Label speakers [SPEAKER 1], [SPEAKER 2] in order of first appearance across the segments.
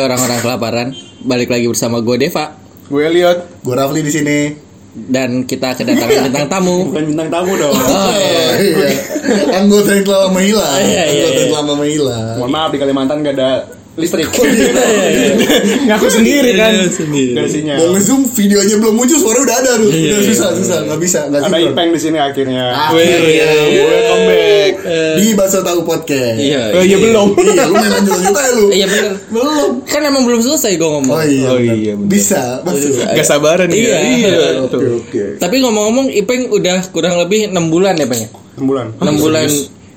[SPEAKER 1] orang-orang kelaparan. Balik lagi bersama gue Deva
[SPEAKER 2] Gue Elliot.
[SPEAKER 3] Gue Rafli di sini.
[SPEAKER 1] dan kita kedatangan bintang tamu.
[SPEAKER 2] Bukan bintang tamu dong.
[SPEAKER 1] Oh, iya.
[SPEAKER 3] Iya. Anggota yang telah lama
[SPEAKER 1] Iya,
[SPEAKER 3] hilang.
[SPEAKER 1] iya,
[SPEAKER 3] Anggota yang
[SPEAKER 1] iya.
[SPEAKER 3] telah lama hilang.
[SPEAKER 2] Mohon maaf di Kalimantan gak ada Iya, listrik.
[SPEAKER 1] Oh, iya,
[SPEAKER 4] Ngaku sendiri kan.
[SPEAKER 1] Sendiri.
[SPEAKER 2] Gak ada sinyal.
[SPEAKER 3] Dan nge-zoom videonya belum muncul, suara udah ada tuh.
[SPEAKER 1] Iya, iya,
[SPEAKER 3] Udah susah, susah, nggak bisa, nggak
[SPEAKER 2] Ada
[SPEAKER 3] sinkron.
[SPEAKER 2] Ipeng di sini
[SPEAKER 4] Ah,
[SPEAKER 2] akhirnya.
[SPEAKER 4] iya,
[SPEAKER 3] Akhirnya
[SPEAKER 2] Welcome back.
[SPEAKER 3] di Baso Tahu Podcast.
[SPEAKER 1] Eh. Iya.
[SPEAKER 4] Eh, iya belum.
[SPEAKER 3] Iya, lu main lanjut lanjut aja lu.
[SPEAKER 1] Iya bener.
[SPEAKER 3] Belum.
[SPEAKER 1] Kan emang belum selesai gue ngomong.
[SPEAKER 3] Oh iya,
[SPEAKER 4] Oh
[SPEAKER 3] benar.
[SPEAKER 4] iya, benar.
[SPEAKER 3] bisa masuk.
[SPEAKER 4] Gak sabaran
[SPEAKER 1] Iya.
[SPEAKER 4] ya.
[SPEAKER 3] Oke oke.
[SPEAKER 1] Tapi ngomong-ngomong Ipeng udah kurang lebih 6 bulan ya Peng? ya?
[SPEAKER 2] 6 bulan.
[SPEAKER 1] 6 bulan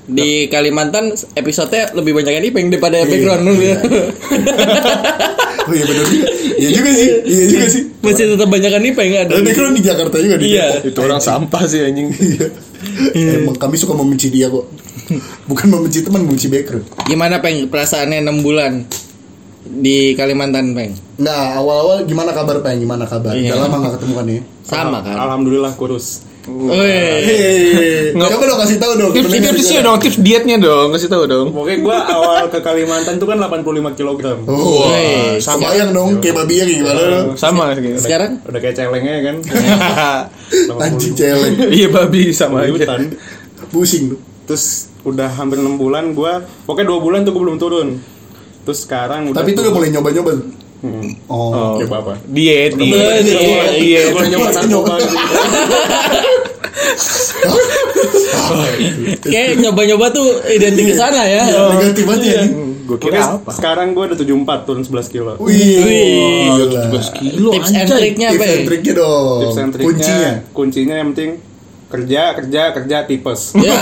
[SPEAKER 1] di Kalimantan episodenya lebih banyak Ipeng daripada background lu ya.
[SPEAKER 3] Oh iya benar juga. Iya juga sih, iya juga sih.
[SPEAKER 1] Masih tetap banyakan Ipeng ada.
[SPEAKER 3] Dan background di Jakarta juga di
[SPEAKER 1] Iya.
[SPEAKER 3] Depok.
[SPEAKER 4] Itu orang sampah sih anjing.
[SPEAKER 3] Iya. Emang kami suka membenci dia kok. Bukan membenci teman, membenci background.
[SPEAKER 1] Gimana Peng perasaannya 6 bulan di Kalimantan Peng?
[SPEAKER 3] Nah, awal-awal gimana kabar, Pak? Gimana kabar?
[SPEAKER 1] Iya.
[SPEAKER 3] Udah lama gak ketemu kan ya?
[SPEAKER 1] Sama kan?
[SPEAKER 2] Alhamdulillah kurus.
[SPEAKER 1] Wih.
[SPEAKER 3] Hehehe. Coba dong kasih tahu dong.
[SPEAKER 4] Tips
[SPEAKER 3] sebenarnya
[SPEAKER 4] tips
[SPEAKER 3] dari
[SPEAKER 1] ya
[SPEAKER 4] sih
[SPEAKER 3] mana.
[SPEAKER 4] dong, tips dietnya dong, kasih tahu dong.
[SPEAKER 2] Pokoknya gue awal ke Kalimantan tuh kan 85 kg.
[SPEAKER 3] Oh,
[SPEAKER 1] Wih,
[SPEAKER 3] sama yang dong kayak babi ya kayak gimana dong.
[SPEAKER 4] Sama kayak.
[SPEAKER 1] Sekarang
[SPEAKER 2] Udah kayak celengnya kan.
[SPEAKER 3] Anjing celeng,
[SPEAKER 4] Iya babi sama aja.
[SPEAKER 2] Hutan.
[SPEAKER 3] pusing tuh.
[SPEAKER 2] Terus udah hampir 6 bulan gue. Pokoknya 2 bulan tuh gue belum turun. Terus sekarang udah
[SPEAKER 3] Tapi itu udah mulai nyoba-nyoba. tuh.
[SPEAKER 2] Hmm.
[SPEAKER 3] Oh.
[SPEAKER 2] Oke, apa-apa.
[SPEAKER 4] Diet,
[SPEAKER 1] Iya,
[SPEAKER 4] diet,
[SPEAKER 1] iya,
[SPEAKER 4] diet,
[SPEAKER 2] Iya,
[SPEAKER 4] diet.
[SPEAKER 2] gue nyoba narkoba.
[SPEAKER 1] kayak nyoba-nyoba tuh identik ke sana ya.
[SPEAKER 3] Negatif aja ya.
[SPEAKER 4] Gue
[SPEAKER 2] Pokoknya
[SPEAKER 4] kira apa?
[SPEAKER 2] sekarang gue udah 74 turun 11 kilo.
[SPEAKER 3] Wih.
[SPEAKER 1] Wih.
[SPEAKER 3] gila.
[SPEAKER 4] Kilo
[SPEAKER 1] Tips and triknya
[SPEAKER 3] Tips
[SPEAKER 1] apa? ya?
[SPEAKER 3] and triknya dong.
[SPEAKER 2] Tips and triknya,
[SPEAKER 3] oh, Kuncinya.
[SPEAKER 2] kuncinya yang penting kerja, kerja, kerja tipes.
[SPEAKER 1] Ya.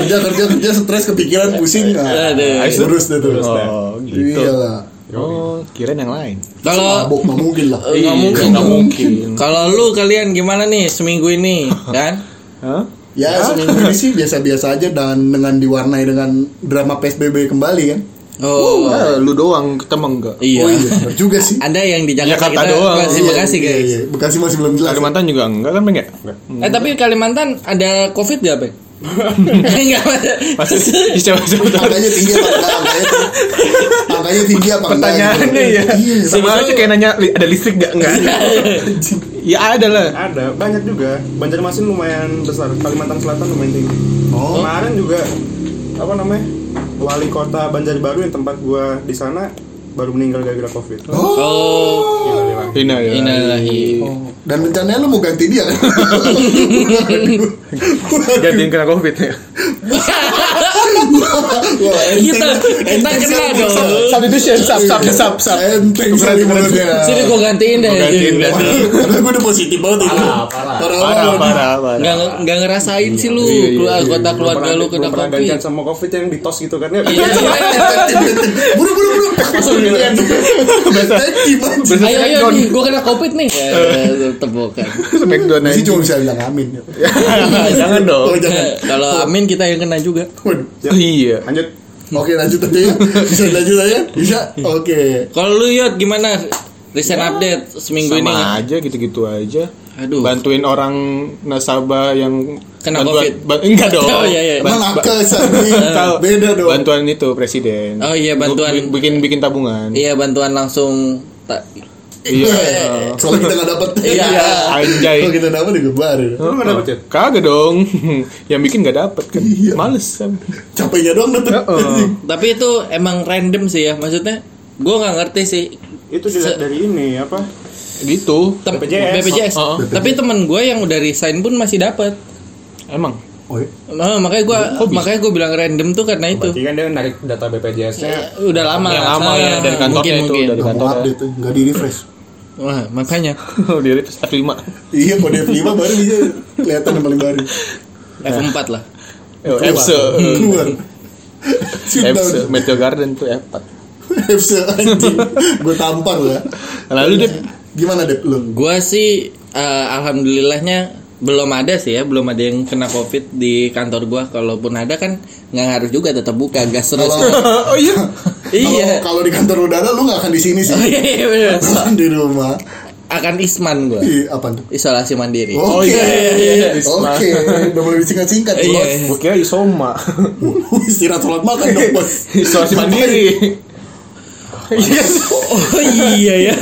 [SPEAKER 3] Kerja kerja kerja stres kepikiran pusing.
[SPEAKER 1] Iya,
[SPEAKER 3] Nah,
[SPEAKER 1] Aduh.
[SPEAKER 3] lurus deh tuh.
[SPEAKER 2] Lurus.
[SPEAKER 4] Oh, gitu.
[SPEAKER 3] Iya lah.
[SPEAKER 4] Oh, kirain yang lain.
[SPEAKER 1] Kalau
[SPEAKER 3] Mabok nggak mungkin lah.
[SPEAKER 1] Eh, nggak mungkin.
[SPEAKER 4] Iya, Nggak mungkin.
[SPEAKER 1] kalau lu kalian gimana nih seminggu ini kan?
[SPEAKER 4] Hah?
[SPEAKER 3] Ya, seminggu ini sih biasa-biasa aja dan dengan diwarnai dengan drama PSBB kembali kan.
[SPEAKER 1] Oh,
[SPEAKER 4] Wah, lu doang kita mah enggak.
[SPEAKER 1] iya.
[SPEAKER 3] Oh iya, bener juga sih.
[SPEAKER 1] Ada yang di Jakarta,
[SPEAKER 4] Jakarta
[SPEAKER 1] kita
[SPEAKER 4] Ya, doang.
[SPEAKER 1] Terima
[SPEAKER 3] Iya,
[SPEAKER 1] kasih
[SPEAKER 3] iya,
[SPEAKER 1] guys.
[SPEAKER 3] iya. Bekasi masih belum jelas.
[SPEAKER 4] Kalimantan juga enggak kan, Bang ya?
[SPEAKER 1] Eh tapi Kalimantan ada COVID gak, Bang? Enggak ada.
[SPEAKER 4] Masih dicoba-coba.
[SPEAKER 3] angkanya tinggi apa enggak angkanya tinggi, angkanya tinggi apa enggak
[SPEAKER 4] Pertanyaannya
[SPEAKER 3] gitu.
[SPEAKER 4] ya.
[SPEAKER 3] iya sama
[SPEAKER 4] Sama aja kayak nanya "Li- ada listrik enggak? Enggak ada.
[SPEAKER 3] anjing.
[SPEAKER 4] Ya ada lah.
[SPEAKER 2] Ada, banyak juga. Banjarmasin lumayan besar, Kalimantan Selatan lumayan tinggi.
[SPEAKER 3] Oh.
[SPEAKER 2] Kemarin juga apa namanya? Wali kota Banjarbaru yang tempat gua di sana baru meninggal gara-gara Covid.
[SPEAKER 1] Oh,
[SPEAKER 2] Gila, gila.
[SPEAKER 4] Ina ya.
[SPEAKER 1] innalillahi.
[SPEAKER 3] dan rencananya lu mau ganti dia kan
[SPEAKER 4] Ganti yang kena covid ya.
[SPEAKER 3] Wah, enteng.
[SPEAKER 1] Kita kita
[SPEAKER 3] Enteng
[SPEAKER 1] kena
[SPEAKER 3] sih,
[SPEAKER 1] dong.
[SPEAKER 4] Substitution, sub, sub, sub, sub.
[SPEAKER 3] enteng sekali mulut dia
[SPEAKER 1] Sini gua gantiin deh.
[SPEAKER 4] gantiin deh.
[SPEAKER 3] Padahal gue udah positif banget itu parah
[SPEAKER 4] Parah, parah, parah.
[SPEAKER 1] Enggak enggak ngerasain sih lu
[SPEAKER 4] Iya, iya,
[SPEAKER 1] keluar-
[SPEAKER 4] iya.
[SPEAKER 1] anggota keluarga lu
[SPEAKER 2] Belum
[SPEAKER 1] kena
[SPEAKER 2] pernah- belum pernah
[SPEAKER 1] COVID.
[SPEAKER 2] gantian sama Covid yang ditos gitu kan ya.
[SPEAKER 1] Iya. gitu.
[SPEAKER 3] Enteng, enteng. buru buru buru Iya. Enteng, anjing.
[SPEAKER 1] Ayo ayo gitu. nih, gua kena COVID nih.
[SPEAKER 4] Iya,
[SPEAKER 1] Ya, Tepukan.
[SPEAKER 4] Smackdown
[SPEAKER 3] Gua
[SPEAKER 4] aja.
[SPEAKER 3] sih cuma bisa bilang amin ya.
[SPEAKER 4] Jangan dong.
[SPEAKER 3] oh jangan
[SPEAKER 1] Kalau Amin kita yang kena juga.
[SPEAKER 3] Waduh.
[SPEAKER 4] Iya.
[SPEAKER 2] Lanjut.
[SPEAKER 3] Oke lanjut aja ya Bisa lanjut aja Bisa Oke
[SPEAKER 1] Kalau lu Yot gimana? Recent update seminggu ini.
[SPEAKER 4] Ya. Sama aja gitu-gitu aja.
[SPEAKER 1] Aduh.
[SPEAKER 4] Bantuin orang nasabah yang
[SPEAKER 1] Kena
[SPEAKER 4] bantuan-
[SPEAKER 1] Covid.
[SPEAKER 4] ba- enggak dong.
[SPEAKER 1] Oh, iya, iya.
[SPEAKER 4] Ban-
[SPEAKER 3] Malah
[SPEAKER 4] ba-
[SPEAKER 3] kesan nih.
[SPEAKER 1] Eh,
[SPEAKER 4] Tahu.
[SPEAKER 3] Beda dong
[SPEAKER 4] Bantuan itu presiden.
[SPEAKER 1] Oh, iya, bantuan.
[SPEAKER 4] Bu- bikin bikin tabungan.
[SPEAKER 1] Iya bantuan langsung tak
[SPEAKER 3] Eh, Soalnya kita gak dapet
[SPEAKER 1] Iya.
[SPEAKER 4] Iya. Anjay. Oh.
[SPEAKER 3] Kalau kita dapet juga baru
[SPEAKER 2] Lu enggak dapet ya?
[SPEAKER 4] Kagak dong. Yang bikin nggak dapet kan.
[SPEAKER 3] Iya.
[SPEAKER 4] Males.
[SPEAKER 3] Capeknya doang dapet
[SPEAKER 4] Heeh.
[SPEAKER 1] tapi itu emang random sih ya maksudnya gue nggak ngerti sih
[SPEAKER 2] Itu dilihat dari ini apa?
[SPEAKER 4] Gitu.
[SPEAKER 1] Tem-
[SPEAKER 2] BPJS.
[SPEAKER 4] Oh, oh.
[SPEAKER 1] tapi temen gue yang udah resign pun masih dapat
[SPEAKER 4] Emang.
[SPEAKER 3] Oh iya.
[SPEAKER 1] nah, makanya gue makanya gue bilang random tuh karena itu
[SPEAKER 2] Berarti kan dia narik data BPJS-nya.
[SPEAKER 1] udah lama
[SPEAKER 4] Yang
[SPEAKER 1] lah,
[SPEAKER 4] lama
[SPEAKER 1] salah.
[SPEAKER 4] ya, dari kantornya itu,
[SPEAKER 1] mungkin,
[SPEAKER 4] dari
[SPEAKER 1] mungkin.
[SPEAKER 3] Gak mau
[SPEAKER 4] kantor ya.
[SPEAKER 3] update tuh Gak di refresh
[SPEAKER 1] wah makanya
[SPEAKER 4] Dari F5.
[SPEAKER 3] Iya kode F5 baru bisa Kelihatan yang paling baru
[SPEAKER 1] F4 lah
[SPEAKER 4] Oh, F-se.
[SPEAKER 3] Keluar Sit
[SPEAKER 4] F-se.
[SPEAKER 3] down
[SPEAKER 4] Meteor Garden tuh F4.
[SPEAKER 3] F-se anjing Gue tampar lah
[SPEAKER 4] Lalu dia
[SPEAKER 3] Gimana Dep lu?
[SPEAKER 1] gue sih eh, alhamdulillahnya belum ada sih ya belum ada yang kena covid di kantor gue kalaupun ada kan nggak harus juga tetap buka gas terus
[SPEAKER 3] Kalau-
[SPEAKER 4] Oh iya.
[SPEAKER 1] iya
[SPEAKER 3] Kalau kalau di kantor udara lu gak akan di sini sih
[SPEAKER 1] Iya, iya, bener.
[SPEAKER 3] Di rumah
[SPEAKER 1] akan isman gue
[SPEAKER 3] Iya apa tuh?
[SPEAKER 1] isolasi mandiri Oh,
[SPEAKER 3] Oke,
[SPEAKER 4] iya, iya, iya.
[SPEAKER 3] oke, udah mulai disingkat-singkat,
[SPEAKER 1] Iya.
[SPEAKER 3] bos.
[SPEAKER 4] Gue kira isoma.
[SPEAKER 3] Istirahat sholat makan dong, bos.
[SPEAKER 4] Isolasi mandiri. Yes.
[SPEAKER 1] Oh iya ya.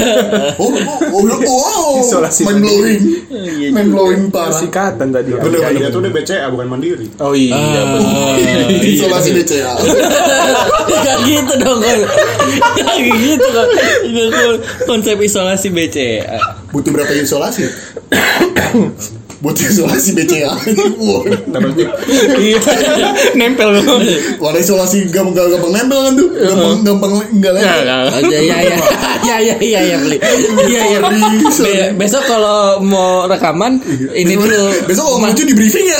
[SPEAKER 3] Oh, oh, oh, wow.
[SPEAKER 4] Isolasi
[SPEAKER 3] Mind blowing.
[SPEAKER 1] iya kan.
[SPEAKER 3] Mind blowing parah.
[SPEAKER 4] Singkatan tadi.
[SPEAKER 2] Bener, dia tuh iya, udah BCA bukan mandiri.
[SPEAKER 4] Oh iya.
[SPEAKER 1] Oh, iya.
[SPEAKER 3] Isolasi BCA.
[SPEAKER 1] Gak gitu dong Kon. Gak gitu Kon. Gak Kon. Konsep isolasi E. BCA
[SPEAKER 3] Butuh berapa isolasi? Butuh isolasi BCA. Wah,
[SPEAKER 4] Iya.
[SPEAKER 1] Ah.
[SPEAKER 4] Nempel dong.
[SPEAKER 3] Warna isolasi gampang gampang nempel kan tuh. Gampang gampang enggak
[SPEAKER 4] Ya,
[SPEAKER 3] lah.
[SPEAKER 4] ya.
[SPEAKER 1] Iya iya iya iya iya iya iya beli. Iya iya beli. Be- Besok kalau mau rekaman ini dulu.
[SPEAKER 3] Gitu. Iya.
[SPEAKER 1] Iya,
[SPEAKER 3] Besok kalau muncul di briefing ya.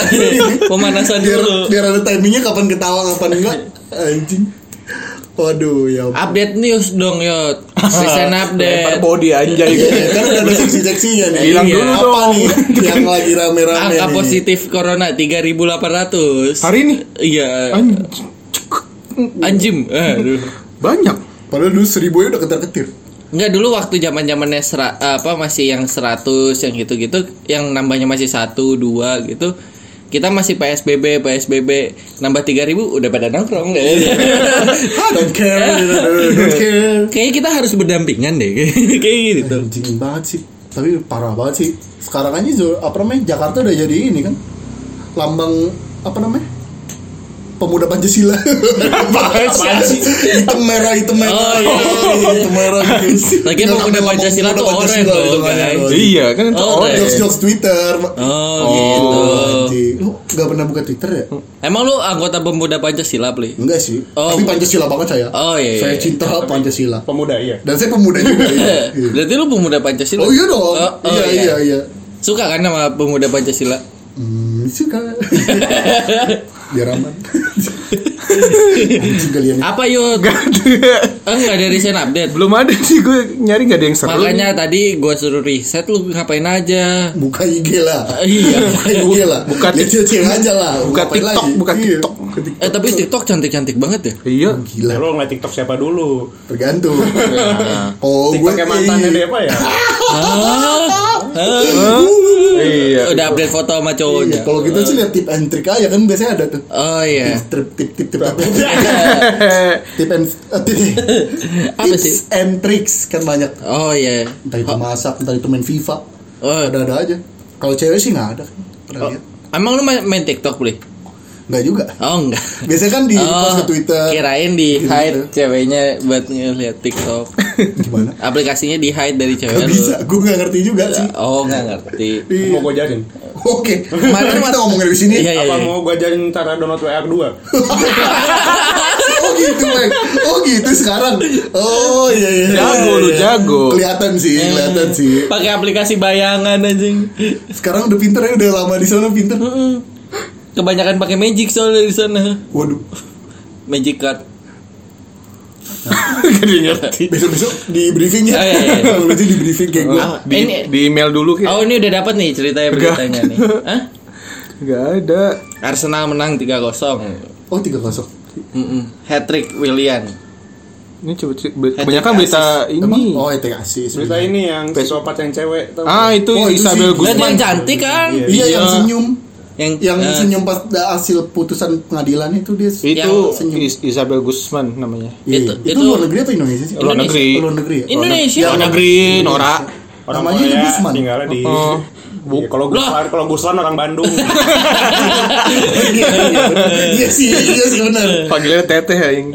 [SPEAKER 1] Pemanasan
[SPEAKER 3] biar,
[SPEAKER 1] dulu.
[SPEAKER 3] biar ada timingnya kapan ketawa kapan enggak. Anjing. Waduh ya.
[SPEAKER 1] Update news dong yot. Season
[SPEAKER 4] Lempar
[SPEAKER 1] update.
[SPEAKER 4] body
[SPEAKER 3] Iya,
[SPEAKER 4] anjay.
[SPEAKER 3] kan udah ada seksi-seksinya nih.
[SPEAKER 4] Bilang
[SPEAKER 3] Iya.
[SPEAKER 4] dulu
[SPEAKER 3] Apa
[SPEAKER 4] dong.
[SPEAKER 3] nih yang lagi rame-rame
[SPEAKER 1] Angka
[SPEAKER 3] nih?
[SPEAKER 1] positif corona 3800.
[SPEAKER 4] Hari ini
[SPEAKER 1] Iya.
[SPEAKER 4] anj-
[SPEAKER 1] Anjim. Aduh.
[SPEAKER 4] banyak.
[SPEAKER 3] Padahal dulu seribu ya udah ketar-ketir.
[SPEAKER 1] Enggak dulu waktu zaman zamannya apa masih yang 100 yang gitu-gitu yang nambahnya masih satu dua gitu kita masih PSBB PSBB nambah 3000 udah pada nongkrong
[SPEAKER 3] Iya. Ah, don't care, don't care.
[SPEAKER 1] kayaknya kita harus berdampingan deh kayak gitu
[SPEAKER 3] Anjing banget sih. Tapi parah banget sih. Sekarang aja Zul, apa namanya Jakarta udah jadi ini kan lambang apa namanya? Pemuda Pancasila. Apaan sih? Hitam merah, hitam merah.
[SPEAKER 1] Oh, iya.
[SPEAKER 3] Hitam merah gitu.
[SPEAKER 1] Lagi
[SPEAKER 3] Dengan
[SPEAKER 1] pemuda
[SPEAKER 3] nama
[SPEAKER 1] Pancasila
[SPEAKER 3] pemuda
[SPEAKER 1] tuh orange
[SPEAKER 3] Pancasila
[SPEAKER 1] loh,
[SPEAKER 3] gitu kan.
[SPEAKER 1] guys.
[SPEAKER 4] Iya kan itu
[SPEAKER 1] Oh,
[SPEAKER 4] orang.
[SPEAKER 3] Jokes-jokes Twitter.
[SPEAKER 1] oh, gitu
[SPEAKER 3] anjing. Lu gak pernah buka Twitter ya?
[SPEAKER 1] emang lu anggota pemuda Pancasila Pli?
[SPEAKER 3] Enggak sih.
[SPEAKER 1] Oh.
[SPEAKER 3] Tapi Pancasila banget saya.
[SPEAKER 1] Oh, iya, iya.
[SPEAKER 3] Saya cinta Pancasila.
[SPEAKER 2] Pemuda iya.
[SPEAKER 3] Dan saya pemuda juga. iya. Iya.
[SPEAKER 1] berarti lu pemuda Pancasila
[SPEAKER 3] Oh iya dong.
[SPEAKER 1] Oh, oh,
[SPEAKER 3] iya,
[SPEAKER 1] iya.
[SPEAKER 3] iya, iya.
[SPEAKER 1] suka kan sama pemuda Pancasila
[SPEAKER 3] Hmm, suka. Biar aman. Anjing kalian.
[SPEAKER 1] apa Oh, yuk enggak dari sen update
[SPEAKER 4] Belum ada sih gue nyari gak ada yang seru.
[SPEAKER 1] Makanya tadi gua suruh riset lu ngapain aja.
[SPEAKER 3] Buka IG lah.
[SPEAKER 1] iya.
[SPEAKER 3] Buka IG lah.
[SPEAKER 4] Buka
[SPEAKER 3] Lihat cewek aja lah.
[SPEAKER 4] buka
[SPEAKER 3] Ngapain
[SPEAKER 4] TikTok, buka
[SPEAKER 3] Iya,
[SPEAKER 4] TikTok.
[SPEAKER 3] buka TikTok.
[SPEAKER 1] Eh tapi TikTok cantik-cantik banget ya.
[SPEAKER 4] Iya.
[SPEAKER 3] Gila,
[SPEAKER 2] Lo ngeliat TikTok siapa dulu?
[SPEAKER 3] tergantung. Oh, gue
[SPEAKER 2] TikToknya mantannya
[SPEAKER 3] iya.
[SPEAKER 2] siapa ya?
[SPEAKER 4] Iya.
[SPEAKER 1] Oh, Udah update foto sama
[SPEAKER 3] Oh, Iya,
[SPEAKER 1] cowoknya.
[SPEAKER 3] kalau kita sih lihat tip and trick aja kan biasanya ada tuh.
[SPEAKER 1] Oh iya.
[SPEAKER 3] Tip tip tip tip tip. Tip and eh, tip-
[SPEAKER 1] Apa
[SPEAKER 3] tips
[SPEAKER 1] sih?
[SPEAKER 3] and tricks kan banyak.
[SPEAKER 1] Oh iya.
[SPEAKER 3] Entah itu masak, entah itu main FIFA.
[SPEAKER 1] Oh.
[SPEAKER 3] Ada ada aja. Kalau cewek sih nggak ada. kan. Pernah
[SPEAKER 1] oh.
[SPEAKER 3] lihat?
[SPEAKER 1] Emang lu main, main TikTok, Bli?
[SPEAKER 3] Nggak juga.
[SPEAKER 1] Oh enggak.
[SPEAKER 3] Biasanya kan
[SPEAKER 1] Oh,
[SPEAKER 3] di post ke Twitter.
[SPEAKER 1] Kirain di
[SPEAKER 3] Gitu.
[SPEAKER 1] hide ceweknya buat ngeliat TikTok.
[SPEAKER 3] Gimana?
[SPEAKER 1] Aplikasinya di hide dari cewek
[SPEAKER 3] Gak
[SPEAKER 1] lu.
[SPEAKER 3] bisa. Gue nggak ngerti juga sih.
[SPEAKER 1] Oh enggak ngerti.
[SPEAKER 2] Mau gue ajarin?
[SPEAKER 3] Oke. Kemarin kita ngomongin di sini.
[SPEAKER 1] Iya iya.
[SPEAKER 2] Apa
[SPEAKER 1] iya.
[SPEAKER 2] mau gue ajarin cara download WR 2?
[SPEAKER 3] Oh gitu, Bang. Oh gitu sekarang. Oh iya iya.
[SPEAKER 4] Jago
[SPEAKER 3] iya,
[SPEAKER 4] lu,
[SPEAKER 3] iya.
[SPEAKER 4] jago.
[SPEAKER 3] Kelihatan sih,
[SPEAKER 1] Eh.
[SPEAKER 3] kelihatan sih.
[SPEAKER 1] Pakai aplikasi bayangan anjing.
[SPEAKER 3] Sekarang udah pinter ya, udah lama di sana pinter.
[SPEAKER 1] Mm-mm. Kebanyakan pakai magic soalnya di sana.
[SPEAKER 3] Waduh.
[SPEAKER 1] Magic card.
[SPEAKER 4] Gak ada yang ngerti.
[SPEAKER 3] Besok-besok di briefing ya.
[SPEAKER 1] Oh, iya, iya.
[SPEAKER 3] Bang Lucu di briefing kayak gue.
[SPEAKER 1] Ah,
[SPEAKER 4] Di,
[SPEAKER 1] ini
[SPEAKER 4] di email dulu kayak
[SPEAKER 1] Oh ini udah dapat nih ceritanya
[SPEAKER 4] Enggak.
[SPEAKER 1] beritanya nih. Hah?
[SPEAKER 4] Gak ada.
[SPEAKER 1] Arsenal menang 3-0.
[SPEAKER 3] Oh tiga kosong.
[SPEAKER 1] Mm-mm. Hat-trick Willian.
[SPEAKER 4] Ini coba cer- be- kebanyakan berita ini.
[SPEAKER 3] Emang? Oh itu asis.
[SPEAKER 2] Berita ini yang psikopat yang cewek tau
[SPEAKER 4] Ah itu
[SPEAKER 3] Oh, itu
[SPEAKER 4] Isabel
[SPEAKER 3] sih.
[SPEAKER 1] Lihat yang
[SPEAKER 4] Guzman.
[SPEAKER 1] cantik kan?
[SPEAKER 2] Iya.
[SPEAKER 3] Iya yang
[SPEAKER 4] Iya.
[SPEAKER 3] senyum.
[SPEAKER 1] Yang
[SPEAKER 3] Yang
[SPEAKER 1] eh,
[SPEAKER 3] senyum pas da- hasil putusan pengadilan itu dia
[SPEAKER 4] Itu
[SPEAKER 1] Yang
[SPEAKER 3] senyum.
[SPEAKER 4] Is- Isabel Guzman namanya.
[SPEAKER 3] Iya,
[SPEAKER 1] Itu-
[SPEAKER 3] itu,
[SPEAKER 1] itu-
[SPEAKER 3] luar negeri apa Indonesia sih?
[SPEAKER 4] Luar negeri.
[SPEAKER 3] Oh, Luar negeri ya?
[SPEAKER 1] Indonesia.
[SPEAKER 3] Yang
[SPEAKER 4] Luar negeri,
[SPEAKER 3] Iya.
[SPEAKER 4] Nora.
[SPEAKER 2] Orang
[SPEAKER 3] Namanya itu
[SPEAKER 2] Korea
[SPEAKER 3] Gusman.
[SPEAKER 2] tinggalnya di
[SPEAKER 4] Oh.
[SPEAKER 2] Iya, kalau Guslan, kalau Guslan orang Bandung.
[SPEAKER 3] Iya, iya, bener. Iya sih, iya sih benar.
[SPEAKER 4] Panggilnya Teteh ya, yang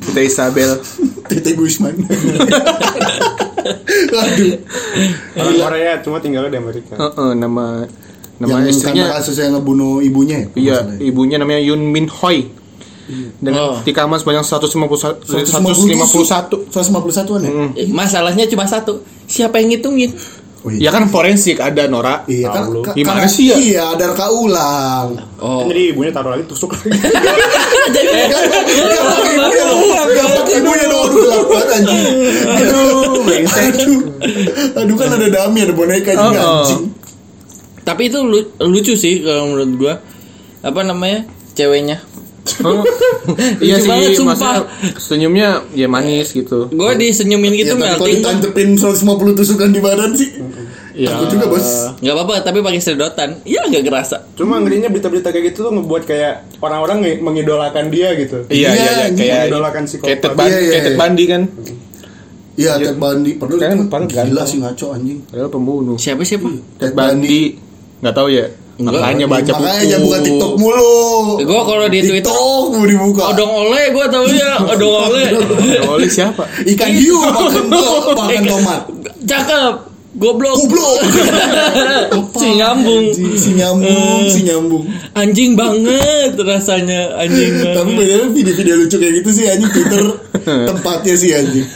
[SPEAKER 4] kita Isabel.
[SPEAKER 3] Tete Gusman. Waduh.
[SPEAKER 2] orang Korea cuma tinggalnya di Amerika.
[SPEAKER 4] Heeh, nama nama
[SPEAKER 3] Yang
[SPEAKER 4] istrinya
[SPEAKER 3] karena kasus yang ngebunuh ibunya ya? kalau
[SPEAKER 4] iya,
[SPEAKER 3] nggak salah ya?
[SPEAKER 4] ibunya namanya Yun Min Hoi.
[SPEAKER 1] Oh.
[SPEAKER 4] Dengan tikam emas sebanyak 151
[SPEAKER 3] 151
[SPEAKER 4] 151.
[SPEAKER 3] an ya?
[SPEAKER 4] Hmm.
[SPEAKER 1] Masalahnya cuma satu. Siapa yang ngitungin?
[SPEAKER 3] Oh,
[SPEAKER 4] Ya kan forensik ada Nora.
[SPEAKER 3] Iya kan,
[SPEAKER 2] Tahu lu.
[SPEAKER 3] ka-
[SPEAKER 4] Gimana
[SPEAKER 3] karena-
[SPEAKER 4] sih ya?
[SPEAKER 3] Iya, ada reka ulang.
[SPEAKER 1] Oh.
[SPEAKER 2] Kan Jadi ibunya taruh lagi tusuk lagi.
[SPEAKER 1] Jadi
[SPEAKER 4] Iya.
[SPEAKER 3] Gak pakai ibunya dong, gak pakai ibunya dong. Aduh, gelap banget, anjing. Aduh, aduh, aduh kan ada dami, ada boneka juga
[SPEAKER 4] Oh, oh.
[SPEAKER 3] anjing.
[SPEAKER 1] tapi itu lu- lucu sih kalau menurut gua. Apa namanya? Ceweknya.
[SPEAKER 4] Hah? iya
[SPEAKER 1] Lucu
[SPEAKER 4] sih,
[SPEAKER 1] banget, sumpah.
[SPEAKER 4] maksudnya senyumnya ya manis gitu.
[SPEAKER 1] Gua disenyumin
[SPEAKER 3] Ya,
[SPEAKER 1] gitu
[SPEAKER 3] tapi kalau
[SPEAKER 1] melting.
[SPEAKER 3] ditancepin 150 tusukan di badan sih, aku
[SPEAKER 1] Ya.
[SPEAKER 3] juga bos.
[SPEAKER 1] Gak apa-apa, tapi pakai sedotan. Iya nggak kerasa.
[SPEAKER 2] Cuma ngerinya berita-berita kayak gitu tuh ngebuat kayak orang-orang nge- mengidolakan dia gitu.
[SPEAKER 4] Iya, iya, iya,
[SPEAKER 3] Iya,
[SPEAKER 4] kayak
[SPEAKER 2] mengidolakan psikopat.
[SPEAKER 4] Ketet Bandi,
[SPEAKER 3] Iya, iya,
[SPEAKER 4] Ketet
[SPEAKER 3] iya.
[SPEAKER 4] Bandi kan.
[SPEAKER 3] Iya,
[SPEAKER 1] Ya.
[SPEAKER 3] Ted Bundy. Padahal
[SPEAKER 4] Kan,
[SPEAKER 3] itu
[SPEAKER 4] padahal
[SPEAKER 3] gila
[SPEAKER 4] ganteng.
[SPEAKER 3] sih ngaco anjing.
[SPEAKER 4] Padahal pembunuh.
[SPEAKER 1] Siapa siapa?
[SPEAKER 3] Hmm.
[SPEAKER 4] Ted Bundy. Nggak tahu ya.
[SPEAKER 1] Nggak.
[SPEAKER 4] Makanya baca buku.
[SPEAKER 3] Makanya jangan buka TikTok mulu.
[SPEAKER 1] Ya, Gua kalau di Twitter Oh,
[SPEAKER 3] TikTok mau dibuka.
[SPEAKER 1] odong oleh gua taunya odong oleh.
[SPEAKER 4] Oleh siapa?
[SPEAKER 3] Ikan hiu makan to- makan tomat.
[SPEAKER 1] Cakep. Goblok.
[SPEAKER 3] Goblok.
[SPEAKER 1] Si nyambung. Eh.
[SPEAKER 3] Anjing, Si nyambung, si nyambung.
[SPEAKER 1] Anjing banget rasanya anjing. banget.
[SPEAKER 3] Tapi bener video-video lucu kayak gitu sih anjing Twitter tempatnya sih anjing.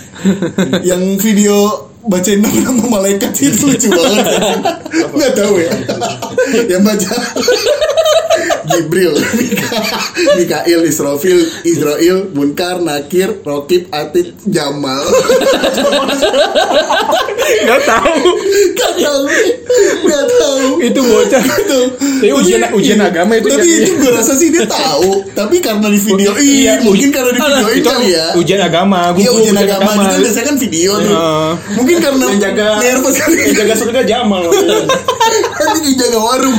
[SPEAKER 3] Yang video bacain nama-nama malaikat sih itu lucu banget. anjing. Nggak tahu ya. Yang baca Jibril, Mika- Mikail, Israfil, Israel, Munkar, Nakir, Rokib, Atit, Jamal.
[SPEAKER 4] Nggak tahu.
[SPEAKER 3] Gak tahu, gak tahu.
[SPEAKER 4] Itu bocah.
[SPEAKER 3] Itu.
[SPEAKER 4] Tapi ujian- ujian agama itu
[SPEAKER 3] Tapi
[SPEAKER 4] jadinya.
[SPEAKER 3] itu gue rasa sih dia tahu. Tapi karena di videoin,
[SPEAKER 4] Iya,
[SPEAKER 3] mungkin karena di videoin
[SPEAKER 4] Itu
[SPEAKER 3] kali ya.
[SPEAKER 4] ujian agama. Gua
[SPEAKER 3] Iya
[SPEAKER 4] gua
[SPEAKER 3] ujian agama itu biasanya kan video tuh.
[SPEAKER 4] Iya.
[SPEAKER 3] Mungkin karena
[SPEAKER 2] Yang jaga-
[SPEAKER 3] nervous kali.
[SPEAKER 2] Yang Eh, jaga surga Jamal.
[SPEAKER 3] Nanti dijaga warung.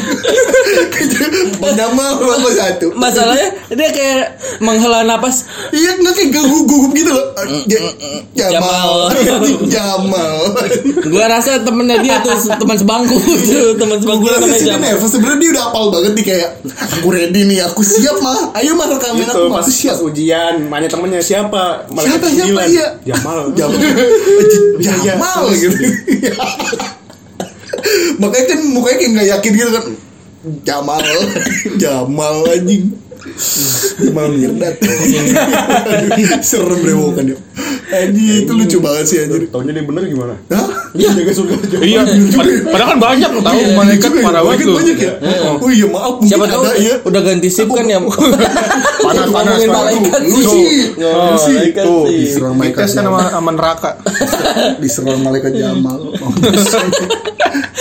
[SPEAKER 3] Padama apa satu.
[SPEAKER 1] Masalahnya dia kayak menghela napas.
[SPEAKER 3] Iya nggak kayak gugup-gugup gitu loh. Ja- Jamal, Iya,
[SPEAKER 1] Jamal.
[SPEAKER 3] Jamal.
[SPEAKER 1] Gua rasa temennya dia tuh teman sebangku tuh, teman sebangku
[SPEAKER 3] Gue rasa
[SPEAKER 1] namanya
[SPEAKER 3] sih dia
[SPEAKER 1] Jamal.
[SPEAKER 3] nervous. Sebenarnya dia udah apal banget nih kayak aku ready nih, aku siap mah. Ayo mah rekamin
[SPEAKER 2] Gitu,
[SPEAKER 3] aku
[SPEAKER 2] pas,
[SPEAKER 3] masih siap.
[SPEAKER 2] pas ujian, mana temennya siapa? Malaikat
[SPEAKER 3] Siapa, siapa,
[SPEAKER 2] sembilan.
[SPEAKER 3] iya.
[SPEAKER 2] Jamal.
[SPEAKER 3] Jamal, Iya, Jamal gitu. Makanya kan mukanya kayak nggak yakin gitu kan. Jamal, Jamal anjing. Jamal Mirdad. Serem deh bukan dia. Anjing itu lucu banget sih anjir.
[SPEAKER 2] Taunya dia bener gimana?
[SPEAKER 3] Hah?
[SPEAKER 2] Dia jaga surga Jamal.
[SPEAKER 4] Iya, pad- padahal kan banyak tahu
[SPEAKER 3] Iya, juga
[SPEAKER 4] malaikat
[SPEAKER 3] ya,
[SPEAKER 4] para
[SPEAKER 3] mungkin
[SPEAKER 4] banget tuh.
[SPEAKER 3] Banyak ya. Oh iya maaf mungkin
[SPEAKER 1] Siapa tahu
[SPEAKER 3] ada ya.
[SPEAKER 1] udah ganti sip kan ya.
[SPEAKER 4] Panas, panas,
[SPEAKER 1] Ngomongin
[SPEAKER 4] panas.
[SPEAKER 1] malaikat
[SPEAKER 3] Lu
[SPEAKER 1] sih.
[SPEAKER 3] sih. Lu
[SPEAKER 4] Oh,
[SPEAKER 3] sih.
[SPEAKER 4] itu
[SPEAKER 3] Diserang Iya, malaikat
[SPEAKER 4] dites kan sama, sama neraka.
[SPEAKER 3] diserang malaikat Jamal. Oh,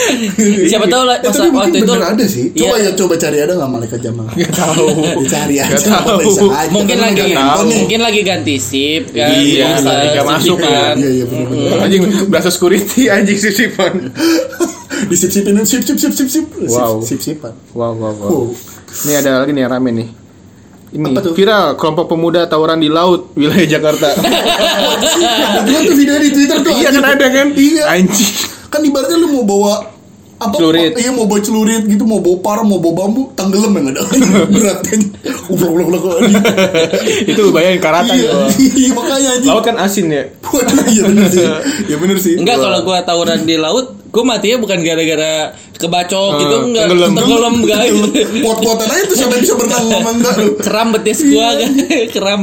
[SPEAKER 4] Iya,
[SPEAKER 1] Siapa tahu lah
[SPEAKER 3] Eh,
[SPEAKER 1] masa
[SPEAKER 3] tapi mungkin
[SPEAKER 1] waktu itu Iya,
[SPEAKER 3] bener ada sih. Coba ya coba cari ada nggak malaikat Jamal? Gak tahu. Dicari aja.
[SPEAKER 4] Nggak tahu.
[SPEAKER 3] Bisa aja.
[SPEAKER 1] mungkin
[SPEAKER 3] Kan
[SPEAKER 1] lagi
[SPEAKER 3] mereka
[SPEAKER 4] tahu.
[SPEAKER 3] nonton nih.
[SPEAKER 1] mungkin lagi ganti sip kan.
[SPEAKER 4] Iya,
[SPEAKER 1] Bisa
[SPEAKER 4] lagi nggak
[SPEAKER 1] sip
[SPEAKER 4] masuk
[SPEAKER 1] kan.
[SPEAKER 4] ya.
[SPEAKER 3] Iya iya benar benar.
[SPEAKER 4] Anjing berasa security anjing sisipan.
[SPEAKER 3] Disip-sipin sip sip sip sip sip.
[SPEAKER 4] Wow.
[SPEAKER 3] Sip-sipan. Oh.
[SPEAKER 4] Wow, wow, wow.
[SPEAKER 3] Wow.
[SPEAKER 4] Ini ada lagi nih yang rame nih. Ini
[SPEAKER 3] Apa tuh?
[SPEAKER 4] viral kelompok pemuda tawuran di laut wilayah Jakarta.
[SPEAKER 3] Kebetulan tuh video di Twitter tuh.
[SPEAKER 4] iya
[SPEAKER 3] anjing.
[SPEAKER 4] kan ada kan?
[SPEAKER 3] Iya.
[SPEAKER 4] Anjing.
[SPEAKER 3] Kan ibaratnya lu mau bawa apa
[SPEAKER 4] Celurit.
[SPEAKER 3] iya mau bawa celurit gitu mau bawa par mau bawa bambu tenggelam yang ada berat kan ublok ublok ublok
[SPEAKER 4] Itu lu bayangin karatan.
[SPEAKER 3] iya
[SPEAKER 4] gua.
[SPEAKER 3] iya, makanya aja
[SPEAKER 4] Laut kan asin ya.
[SPEAKER 3] Waduh, iya bener sih. Iya bener sih.
[SPEAKER 1] Enggak kalau gua tawuran di laut, gua matinya bukan gara-gara kebacok
[SPEAKER 4] Eh,
[SPEAKER 1] gitu enggak iya
[SPEAKER 4] tenggelam.
[SPEAKER 1] tenggelam guys.
[SPEAKER 3] Kuat-kuatan aja tuh siapa yang bisa berenang sama enggak lu.
[SPEAKER 1] Keram betis gua kan, keram.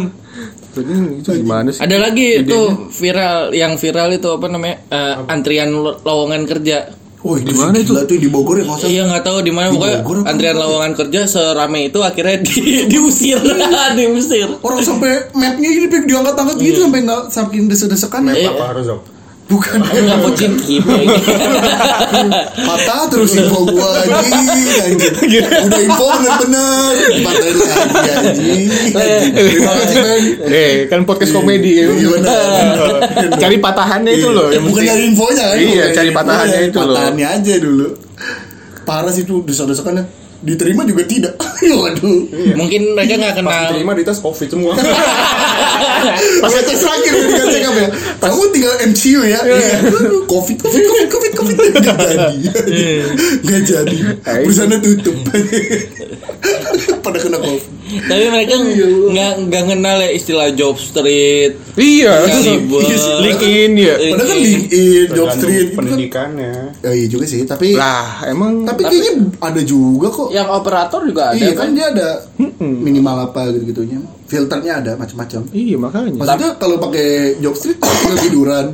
[SPEAKER 4] Itu gimana sih?
[SPEAKER 1] Ada lagi itu viral yang viral itu apa namanya? Eh, antrian lo- lowongan kerja.
[SPEAKER 3] Wah, di mana itu? Gila tuh di Bogor ya masa.
[SPEAKER 1] Iya nggak tahu di mana
[SPEAKER 3] Di
[SPEAKER 1] pokoknya
[SPEAKER 3] Bogor apa?
[SPEAKER 1] antrian lowongan kerja serame itu akhirnya di, diusir diusir.
[SPEAKER 3] Orang sampai mapnya ini pik diangkat-angkat gitu
[SPEAKER 1] Iya.
[SPEAKER 3] sampai enggak saking desa-desakan
[SPEAKER 2] Map
[SPEAKER 3] ya.
[SPEAKER 2] apa harus dong?
[SPEAKER 3] Bukan.
[SPEAKER 1] Enggak kucing gitu.
[SPEAKER 3] Patah terus info gua anjing, anjing. Udah info bener-bener. Patahin lagi anjing. anjing. Terima kasih, Bang.
[SPEAKER 4] Eh, kan podcast komedi.
[SPEAKER 3] Iya bener. Eh,
[SPEAKER 4] Cari patahannya itu loh. yang
[SPEAKER 3] Iya. Bukan
[SPEAKER 4] penting.
[SPEAKER 3] dari infonya kan.
[SPEAKER 4] Iya,
[SPEAKER 3] bukan
[SPEAKER 4] cari
[SPEAKER 3] dari
[SPEAKER 4] patahannya
[SPEAKER 3] infonya,
[SPEAKER 4] itu loh.
[SPEAKER 3] Patahannya aja dulu. Parah sih tuh desa-desakannya. Diterima juga tidak. Waduh.
[SPEAKER 1] Mungkin mereka nggak
[SPEAKER 2] Pas
[SPEAKER 1] kenal.
[SPEAKER 2] diterima di tes covid semua.
[SPEAKER 3] Pas tes terakhir udah dikasih check up ya. Kamu tinggal MCU ya. Iya. Covid, covid, covid, covid, covid. Gak jadi.
[SPEAKER 4] Iya.
[SPEAKER 3] Gak jadi. Perusahaannya tutup. Pada kena covid.
[SPEAKER 1] Tapi mereka
[SPEAKER 3] Iya.
[SPEAKER 1] nggak nggak kenal ya istilah job street.
[SPEAKER 4] Iya.
[SPEAKER 1] Caliber.
[SPEAKER 4] LinkedIn ya.
[SPEAKER 3] Padahal kan LinkedIn, Jobstreet
[SPEAKER 2] Tergantung
[SPEAKER 3] gitu kan.
[SPEAKER 2] pendidikannya.
[SPEAKER 3] Ya iya juga sih, tapi
[SPEAKER 4] Lah, emang
[SPEAKER 3] tapi kayaknya ada juga kok.
[SPEAKER 1] Yang operator juga ada.
[SPEAKER 3] Iya
[SPEAKER 1] kan?
[SPEAKER 3] kan dia ada minimal apa gitu-gitunya. Filternya ada macam-macam.
[SPEAKER 4] Iya, makanya.
[SPEAKER 3] Maksudnya kalau pakai Jobstreet tinggal tiduran.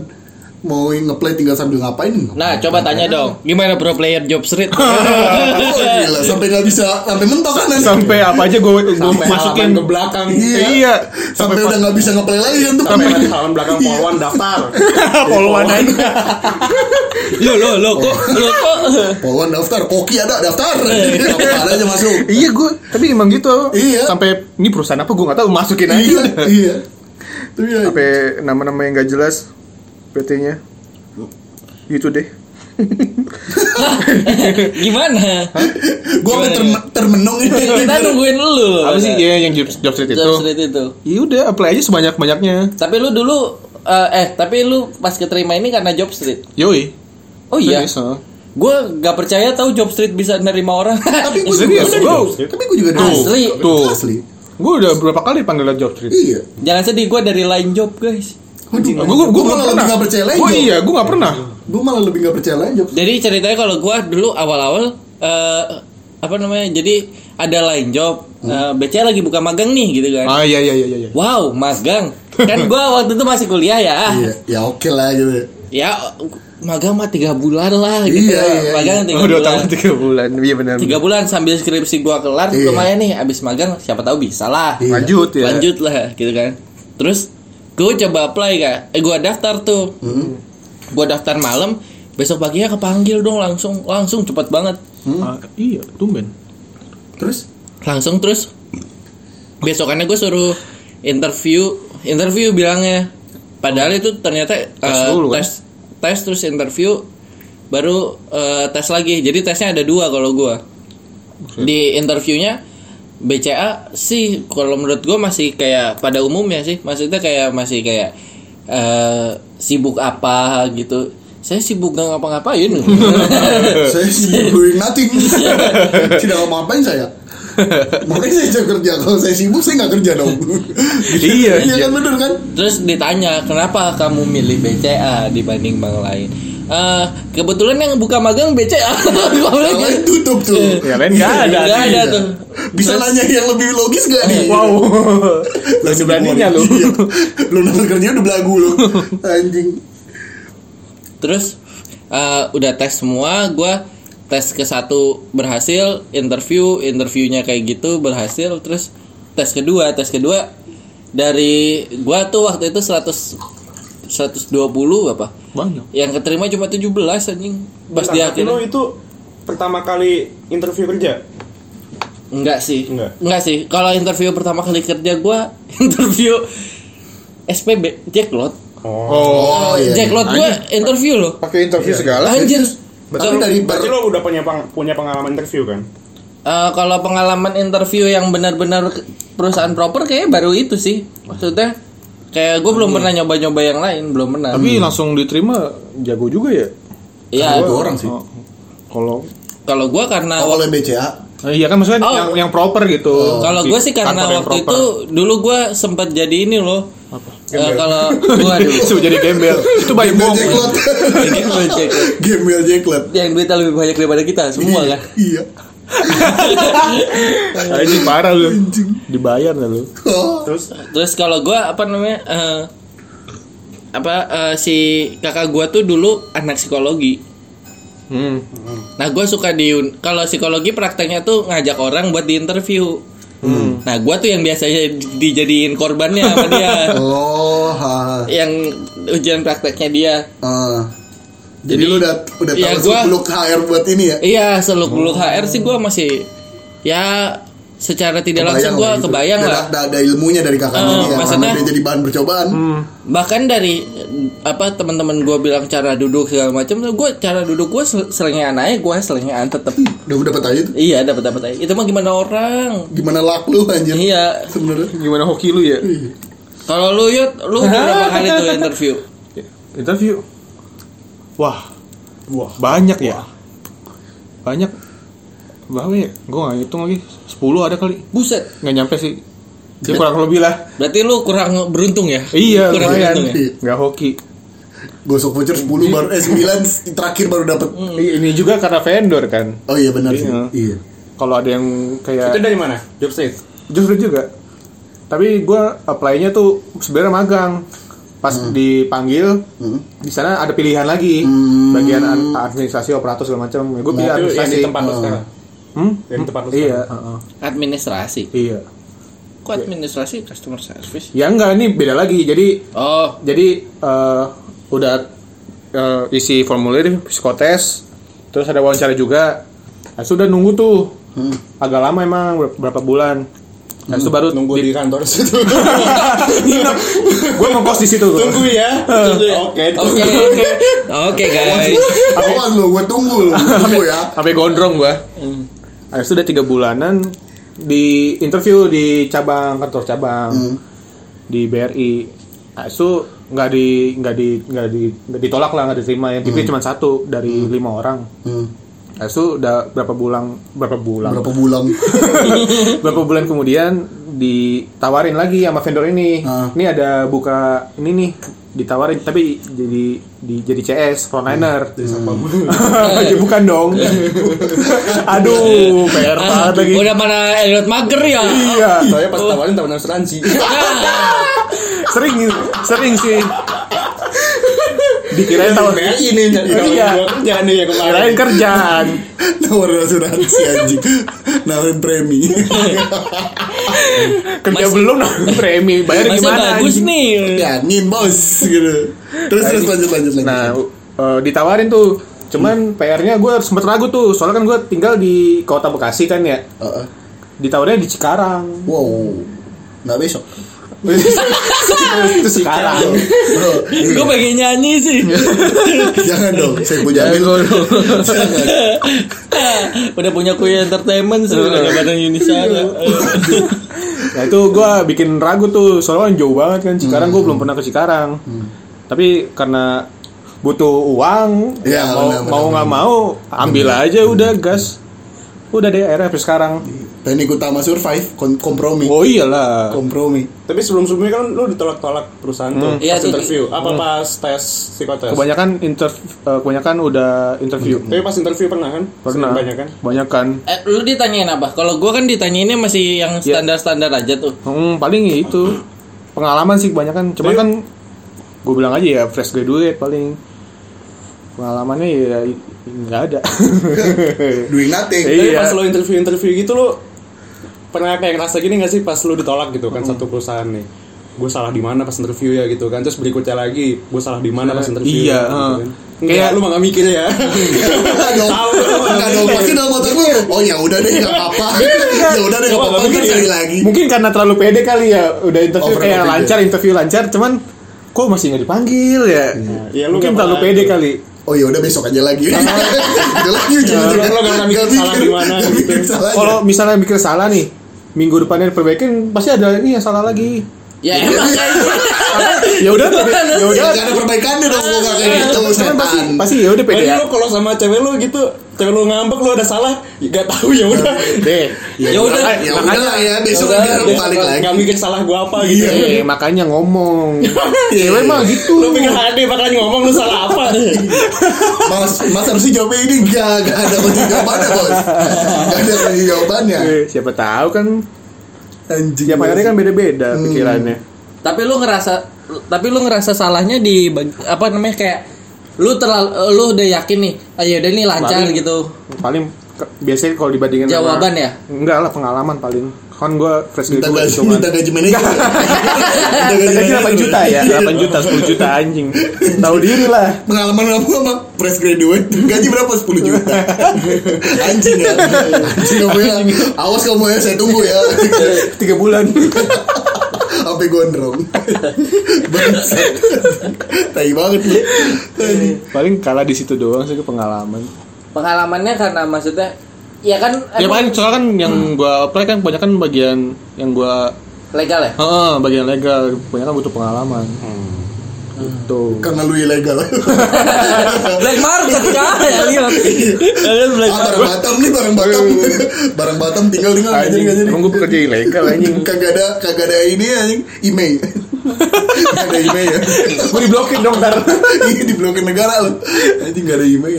[SPEAKER 3] Mau ngeplay tinggal sambil ngapain?
[SPEAKER 1] Nah, coba tanya dong, gimana bro player job street?
[SPEAKER 3] Iya. Oh, gila, sampai nggak bisa sampai mentok kan nanti.
[SPEAKER 4] Sampai apa aja gue
[SPEAKER 2] Sampai
[SPEAKER 4] masukin
[SPEAKER 2] halaman ke belakang.
[SPEAKER 3] Iya.
[SPEAKER 4] Iya.
[SPEAKER 3] sampai, udah nggak bisa ngeplay lagi kan tuh Iya.
[SPEAKER 2] Sampai halaman belakang polwan daftar. Iya.
[SPEAKER 4] Polwan aja.
[SPEAKER 1] lo lo lo kok lo kok
[SPEAKER 3] polwan daftar poki ada daftar ada aja masuk
[SPEAKER 4] Iya gue, tapi emang gitu.
[SPEAKER 3] Iya.
[SPEAKER 4] Sampai ini perusahaan apa gue nggak tahu
[SPEAKER 3] iya
[SPEAKER 4] masukin aja.
[SPEAKER 3] iya tapi ya
[SPEAKER 1] Hmm.
[SPEAKER 4] Sampai nama-nama yang nggak jelas PT-nya. Gitu deh.
[SPEAKER 1] gimana?
[SPEAKER 3] gue sampai
[SPEAKER 1] Gimana
[SPEAKER 3] terme- termenung ini
[SPEAKER 1] Kita nungguin lu.
[SPEAKER 3] Gitu.
[SPEAKER 4] Apa sih? Iya yang job, job street
[SPEAKER 1] job
[SPEAKER 4] itu.
[SPEAKER 1] street itu?
[SPEAKER 4] Iya udah, apply aja sebanyak banyaknya.
[SPEAKER 1] Tapi lu dulu eh, eh tapi lu pas keterima ini karena job street.
[SPEAKER 4] Yoi.
[SPEAKER 1] Oh iya.
[SPEAKER 4] Serius, ah.
[SPEAKER 1] Gue gak percaya tahu job street bisa nerima orang.
[SPEAKER 3] tapi gue juga
[SPEAKER 4] Serius,
[SPEAKER 3] dari
[SPEAKER 4] bro.
[SPEAKER 3] job street. tapi gue juga dari
[SPEAKER 1] Asli.
[SPEAKER 4] Tuh.
[SPEAKER 3] asli
[SPEAKER 4] Gue udah berapa kali panggil job street.
[SPEAKER 3] iya
[SPEAKER 1] Jangan sedih gue dari lain job guys.
[SPEAKER 3] gue
[SPEAKER 1] Iya.
[SPEAKER 4] Gue gue gue
[SPEAKER 3] malah lebih gak percaya lain
[SPEAKER 4] Gue iya, gue gak pernah.
[SPEAKER 3] gue malah lebih gak percaya lain job
[SPEAKER 1] Jadi ceritanya kalau gua dulu awal-awal eh apa namanya? Jadi ada line job,
[SPEAKER 3] Hmm.
[SPEAKER 1] eh, BC lagi buka magang nih gitu kan.
[SPEAKER 4] Ah iya iya iya iya.
[SPEAKER 1] Wow, magang. Kan gua waktu itu masih kuliah ya.
[SPEAKER 4] Ah.
[SPEAKER 3] iya ya oke lah gitu
[SPEAKER 1] Ya magang mah tiga bulan lah gitu.
[SPEAKER 3] Iya, iya,
[SPEAKER 1] magang tiga
[SPEAKER 4] Oh, udah
[SPEAKER 1] bulan.
[SPEAKER 4] tahun tiga bulan. Iya benar.
[SPEAKER 1] Tiga bulan sambil skripsi gua kelar
[SPEAKER 3] Iya.
[SPEAKER 1] lumayan nih abis magang siapa tahu bisa lah.
[SPEAKER 3] Iya.
[SPEAKER 4] Lanjut ya.
[SPEAKER 1] Lanjut lah gitu kan. Terus gua coba apply kak. Eh gua daftar tuh.
[SPEAKER 3] Hmm.
[SPEAKER 1] Gua daftar malam. Besok paginya kepanggil dong langsung langsung cepet banget.
[SPEAKER 4] Ah, iya, tumben.
[SPEAKER 3] terus
[SPEAKER 1] langsung terus besokannya gue suruh interview interview bilangnya padahal itu ternyata tes
[SPEAKER 4] dulu, kan?
[SPEAKER 1] tes tes terus interview baru eh, tes lagi jadi tesnya ada dua kalau gue di interviewnya BCA sih kalau menurut gue masih kayak pada umumnya sih maksudnya kayak masih kayak eh, sibuk apa gitu saya sibuk gak ngapa-ngapain
[SPEAKER 4] Eh.
[SPEAKER 3] saya sibuk doing nothing tidak ngomong apain saya makanya saya tidak kerja kalau saya sibuk saya nggak kerja dong
[SPEAKER 4] Iya,
[SPEAKER 3] iya
[SPEAKER 4] iya.
[SPEAKER 3] kan bener kan
[SPEAKER 1] Terus ditanya kenapa kamu milih BCA dibanding bank lain? Eh kebetulan yang buka magang BCA. Gua bilang
[SPEAKER 3] yang lain
[SPEAKER 1] gitu.
[SPEAKER 3] tutup tuh Iya.
[SPEAKER 4] Ya lain nggak ada.
[SPEAKER 1] Nggak ada tuh.
[SPEAKER 3] bisa
[SPEAKER 1] Terus-
[SPEAKER 3] nanya yang lebih logis gak
[SPEAKER 1] Iya,
[SPEAKER 3] nih
[SPEAKER 4] Wow.
[SPEAKER 3] Langsung
[SPEAKER 4] beraninya lu.
[SPEAKER 3] Iya. Belum dapat kerja udah belagu lu. Anjing.
[SPEAKER 1] Terus eh, udah tes semua, gua tes ke satu berhasil, interview, interviewnya kayak gitu berhasil, terus tes kedua, tes kedua dari gua tuh waktu itu 100 120 apa?
[SPEAKER 4] Banyak.
[SPEAKER 1] Yang keterima cuma 17 anjing. Pas di
[SPEAKER 2] Bentar, Iya, tapi
[SPEAKER 1] akhirnya
[SPEAKER 2] lo itu pertama kali interview kerja
[SPEAKER 1] Enggak sih.
[SPEAKER 2] Enggak.
[SPEAKER 1] sih. Kalau interview pertama kali kerja gua interview SPB Jacklot.
[SPEAKER 4] Oh.
[SPEAKER 3] Oh iya.
[SPEAKER 1] Jacklot gua interview loh.
[SPEAKER 4] Pakai interview segala.
[SPEAKER 1] Anjir.
[SPEAKER 3] Tapi dari ber
[SPEAKER 2] berarti lo udah punya peng- punya pengalaman interview kan
[SPEAKER 1] Eh, kalau pengalaman interview yang benar-benar ke- perusahaan proper kayaknya baru itu sih. Maksudnya kayak gue
[SPEAKER 3] Iya.
[SPEAKER 1] belum pernah nyoba-nyoba yang lain, belum pernah.
[SPEAKER 4] Tapi langsung diterima jago juga ya.
[SPEAKER 1] ya
[SPEAKER 3] dua orang sih.
[SPEAKER 4] Oh. Kalau
[SPEAKER 1] kalau gua karena
[SPEAKER 3] Oh, oleh BCA.
[SPEAKER 4] Eh, iya kan maksudnya
[SPEAKER 1] Oh.
[SPEAKER 4] yang yang proper gitu.
[SPEAKER 1] kalau
[SPEAKER 4] Di
[SPEAKER 1] gue sih
[SPEAKER 4] kantor
[SPEAKER 1] karena
[SPEAKER 4] yang
[SPEAKER 1] waktu
[SPEAKER 4] proper.
[SPEAKER 1] itu dulu gua sempat jadi ini loh. Eh, kalau gua dulu
[SPEAKER 4] Suruh jadi gembel. Itu banyak
[SPEAKER 3] Gembel
[SPEAKER 4] bohong.
[SPEAKER 3] Jacklot.
[SPEAKER 1] jadi gua Jacklot.
[SPEAKER 3] Gembel Jacklot.
[SPEAKER 1] yang duitnya lebih banyak daripada kita semua kan.
[SPEAKER 3] Iya.
[SPEAKER 4] Anjing Nah, parah lu. Dibayar dah lu.
[SPEAKER 3] Oh.
[SPEAKER 2] terus
[SPEAKER 1] Terus kalau gua apa namanya eh, apa eh, si kakak gua tuh dulu anak psikologi.
[SPEAKER 4] Hmm.
[SPEAKER 1] Nah gua suka di kalau psikologi prakteknya tuh ngajak orang buat di interview.
[SPEAKER 3] Hmm.
[SPEAKER 1] Nah gua tuh yang biasanya dijadiin korbannya sama dia.
[SPEAKER 3] Oh, ha.
[SPEAKER 1] yang ujian prakteknya dia.
[SPEAKER 3] Ah. Jadi, lu udah udah
[SPEAKER 1] Iya,
[SPEAKER 3] tahu
[SPEAKER 1] gua-
[SPEAKER 3] sebelum HR buat ini ya.
[SPEAKER 1] Iya seluk beluk HR sih gua masih ya secara tidak langsung gua
[SPEAKER 3] Kebayang gitu.
[SPEAKER 1] kebayang
[SPEAKER 3] Dan
[SPEAKER 1] lah.
[SPEAKER 3] Ada, ada ilmunya dari kakaknya
[SPEAKER 1] Eh,
[SPEAKER 3] dia.
[SPEAKER 1] maksudnya- Hmm.
[SPEAKER 3] Karena dia jadi bahan percobaan.
[SPEAKER 4] Hmm.
[SPEAKER 1] bahkan dari eh, apa teman-teman gue bilang cara duduk segala macam gue cara duduk gue selengean aja gue selengean tetep
[SPEAKER 3] Udah dapat aja tuh.
[SPEAKER 1] iya dapat dapat aja itu mah gimana orang
[SPEAKER 3] Gimana lak lu anjir?
[SPEAKER 1] iya
[SPEAKER 3] Sebenarnya.
[SPEAKER 4] Gimana hoki lu ya?
[SPEAKER 1] kalau lu yut lu berapa kali tuh interview
[SPEAKER 4] Interview. Wah,
[SPEAKER 2] wah
[SPEAKER 4] banyak ya. Banyak. Berapa ya? Gue gak hitung lagi. 10 ada kali.
[SPEAKER 1] buset
[SPEAKER 4] Nggak nyampe sih. Ya kurang lebih lah.
[SPEAKER 1] berarti lu kurang beruntung ya
[SPEAKER 4] Iya,
[SPEAKER 1] kurang
[SPEAKER 4] lumayan.
[SPEAKER 1] beruntung ya
[SPEAKER 3] Iya.
[SPEAKER 4] Nggak hoki.
[SPEAKER 3] Gosok voucher 10
[SPEAKER 1] Iya.
[SPEAKER 3] baru eh 9 terakhir baru dapat.
[SPEAKER 1] Hmm.
[SPEAKER 4] Iya, Ini juga karena vendor kan.
[SPEAKER 3] Oh iya benar sih.
[SPEAKER 4] Iya.
[SPEAKER 3] Iya.
[SPEAKER 4] Kalau ada yang kayak
[SPEAKER 2] itu dari mana job street
[SPEAKER 4] Justru juga. Tapi gue apply-nya tuh sebenarnya magang. Pas
[SPEAKER 2] Hmm.
[SPEAKER 4] dipanggil,
[SPEAKER 3] Hmm.
[SPEAKER 4] di sana ada pilihan lagi. Bagian an- administrasi, operator segala macam. Gue
[SPEAKER 2] Hmm. Oh, itu
[SPEAKER 4] pilih
[SPEAKER 2] yang
[SPEAKER 4] administrasi.
[SPEAKER 2] di tempat lo sekarang
[SPEAKER 4] Hmm?
[SPEAKER 2] yang di tempat lo
[SPEAKER 4] Iya,
[SPEAKER 2] sekarang
[SPEAKER 4] heeh.
[SPEAKER 1] administrasi
[SPEAKER 4] iya.
[SPEAKER 1] kok administrasi customer service
[SPEAKER 4] Ya enggak, ini beda lagi. Jadi
[SPEAKER 1] oh
[SPEAKER 4] jadi eh, udah eh, isi formulir, psikotes, terus ada wawancara juga. Nah, sudah nunggu tuh.
[SPEAKER 2] Hmm.
[SPEAKER 4] Agak lama emang ber- berapa bulan. Nah, itu baru
[SPEAKER 2] nunggu di kantor situ
[SPEAKER 4] gue ngekos di situ. gua.
[SPEAKER 2] tunggu ya oke
[SPEAKER 1] oke oke oke guys
[SPEAKER 3] Awas lu, gue tunggu lu, tunggu ya.
[SPEAKER 4] sampai gondrong gua. Habis itu udah tiga bulanan di interview di cabang kantor cabang di BRI. Habis itu nggak di nggak di nggak di nggak ditolak lah nggak diterima yang TV cuma satu dari lima orang
[SPEAKER 3] Hmm.
[SPEAKER 4] Habis itu udah berapa bulan berapa bulan
[SPEAKER 3] Berapa bulan?
[SPEAKER 4] berapa
[SPEAKER 1] Hmm.
[SPEAKER 4] bulan kemudian ditawarin lagi sama vendor ini
[SPEAKER 3] Ah.
[SPEAKER 4] ini ada buka ini nih ditawarin tapi jadi di jadi CS
[SPEAKER 1] Hmm.
[SPEAKER 4] frontliner Ya, bukan dong aduh PR banget lagi
[SPEAKER 1] Ah, Udah mana Elliot Mager ya?
[SPEAKER 4] iya
[SPEAKER 5] Soalnya
[SPEAKER 1] Oh.
[SPEAKER 5] pas tawarin tawaran asuransi.
[SPEAKER 4] sering sering sih dikirain tahu
[SPEAKER 5] BRI nih nyari tawarin
[SPEAKER 4] Iya.
[SPEAKER 5] gua kerjaan nih ya kemarin.
[SPEAKER 4] kirain kerjaan
[SPEAKER 3] Nawarin asuransi anjing. Nawarin premi.
[SPEAKER 4] kerja belum nah, premi bayar
[SPEAKER 1] Masih
[SPEAKER 4] gimana
[SPEAKER 1] bagus
[SPEAKER 4] anjing?
[SPEAKER 1] nih.
[SPEAKER 3] Yakin Ya, bos gitu. Terus terus lanjut lanjut lanjut.
[SPEAKER 4] Nah, eh, ditawarin tuh. Cuman PR-nya gue sempet ragu tuh. Soalnya kan gue tinggal di Kota Bekasi kan ya.
[SPEAKER 3] Heeh.
[SPEAKER 4] Ditawarinnya di Cikarang.
[SPEAKER 3] Uh, Wow. Nggak besok.
[SPEAKER 4] Itu sekarang.
[SPEAKER 3] Bro,
[SPEAKER 4] Iya.
[SPEAKER 3] iya.
[SPEAKER 1] Gue pengen nyanyi sih.
[SPEAKER 3] jangan dong. Saya punya ambil.
[SPEAKER 1] Udah punya kuya entertainment sebenarnya daripada Unisara.
[SPEAKER 4] Nah, itu gue bikin ragu tuh. Soalnya kan jauh banget kan. Cikarang gue belum pernah ke Cikarang. Tapi karena butuh uang,
[SPEAKER 3] Iya,
[SPEAKER 4] ya mau
[SPEAKER 3] benar, benar,
[SPEAKER 4] mau nggak mau ambil aja udah gas. Udah deh akhirnya sampai sekarang.
[SPEAKER 3] Teknik utama survive kon- kompromi.
[SPEAKER 4] Oh iyalah.
[SPEAKER 3] Kompromi.
[SPEAKER 2] Tapi sebelum-sebelumnya kan lu ditolak-tolak perusahaan tuh
[SPEAKER 4] Hmm.
[SPEAKER 1] Iya,
[SPEAKER 2] pas
[SPEAKER 1] tuh.
[SPEAKER 2] interview. Apa pas tes psikotes?
[SPEAKER 4] Kebanyakan interv- eh, kebanyakan udah interview.
[SPEAKER 2] Tapi pas interview pernah kan?
[SPEAKER 4] Pernah.
[SPEAKER 2] Banyak kan?
[SPEAKER 4] Kebanyakan.
[SPEAKER 1] Eh, lu ditanyain apa? Kalau gua kan ditanyainnya masih yang
[SPEAKER 4] Iya.
[SPEAKER 1] standar-standar aja tuh.
[SPEAKER 4] Hmm, paling ya itu pengalaman sih kebanyakan. Cuman kan gue bilang aja ya fresh graduate paling pengalamannya ya nggak ada.
[SPEAKER 3] Doing nothing.
[SPEAKER 2] Tapi
[SPEAKER 4] Iya.
[SPEAKER 2] pas lu interview-interview gitu lu pernah kayak ngerasa gini gak sih pas lu ditolak gitu kan
[SPEAKER 4] Hmm.
[SPEAKER 2] satu perusahaan nih? Gue salah di mana pas interview ya gitu kan? Terus berikutnya lagi, gue salah di mana pas interview
[SPEAKER 4] Iya,
[SPEAKER 2] ya, gitu
[SPEAKER 4] heeh.
[SPEAKER 2] kan? Enggak,
[SPEAKER 4] Kayak-
[SPEAKER 2] lu mah gak mikir ya.
[SPEAKER 3] Enggak dong. Enggak dong. Pasti dalam otak gue. Oh ya udah deh nggak apa-apa.
[SPEAKER 4] Iya.
[SPEAKER 3] Ya udah deh nggak apa-apa. Kan sekali lagi.
[SPEAKER 4] Mungkin karena terlalu pede kali ya udah interview
[SPEAKER 3] Over
[SPEAKER 4] kayak
[SPEAKER 3] confident.
[SPEAKER 4] lancar interview lancar cuman kok masih nggak dipanggil ya.
[SPEAKER 2] Iya, lu nggak
[SPEAKER 4] Mungkin terlalu
[SPEAKER 2] pernah
[SPEAKER 4] pede
[SPEAKER 2] gitu.
[SPEAKER 4] kali.
[SPEAKER 3] Oh ya udah besok aja lagi. Udah lagi
[SPEAKER 4] Iya,
[SPEAKER 3] ujung-ujungnya.
[SPEAKER 2] Lo nggak pernah mikir salah di mana,
[SPEAKER 3] nggak
[SPEAKER 2] gitu.
[SPEAKER 3] mikir salah aja.
[SPEAKER 4] Kalau misalnya mikir salah nih minggu depannya perbaikin pasti ada ini yang salah lagi.
[SPEAKER 1] Ya emang kayak gitu.
[SPEAKER 4] Ya udah, ya
[SPEAKER 3] Ya
[SPEAKER 4] udah.
[SPEAKER 3] nggak ada perbaikannya dong kalau nggak kayak gitu
[SPEAKER 4] Cuman Iya, Kan pasti
[SPEAKER 3] setan.
[SPEAKER 4] pasti ya udah pede
[SPEAKER 2] Berarti
[SPEAKER 4] ya.
[SPEAKER 2] lu kalau sama cewek lu gitu, cewek lu ngambek lu ada salah, gak tahu ya udah.
[SPEAKER 4] Deh.
[SPEAKER 2] Iya.
[SPEAKER 1] Ya udah,
[SPEAKER 3] ya
[SPEAKER 4] makanya-
[SPEAKER 3] udah lah ya besok
[SPEAKER 1] udah,
[SPEAKER 3] aja
[SPEAKER 1] besok
[SPEAKER 3] balik lagi.
[SPEAKER 2] Gak mikir salah gue apa gitu.
[SPEAKER 3] Iya.
[SPEAKER 4] Eh, makanya ngomong. Cewek mah gitu.
[SPEAKER 2] Lu pikir HD bakalan ngomong lu salah apa?
[SPEAKER 3] Mas, mas harusnya jawabnya ini gak, gak ada kunci jawabannya bos Gak ada kunci jawabannya
[SPEAKER 4] Eh, siapa tahu kan
[SPEAKER 3] Anjing
[SPEAKER 4] tiap
[SPEAKER 3] bos.
[SPEAKER 4] hari kan beda-beda pikirannya.
[SPEAKER 1] tapi lu ngerasa tapi lu ngerasa salahnya di bag- apa namanya kayak lu terlalu lu udah yakin nih ah, ya udah nih lancar
[SPEAKER 4] Paling-
[SPEAKER 1] gitu
[SPEAKER 4] Paling ke- biasanya kalau dibandingin sama-
[SPEAKER 1] Jawaban ya?
[SPEAKER 4] Enggak lah pengalaman paling. Kan gua fresh
[SPEAKER 3] Minta
[SPEAKER 4] graduate
[SPEAKER 3] gaji,
[SPEAKER 4] gitu kan. cuman.
[SPEAKER 3] minta gaji manajer Minta
[SPEAKER 4] Gaji 8
[SPEAKER 3] manajer.
[SPEAKER 4] juta ya, 8 juta, 10 juta anjing. Tahu diri lah.
[SPEAKER 3] Pengalaman kamu apa? Fresh graduate Gaji berapa? 10 juta Anjing ya Anjing kamu ya Awas kamu ya, saya tunggu ya
[SPEAKER 4] 3 bulan.
[SPEAKER 3] Sampai gondrong Bangsat Tai banget lu Anjing.
[SPEAKER 4] paling kalah di situ doang sih pengalaman.
[SPEAKER 1] pengalamannya karena maksudnya ya kan
[SPEAKER 4] Ya
[SPEAKER 1] emang
[SPEAKER 4] paling soalnya kan yang gua apply kan kebanyakan bagian yang gua
[SPEAKER 1] legal ya
[SPEAKER 4] Heeh, bagian legal kebanyakan butuh pengalaman. Gitu.
[SPEAKER 3] Karena lu ilegal
[SPEAKER 1] black market kan ya lihat Kalian black
[SPEAKER 3] Ah, barang Batam nih, barang Batam Barang Batam tinggal tinggal nggak jadi
[SPEAKER 4] Anjing,
[SPEAKER 3] nggak jadi
[SPEAKER 4] emang gua bekerja ilegal anjing.
[SPEAKER 3] kagak ada kagak ada ini anjing email kagak ada email ya
[SPEAKER 4] Gue diblokir dong ntar
[SPEAKER 3] ini di blokir negara lu anjing gak ada email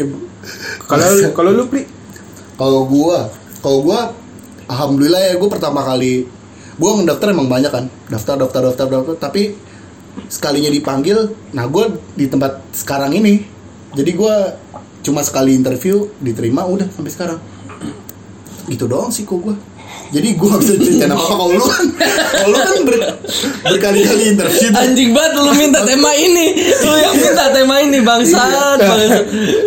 [SPEAKER 4] Kalau kalau lu pri
[SPEAKER 3] kalau gua kalau gua alhamdulillah ya gua pertama kali gua ngedaftar emang banyak kan daftar daftar daftar daftar tapi sekalinya dipanggil nah gua di tempat sekarang ini jadi gua cuma sekali interview diterima udah sampai sekarang gitu doang sih kok gua jadi gua gak bisa cerita apa kalau lu kan kalau lu kan ber- berkali-kali interview tuh.
[SPEAKER 1] anjing banget lu minta tema ini lu yang minta tema ini bangsat bangsat.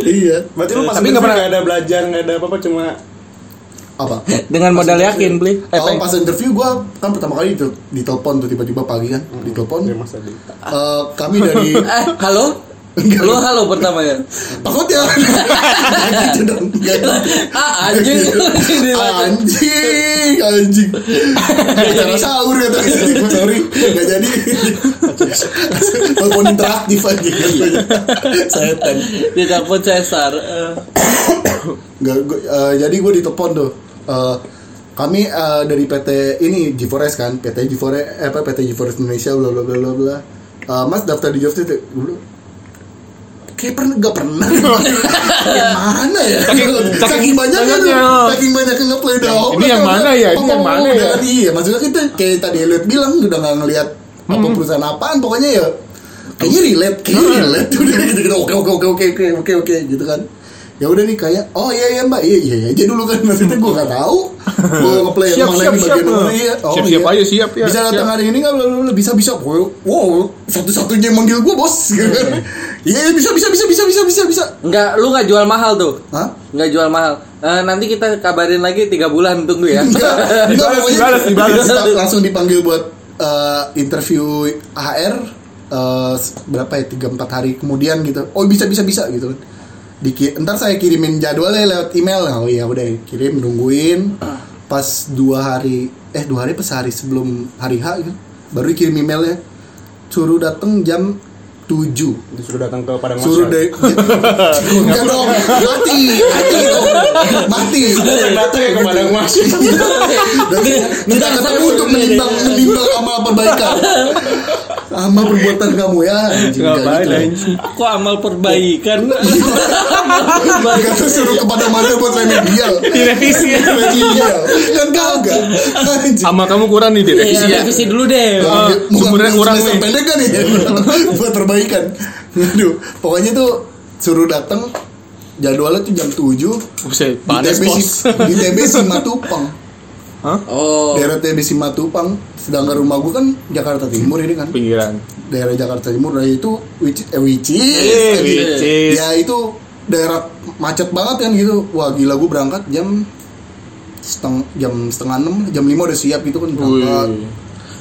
[SPEAKER 3] iya
[SPEAKER 2] Berarti lu pas
[SPEAKER 4] Tapi
[SPEAKER 2] Tapi
[SPEAKER 4] nggak
[SPEAKER 2] interview
[SPEAKER 4] pernah-
[SPEAKER 2] gak ada belajar, gak ada apa-apa cuma
[SPEAKER 3] apa
[SPEAKER 1] dengan modal yakin Oh. beli
[SPEAKER 3] Kalau pas interview gue kan pertama kali itu ditelepon tuh tiba-tiba pagi kan ditelepon
[SPEAKER 2] ya Mas Adi.
[SPEAKER 3] Eh, kami dari
[SPEAKER 1] eh halo lu halo pertamanya
[SPEAKER 3] Pak Hotel gitu dong Nggak gitu.
[SPEAKER 1] ah anjing
[SPEAKER 3] anjing anjing acara sahur kata Gua sorry nggak jadi telepon interaktif anjing
[SPEAKER 2] Iya.
[SPEAKER 3] setan
[SPEAKER 1] Dia telepon Cesar. Eh,
[SPEAKER 3] nggak gua, eh, jadi gue ditelepon tuh Eh, kami eh, dari PT ini G4S kan PT G4S eh, apa PT G4S Indonesia bla bla bla bla bla Eh, Mas daftar di Jobs itu dulu kayak pernah nggak pernah yang mana ya saking banyak kan
[SPEAKER 4] banyaknya. oh.
[SPEAKER 3] saking banyak yang ngeplay down
[SPEAKER 4] Ini yang mana ya? Ini
[SPEAKER 3] Ngomong-ngomong
[SPEAKER 4] yang mana
[SPEAKER 3] udah
[SPEAKER 4] ya?
[SPEAKER 3] kan, iya maksudnya kita kayak tadi Elliot bilang udah nggak ngelihat apa
[SPEAKER 4] Hmm.
[SPEAKER 3] perusahaan apaan pokoknya ya kayaknya relate kayaknya relate udah gitu gitu oke oke oke oke oke oke oke gitu kan ya udah nih kayak oh iya iya mbak iya iya iya aja dulu kan maksudnya gue nggak tahu gue ngeplay yang
[SPEAKER 4] Siap,
[SPEAKER 3] mana
[SPEAKER 4] siap,
[SPEAKER 3] di bagian
[SPEAKER 4] siap.
[SPEAKER 3] mana iya oh
[SPEAKER 4] Siap, siap
[SPEAKER 3] iya.
[SPEAKER 4] aja, siap, ya,
[SPEAKER 3] bisa datang
[SPEAKER 4] siap.
[SPEAKER 3] hari ini nggak Blablabla. bisa bisa wow wow satu-satunya yang manggil gue bos gitu kan. iya iya, bisa bisa bisa bisa bisa bisa bisa
[SPEAKER 1] Enggak, lu nggak jual mahal tuh.
[SPEAKER 3] Hah?
[SPEAKER 1] Nggak jual mahal. Eh, nanti kita kabarin lagi tiga bulan tunggu ya.
[SPEAKER 3] Enggak, Iya. enggak
[SPEAKER 4] Dibalas,
[SPEAKER 3] pokoknya
[SPEAKER 4] dibalas, dibalas.
[SPEAKER 3] langsung- langsung dipanggil buat eh, interview HR eh, berapa ya tiga empat hari kemudian gitu. Oh bisa bisa bisa gitu kan. Diki, ntar saya kirimin jadwalnya lewat email. Oh iya udah kirim nungguin pas dua hari eh dua hari pas hari sebelum hari H gitu. Baru kirim emailnya suruh datang jam 7
[SPEAKER 2] Sudah datang ke Padang
[SPEAKER 3] suruh
[SPEAKER 2] Masyar.
[SPEAKER 3] dari Enggak dong mati mati dong mati
[SPEAKER 2] Datang datang ya ke Padang Masyar.
[SPEAKER 3] dan kita ketemu untuk menimbang menimbang sama perbaikan sama perbuatan kamu ya anjing
[SPEAKER 4] Nggak
[SPEAKER 3] kayak gitu. Iya,
[SPEAKER 4] baik,
[SPEAKER 1] Aku amal perbaikan.
[SPEAKER 3] Kata suruh kepada mana buat remedial
[SPEAKER 4] Direvisi ya.
[SPEAKER 3] remedial kan kagak anjing
[SPEAKER 4] Sama kamu kurang nih direvisi
[SPEAKER 1] Iya,
[SPEAKER 4] ya.
[SPEAKER 1] revisi dulu deh.
[SPEAKER 3] Bukan-
[SPEAKER 4] Ah,
[SPEAKER 3] bukan
[SPEAKER 4] sumbernya kurang
[SPEAKER 3] semester
[SPEAKER 4] nih.
[SPEAKER 3] pendek kan ya buat perbaikan aduh pokoknya tuh suruh datang jadwalnya tuh jam 7
[SPEAKER 4] Buset,
[SPEAKER 3] di
[SPEAKER 4] panas
[SPEAKER 3] TB
[SPEAKER 4] bos.
[SPEAKER 3] si- di TB Simatupang
[SPEAKER 1] Oh,
[SPEAKER 3] daerah TB Simatupang sedangkan rumah gua kan Jakarta Timur ini kan
[SPEAKER 4] Pinggiran.
[SPEAKER 3] daerah Jakarta Timur daerah itu which eh, which is,
[SPEAKER 4] Eh,
[SPEAKER 3] tadi.
[SPEAKER 4] which is.
[SPEAKER 3] ya itu daerah macet banget kan gitu wah gila gue berangkat jam seteng jam setengah enam jam lima udah siap gitu kan berangkat
[SPEAKER 4] Wih.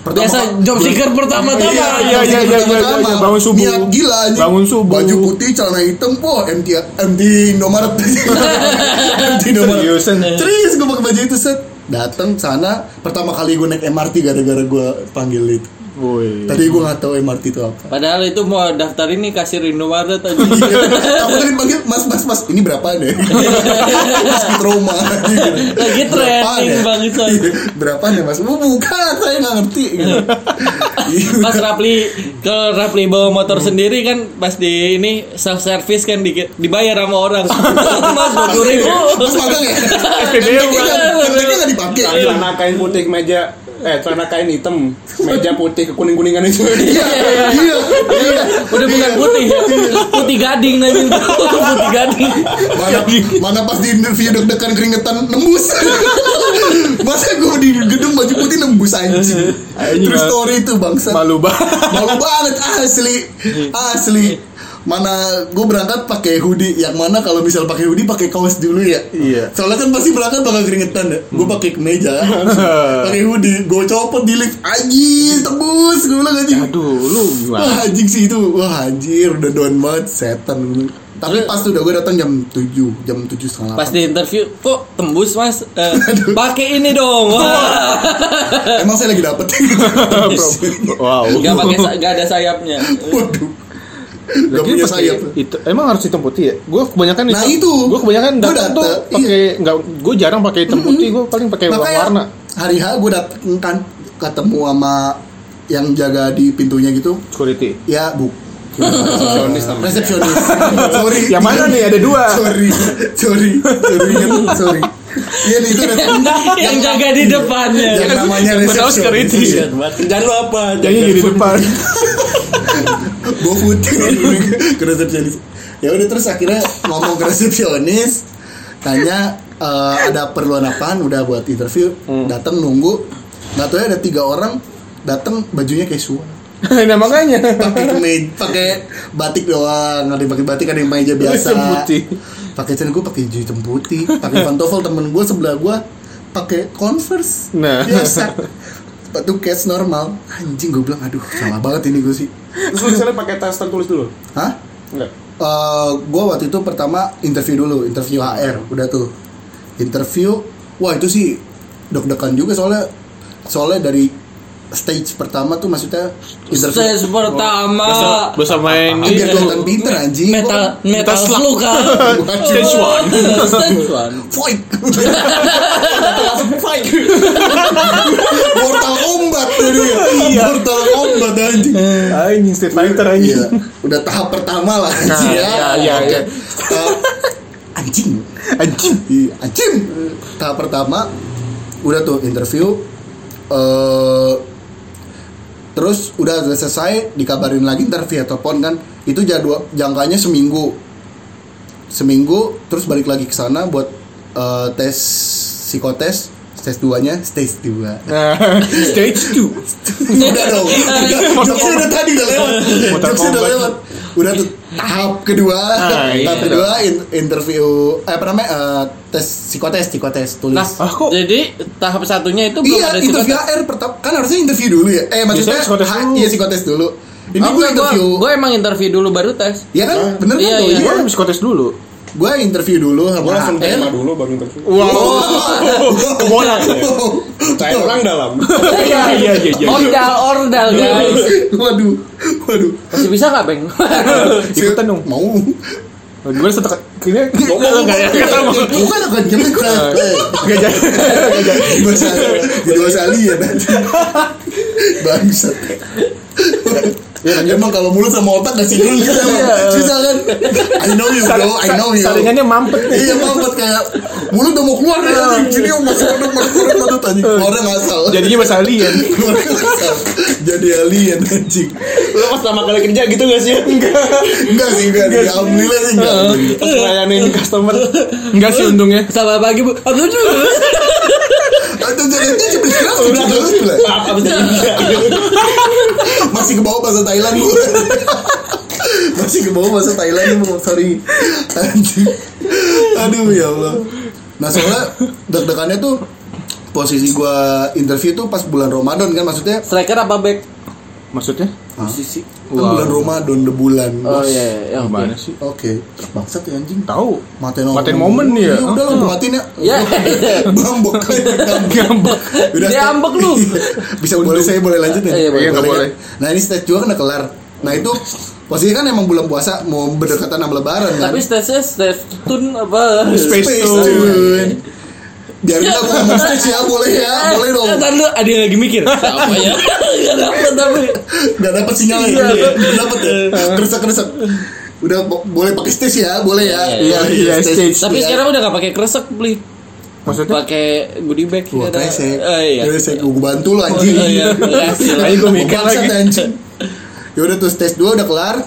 [SPEAKER 3] Pertama-
[SPEAKER 1] biasa job seeker pertama-tama.
[SPEAKER 4] Iya, iya, iya, iya, iya, iya, bangun subuh.
[SPEAKER 3] Niat gila anjing.
[SPEAKER 4] Bangun subuh.
[SPEAKER 3] Baju putih, celana hitam, wah MT MT Indomaret. MT Indomaret.
[SPEAKER 4] Seriusan. ya?
[SPEAKER 3] Serius gue pakai baju itu set. Datang sana pertama kali gue naik MRT gara-gara gue panggil itu.
[SPEAKER 4] Woi.
[SPEAKER 3] Tadi gue nggak tahu MRT itu apa.
[SPEAKER 1] Padahal itu mau daftar ini kasir Indomaret aja.
[SPEAKER 3] Iya. Aku tadi panggil mas mas mas ini berapa deh? mas trauma. Iya,
[SPEAKER 1] Lagi trending banget, Son.
[SPEAKER 3] Berapa deh mas? Oh, bukan saya nggak ngerti. Gitu.
[SPEAKER 1] Pas Rapli kalau Rapli bawa motor sendiri kan pas di ini self service kan di- dibayar sama orang. Mas dua ribu.
[SPEAKER 3] Mas magang ya? Ini
[SPEAKER 4] SPBU kan.
[SPEAKER 3] nggak- Kontaknya nggak dipakai.
[SPEAKER 1] Iya.
[SPEAKER 2] Celana kain putih ke meja eh celana kain hitam meja putih kekuning kuningan itu
[SPEAKER 3] Iya, iya, iya.
[SPEAKER 1] Udah bukan putih, ya. putih gading aja itu, putih gading.
[SPEAKER 3] Mana, mana pas di interview deg-degan keringetan nembus. Masa gue di gedung baju putih nembus
[SPEAKER 4] Eh,
[SPEAKER 3] anjing.
[SPEAKER 4] Anjing,
[SPEAKER 3] True
[SPEAKER 4] Mas.
[SPEAKER 3] story itu bangsa.
[SPEAKER 4] Malu Iya. banget.
[SPEAKER 3] malu banget asli asli mana gue berangkat pakai hoodie yang mana kalau misal pakai hoodie pakai kaos dulu ya
[SPEAKER 4] Iya. Hmm.
[SPEAKER 3] soalnya kan pasti berangkat bakal keringetan ya gue pakai kemeja pakai hoodie gue copot di lift anjing tebus gue bilang anjing
[SPEAKER 4] Aduh, lu gimana?
[SPEAKER 3] wah anjing sih itu wah anjir udah down banget setan gua bilang. tapi pas tuh udah gue datang jam 7 jam 7 setengah
[SPEAKER 1] Pas di interview kok tembus mas, Eh, pakai ini dong. Wah,
[SPEAKER 3] delapan. emang saya lagi dapet
[SPEAKER 4] Wow.
[SPEAKER 1] nggak pakai sa- nggak ada sayapnya.
[SPEAKER 3] waduh Gak
[SPEAKER 4] Lagi
[SPEAKER 3] punya
[SPEAKER 4] pakai
[SPEAKER 3] sayap
[SPEAKER 4] Itu emang harus hitam putih ya? Gue kebanyakan
[SPEAKER 3] Nah, itu.
[SPEAKER 4] Gue kebanyakan
[SPEAKER 3] Gua
[SPEAKER 4] datang tuh
[SPEAKER 3] datang, iya.
[SPEAKER 4] pakai nggak. Gue jarang pakai hitam putih. Gue paling pakai
[SPEAKER 3] Makanya
[SPEAKER 4] warna.
[SPEAKER 3] hari H gue dateng kan ketemu sama yang jaga di pintunya gitu
[SPEAKER 4] Security.
[SPEAKER 3] ya bu
[SPEAKER 2] resepsionis namanya.
[SPEAKER 3] resepsionis sorry
[SPEAKER 4] Yang mana nih? Ada dua.
[SPEAKER 3] sorry sorry sorry kan? sorry iya nih itu resepsionis.
[SPEAKER 1] Yang jaga di depannya.
[SPEAKER 3] yang namanya
[SPEAKER 4] Siapa tahu
[SPEAKER 3] resepsionis
[SPEAKER 4] security.
[SPEAKER 3] Iya.
[SPEAKER 2] kerjaan lo apa
[SPEAKER 4] Jadinya di depan.
[SPEAKER 3] gue putih ke resepsionis ya udah terus akhirnya ngomong ke resepsionis tanya eh, ada perluan apaan udah buat interview datang nunggu nggak tahu ada tiga orang datang bajunya casual
[SPEAKER 4] nah makanya.
[SPEAKER 3] pakai kemeja pakai batik doang ada yang pakai batik ada yang meja biasa
[SPEAKER 4] Hitam putih.
[SPEAKER 3] pakai celana gue pakai hijau hitam putih pakai pantofel temen gue sebelah gue pakai converse
[SPEAKER 4] Nah.
[SPEAKER 3] biasa sepatu cats normal anjing gue bilang aduh salah banget ini gue sih
[SPEAKER 2] terus lu misalnya pakai tas tertulis dulu
[SPEAKER 3] hah
[SPEAKER 2] enggak
[SPEAKER 3] Eh, gue waktu itu pertama interview dulu interview HR udah tuh interview wah itu sih deg-degan juga soalnya soalnya dari stage pertama tuh maksudnya interview
[SPEAKER 1] Stage pertama
[SPEAKER 4] Bisa main
[SPEAKER 3] Ah, biar
[SPEAKER 4] itu.
[SPEAKER 3] kelihatan pinter anjing
[SPEAKER 1] metal metal
[SPEAKER 4] Slug.
[SPEAKER 1] slug kan.
[SPEAKER 4] Stage one.
[SPEAKER 1] Stage one.
[SPEAKER 3] fight Mortal Kombat tuh dia Mortal Kombat anjing
[SPEAKER 4] Anjing Street Fighter anjing.
[SPEAKER 3] Iya, udah tahap pertama lah anjing
[SPEAKER 4] iya, iya,
[SPEAKER 3] Oke.
[SPEAKER 4] iya.
[SPEAKER 3] Tahap- anjing,
[SPEAKER 4] Anjing.
[SPEAKER 3] Iya, anjing. Tahap pertama udah tuh interview, eh terus udah selesai dikabarin lagi ntar via telepon kan, itu jadwal jangkanya seminggu, seminggu terus balik lagi ke sana buat eh, tes psikotes stage 2 nya stage 2
[SPEAKER 4] Nah, Stage 2.
[SPEAKER 3] Udah dong. Udah, Jokesnya udah tadi udah lewat.
[SPEAKER 4] Muter
[SPEAKER 3] Jokesnya udah
[SPEAKER 4] kombat.
[SPEAKER 3] lewat. Udah tuh tahap kedua.
[SPEAKER 4] Ah, iya.
[SPEAKER 3] tahap kedua in- interview eh apa namanya? eh, tes psikotes, psikotes tulis.
[SPEAKER 1] Nah,
[SPEAKER 4] Ah, kok?
[SPEAKER 1] jadi tahap satunya itu belum
[SPEAKER 3] iya,
[SPEAKER 1] ada
[SPEAKER 3] interview
[SPEAKER 1] psikotes.
[SPEAKER 3] AR pertama kan harusnya interview dulu ya. Eh maksudnya
[SPEAKER 4] psikotes
[SPEAKER 3] ha-
[SPEAKER 4] dulu.
[SPEAKER 3] iya psikotes dulu. Ini
[SPEAKER 1] Oh,
[SPEAKER 3] gue
[SPEAKER 1] enggak,
[SPEAKER 3] interview.
[SPEAKER 1] gua, gua emang interview dulu baru tes.
[SPEAKER 3] Iya kan? Bener kan?
[SPEAKER 1] Iya,
[SPEAKER 3] tuh?
[SPEAKER 1] iya.
[SPEAKER 3] Iya.
[SPEAKER 4] Gua harus psikotes dulu.
[SPEAKER 3] Gua interview dulu sama
[SPEAKER 2] Gue langsung
[SPEAKER 3] HR.
[SPEAKER 4] eh?
[SPEAKER 2] terima dulu baru interview.
[SPEAKER 4] Oh, Wow. Kebolak.
[SPEAKER 2] Cair orang dalam.
[SPEAKER 4] Iya iya iya iya.
[SPEAKER 1] Ordal, ordal
[SPEAKER 3] Iya,
[SPEAKER 1] guys.
[SPEAKER 3] Waduh. Waduh.
[SPEAKER 1] Masih bisa nggak Beng?
[SPEAKER 4] Ikutan dong.
[SPEAKER 3] Mau.
[SPEAKER 4] Gimana setek? Kayaknya
[SPEAKER 3] Iya.
[SPEAKER 4] ngomong enggak ya? Enggak tahu.
[SPEAKER 3] Bukan akan jamin gue.
[SPEAKER 4] Enggak jadi.
[SPEAKER 3] di bahasa di bahasa alien anjing. bangsat emang kalau mulut sama otak gak sinkron gitu emang. susah kan I know you bro I know you
[SPEAKER 4] Saringannya mampet nih.
[SPEAKER 3] iya mampet kayak mulut udah mau keluar nih anjing sini masuk kodok masuk kodok kodok anjing keluarnya ngasal
[SPEAKER 4] Jadinya bahasa alien.
[SPEAKER 3] Keluarnya ngasal. jadi alien anjing
[SPEAKER 5] Lo pas pertama kali kerja gitu gak sih? Enggak.
[SPEAKER 3] enggak sih enggak sih alhamdulillah sih enggak
[SPEAKER 5] Pas ngelayanin customer.
[SPEAKER 4] Enggak sih untungnya.
[SPEAKER 1] Selamat pagi Bu. Aduh, aduh.
[SPEAKER 3] atau jangan dia cuma keras udah keras lah
[SPEAKER 5] Maaf, abis dari India.
[SPEAKER 3] masih ke bawah bahasa Thailand gue masih ke bawah bahasa Thailand gue sorry anjing aduh ya Allah nah soalnya deg-degannya tuh posisi gue interview tuh pas bulan Ramadan kan maksudnya
[SPEAKER 1] Striker apa back?
[SPEAKER 4] Maksudnya?
[SPEAKER 1] Posisi.
[SPEAKER 3] kan bulan Ramadan the bulan
[SPEAKER 1] Oh
[SPEAKER 3] bos.
[SPEAKER 1] iya, iya. oke.
[SPEAKER 4] Gimana sih?
[SPEAKER 3] oke bangsat ya anjing
[SPEAKER 4] Tahu.
[SPEAKER 3] matiin orang.
[SPEAKER 4] Matiin momen
[SPEAKER 3] Iya,
[SPEAKER 4] ya.
[SPEAKER 3] udah lah matiin ya
[SPEAKER 1] Ya.
[SPEAKER 3] ngambek
[SPEAKER 4] Ngambek.
[SPEAKER 1] Dia
[SPEAKER 3] stop.
[SPEAKER 1] ambek lu.
[SPEAKER 3] Iya. bisa boleh saya boleh lanjut ya?
[SPEAKER 1] Iya, boleh.
[SPEAKER 4] Iya, nggak boleh.
[SPEAKER 3] Nah ini stage 2 kan udah kelar. Nah itu posisi kan emang bulan puasa mau berdekatan sama lebaran kan.
[SPEAKER 1] Tapi stage-nya stage tune apa?
[SPEAKER 4] Space Tune.
[SPEAKER 3] Tune. Biarin aku ngomong stage ya boleh ya boleh dong.
[SPEAKER 1] Eh, Ntar lu ada yang lagi mikir. Apa ya? Gak dapet tapi.
[SPEAKER 3] Gak dapet sinyal ya. Gak dapet ya. Keresek keresek. Udah bo- boleh pakai stage ya boleh ya.
[SPEAKER 4] Iya,
[SPEAKER 3] Boleh
[SPEAKER 4] iya,
[SPEAKER 3] ya,
[SPEAKER 4] stage.
[SPEAKER 1] Tapi
[SPEAKER 3] Ya.
[SPEAKER 1] sekarang udah gak pakai kresek beli.
[SPEAKER 4] Maksudnya?
[SPEAKER 1] Pakai goodie bag.
[SPEAKER 3] Wah,
[SPEAKER 1] Ada-
[SPEAKER 3] kresek.
[SPEAKER 1] Eh, iya.
[SPEAKER 3] Kresek, gue ya, bantu lo anjing.
[SPEAKER 1] Oh, iya. Berhasil.
[SPEAKER 4] Ayo gue mikir
[SPEAKER 3] Bangsat,
[SPEAKER 4] lagi.
[SPEAKER 3] anjing. Yaudah tuh stage 2 Ya udah kelar.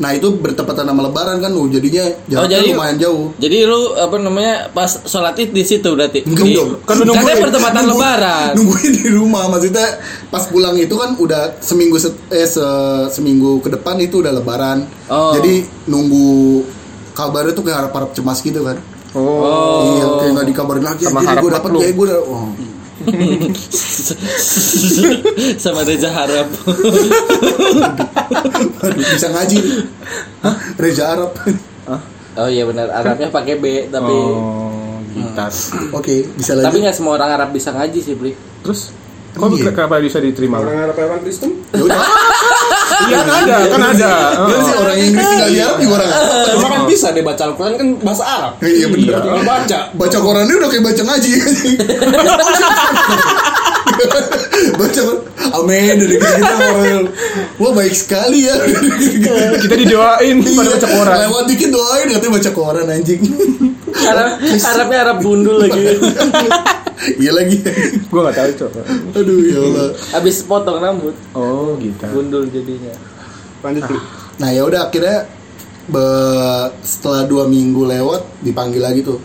[SPEAKER 3] Nah itu bertepatan sama lebaran kan, uh, jadinya jaraknya
[SPEAKER 1] Oh, jadi-
[SPEAKER 3] lumayan jauh.
[SPEAKER 1] Jadi lu apa namanya pas sholat id di situ berarti?
[SPEAKER 3] Enggak
[SPEAKER 1] Di-
[SPEAKER 3] dong.
[SPEAKER 1] Kan lu
[SPEAKER 3] Nungguin-
[SPEAKER 1] Katanya pertempatan
[SPEAKER 3] nungguin-
[SPEAKER 1] lebaran.
[SPEAKER 3] Nungguin di rumah maksudnya pas pulang itu kan udah seminggu se- eh se- seminggu ke depan itu udah lebaran.
[SPEAKER 1] Oh.
[SPEAKER 3] Jadi nunggu kabarnya tuh kayak harap-harap cemas gitu kan.
[SPEAKER 4] Oh.
[SPEAKER 3] Iya, kayak gak dikabarin lagi. Jadi
[SPEAKER 4] Sama
[SPEAKER 3] gue
[SPEAKER 4] harap
[SPEAKER 3] dapat
[SPEAKER 4] lu.
[SPEAKER 3] kayak gue udah. Oh.
[SPEAKER 1] Sama Reza Harap.
[SPEAKER 3] Aduh, bisa ngaji. nih. Reza Arab.
[SPEAKER 1] Oh iya benar Arabnya pakai B tapi
[SPEAKER 4] Oh, gitar.
[SPEAKER 3] Oke, bisa
[SPEAKER 1] tapi
[SPEAKER 3] lanjut.
[SPEAKER 1] nggak semua orang Arab bisa ngaji sih Bli.
[SPEAKER 4] Terus kok
[SPEAKER 3] Iya.
[SPEAKER 4] kenapa bisa diterima?
[SPEAKER 2] Orang Arab orang Kristen.
[SPEAKER 3] Ya udah.
[SPEAKER 4] Iya kan ada, kan ada.
[SPEAKER 3] Iya sih, orang Inggris tinggal di Arab juga orang Arab.
[SPEAKER 5] Cuma kan bisa deh baca Al-Quran kan bahasa Arab.
[SPEAKER 3] Iya bener.
[SPEAKER 5] Tinggal baca.
[SPEAKER 3] Baca korannya udah kayak baca ngaji. baca Quran. amin dari kita orang wah baik sekali ya
[SPEAKER 4] Kita didoain pada
[SPEAKER 3] Iya,
[SPEAKER 4] baca koran.
[SPEAKER 3] lewat dikit doain katanya baca koran anjing
[SPEAKER 1] Arab Arabnya Arab bundul lagi.
[SPEAKER 3] iya lagi
[SPEAKER 4] Gua enggak tahu, Cok.
[SPEAKER 3] aduh ya Allah
[SPEAKER 1] Habis potong rambut
[SPEAKER 4] Oh, gitar.
[SPEAKER 1] bundul jadinya.
[SPEAKER 2] Lanjut dulu.
[SPEAKER 3] nah ya udah akhirnya be- setelah dua minggu lewat dipanggil lagi tuh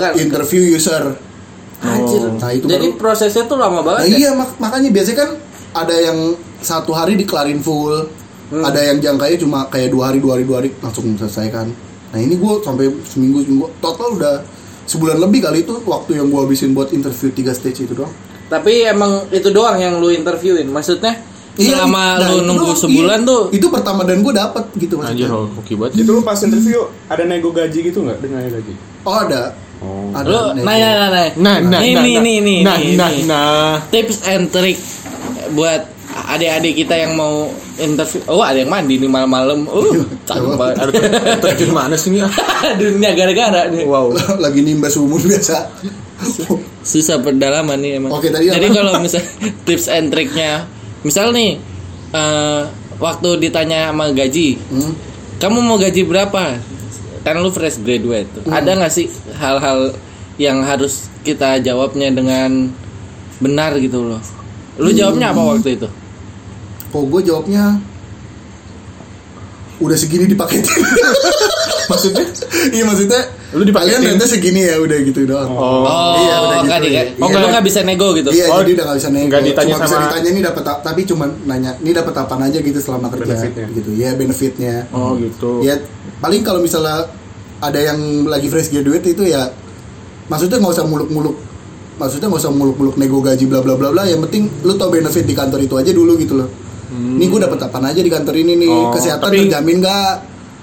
[SPEAKER 1] Itu kan-
[SPEAKER 3] interview user
[SPEAKER 1] Anjir.
[SPEAKER 3] Nah, itu
[SPEAKER 1] Oh. Jadi
[SPEAKER 3] baru-
[SPEAKER 1] prosesnya tuh lama
[SPEAKER 3] Nah,
[SPEAKER 1] banget. ya?
[SPEAKER 3] iya mak- makanya biasanya kan ada yang satu hari dikelarin full,
[SPEAKER 1] Hmm.
[SPEAKER 3] ada yang jangkanya cuma kayak dua hari dua hari dua hari langsung selesaikan. Nah ini gue sampai seminggu seminggu total udah sebulan lebih kali itu waktu yang gue habisin buat interview tiga stage itu doang.
[SPEAKER 1] Tapi emang itu doang yang lu interviewin. Maksudnya selama
[SPEAKER 3] Iya, nah,
[SPEAKER 1] lu
[SPEAKER 3] itu
[SPEAKER 1] nunggu
[SPEAKER 3] doang.
[SPEAKER 1] sebulan
[SPEAKER 3] Iya,
[SPEAKER 1] tuh
[SPEAKER 3] itu pertama dan gue dapet gitu
[SPEAKER 4] Anjir,
[SPEAKER 3] maksudnya.
[SPEAKER 4] hoki banget.
[SPEAKER 2] Itu lu pas interview ada nego gaji gitu nggak? Dengan gaji.
[SPEAKER 3] Oh ada. Ada.
[SPEAKER 1] Lu
[SPEAKER 3] nego.
[SPEAKER 1] nah nah nah nah.
[SPEAKER 4] Nah, nah,
[SPEAKER 1] Nih,
[SPEAKER 4] nah,
[SPEAKER 1] nih, nih,
[SPEAKER 4] nah.
[SPEAKER 1] nih,
[SPEAKER 4] nah,
[SPEAKER 1] nih,
[SPEAKER 4] nah,
[SPEAKER 1] nih.
[SPEAKER 4] nah.
[SPEAKER 1] Tips and trick buat adik-adik kita yang mau interview. Oh, ada yang mandi nih malam-malam.
[SPEAKER 3] Iya.
[SPEAKER 1] Uh, cakep banget.
[SPEAKER 4] Ada terjun mana sih ini? ah?
[SPEAKER 1] Dunia gara-gara nih.
[SPEAKER 4] Wow.
[SPEAKER 3] Lagi nimba sumur biasa.
[SPEAKER 1] susah perdalaman nih emang.
[SPEAKER 3] Oke, tadi
[SPEAKER 1] Jadi
[SPEAKER 3] apa?
[SPEAKER 1] kalau misal tips and triknya, misal nih eh, waktu ditanya sama gaji,
[SPEAKER 3] Hmm.
[SPEAKER 1] kamu mau gaji berapa? Kan lu fresh graduate. tuh.
[SPEAKER 3] Hmm.
[SPEAKER 1] Ada nggak sih hal-hal yang harus kita jawabnya dengan benar gitu loh? Lu jawabnya
[SPEAKER 3] Hmm.
[SPEAKER 1] apa waktu itu?
[SPEAKER 3] Kok gue Oh, jawabnya udah segini dipaketin. maksudnya? Iya maksudnya.
[SPEAKER 4] Lu dipaketin?
[SPEAKER 3] Kalian rentnya segini ya udah gitu doang.
[SPEAKER 4] Oh.
[SPEAKER 3] iya, udah gitu,
[SPEAKER 1] kan,
[SPEAKER 3] iya.
[SPEAKER 1] Oh,
[SPEAKER 3] Iya.
[SPEAKER 1] lu nggak bisa nego gitu.
[SPEAKER 3] Iya,
[SPEAKER 4] Oh,
[SPEAKER 3] jadi udah gak bisa nego.
[SPEAKER 4] nggak ditanya
[SPEAKER 3] cuma bisa
[SPEAKER 4] sama-
[SPEAKER 3] ditanya ini dapat a- tapi cuma nanya ini dapat apa aja gitu selama kerja
[SPEAKER 2] Benefitnya.
[SPEAKER 3] gitu. Ya benefitnya.
[SPEAKER 4] Oh gitu.
[SPEAKER 3] Ya paling kalau misalnya ada yang lagi fresh graduate itu ya maksudnya nggak usah muluk-muluk maksudnya nggak usah muluk-muluk nego gaji bla bla bla bla yang penting lu tau benefit di kantor itu aja dulu gitu loh ini gue dapat apa aja di kantor ini nih
[SPEAKER 4] Hmm. Oh,
[SPEAKER 3] kesehatan
[SPEAKER 4] tapi-
[SPEAKER 3] terjamin nggak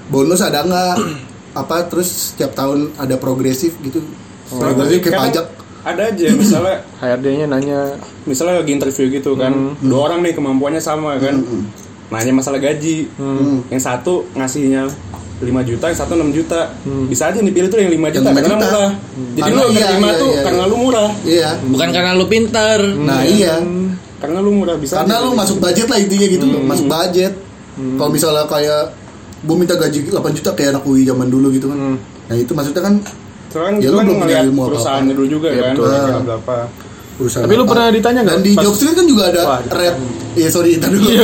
[SPEAKER 3] bonus ada nggak apa terus setiap tahun ada progresif gitu
[SPEAKER 4] Oh,
[SPEAKER 3] progresif kayak
[SPEAKER 4] kan
[SPEAKER 2] Kadang
[SPEAKER 3] pajak
[SPEAKER 2] Ada aja misalnya
[SPEAKER 4] HRD-nya nanya
[SPEAKER 2] misalnya lagi interview gitu kan
[SPEAKER 4] Hmm.
[SPEAKER 2] dua orang nih kemampuannya sama kan
[SPEAKER 3] Hmm,
[SPEAKER 2] nanya masalah gaji
[SPEAKER 4] Hmm.
[SPEAKER 2] yang satu ngasihnya 5 juta, yang satu 6 juta
[SPEAKER 4] Hmm.
[SPEAKER 2] bisa aja dipilih tuh yang 5 juta,
[SPEAKER 3] 5
[SPEAKER 2] karena
[SPEAKER 3] juta.
[SPEAKER 2] murah jadi
[SPEAKER 3] Karena
[SPEAKER 2] lu
[SPEAKER 3] iya,
[SPEAKER 2] terima
[SPEAKER 3] iya,
[SPEAKER 2] tuh
[SPEAKER 3] iya,
[SPEAKER 2] karena
[SPEAKER 3] iya.
[SPEAKER 2] lu murah
[SPEAKER 3] iya
[SPEAKER 1] Bukan karena lu pinter.
[SPEAKER 3] nah
[SPEAKER 4] Hmm.
[SPEAKER 3] iya
[SPEAKER 2] karena lu murah bisa
[SPEAKER 3] karena
[SPEAKER 2] aja.
[SPEAKER 3] lu masuk budget lah intinya gitu
[SPEAKER 4] Hmm.
[SPEAKER 3] loh masuk budget kalau misalnya kayak gue minta gaji 8 juta kayak anak UI zaman dulu gitu kan
[SPEAKER 4] Hmm.
[SPEAKER 3] nah itu maksudnya kan
[SPEAKER 2] Soalnya kan
[SPEAKER 3] Ya,
[SPEAKER 2] lu kan
[SPEAKER 3] lu belum punya
[SPEAKER 2] ngeliat
[SPEAKER 3] ilmu apa-apa.
[SPEAKER 2] perusahaannya dulu juga
[SPEAKER 4] Iya,
[SPEAKER 2] kan
[SPEAKER 4] betul.
[SPEAKER 2] kira-kira berapa
[SPEAKER 3] urusan
[SPEAKER 4] Tapi lu
[SPEAKER 3] apa.
[SPEAKER 4] pernah ditanya nggak
[SPEAKER 3] dan di
[SPEAKER 4] pas-
[SPEAKER 3] job street kan juga ada
[SPEAKER 4] Wah,
[SPEAKER 3] red Iya sorry ntar dulu Dan di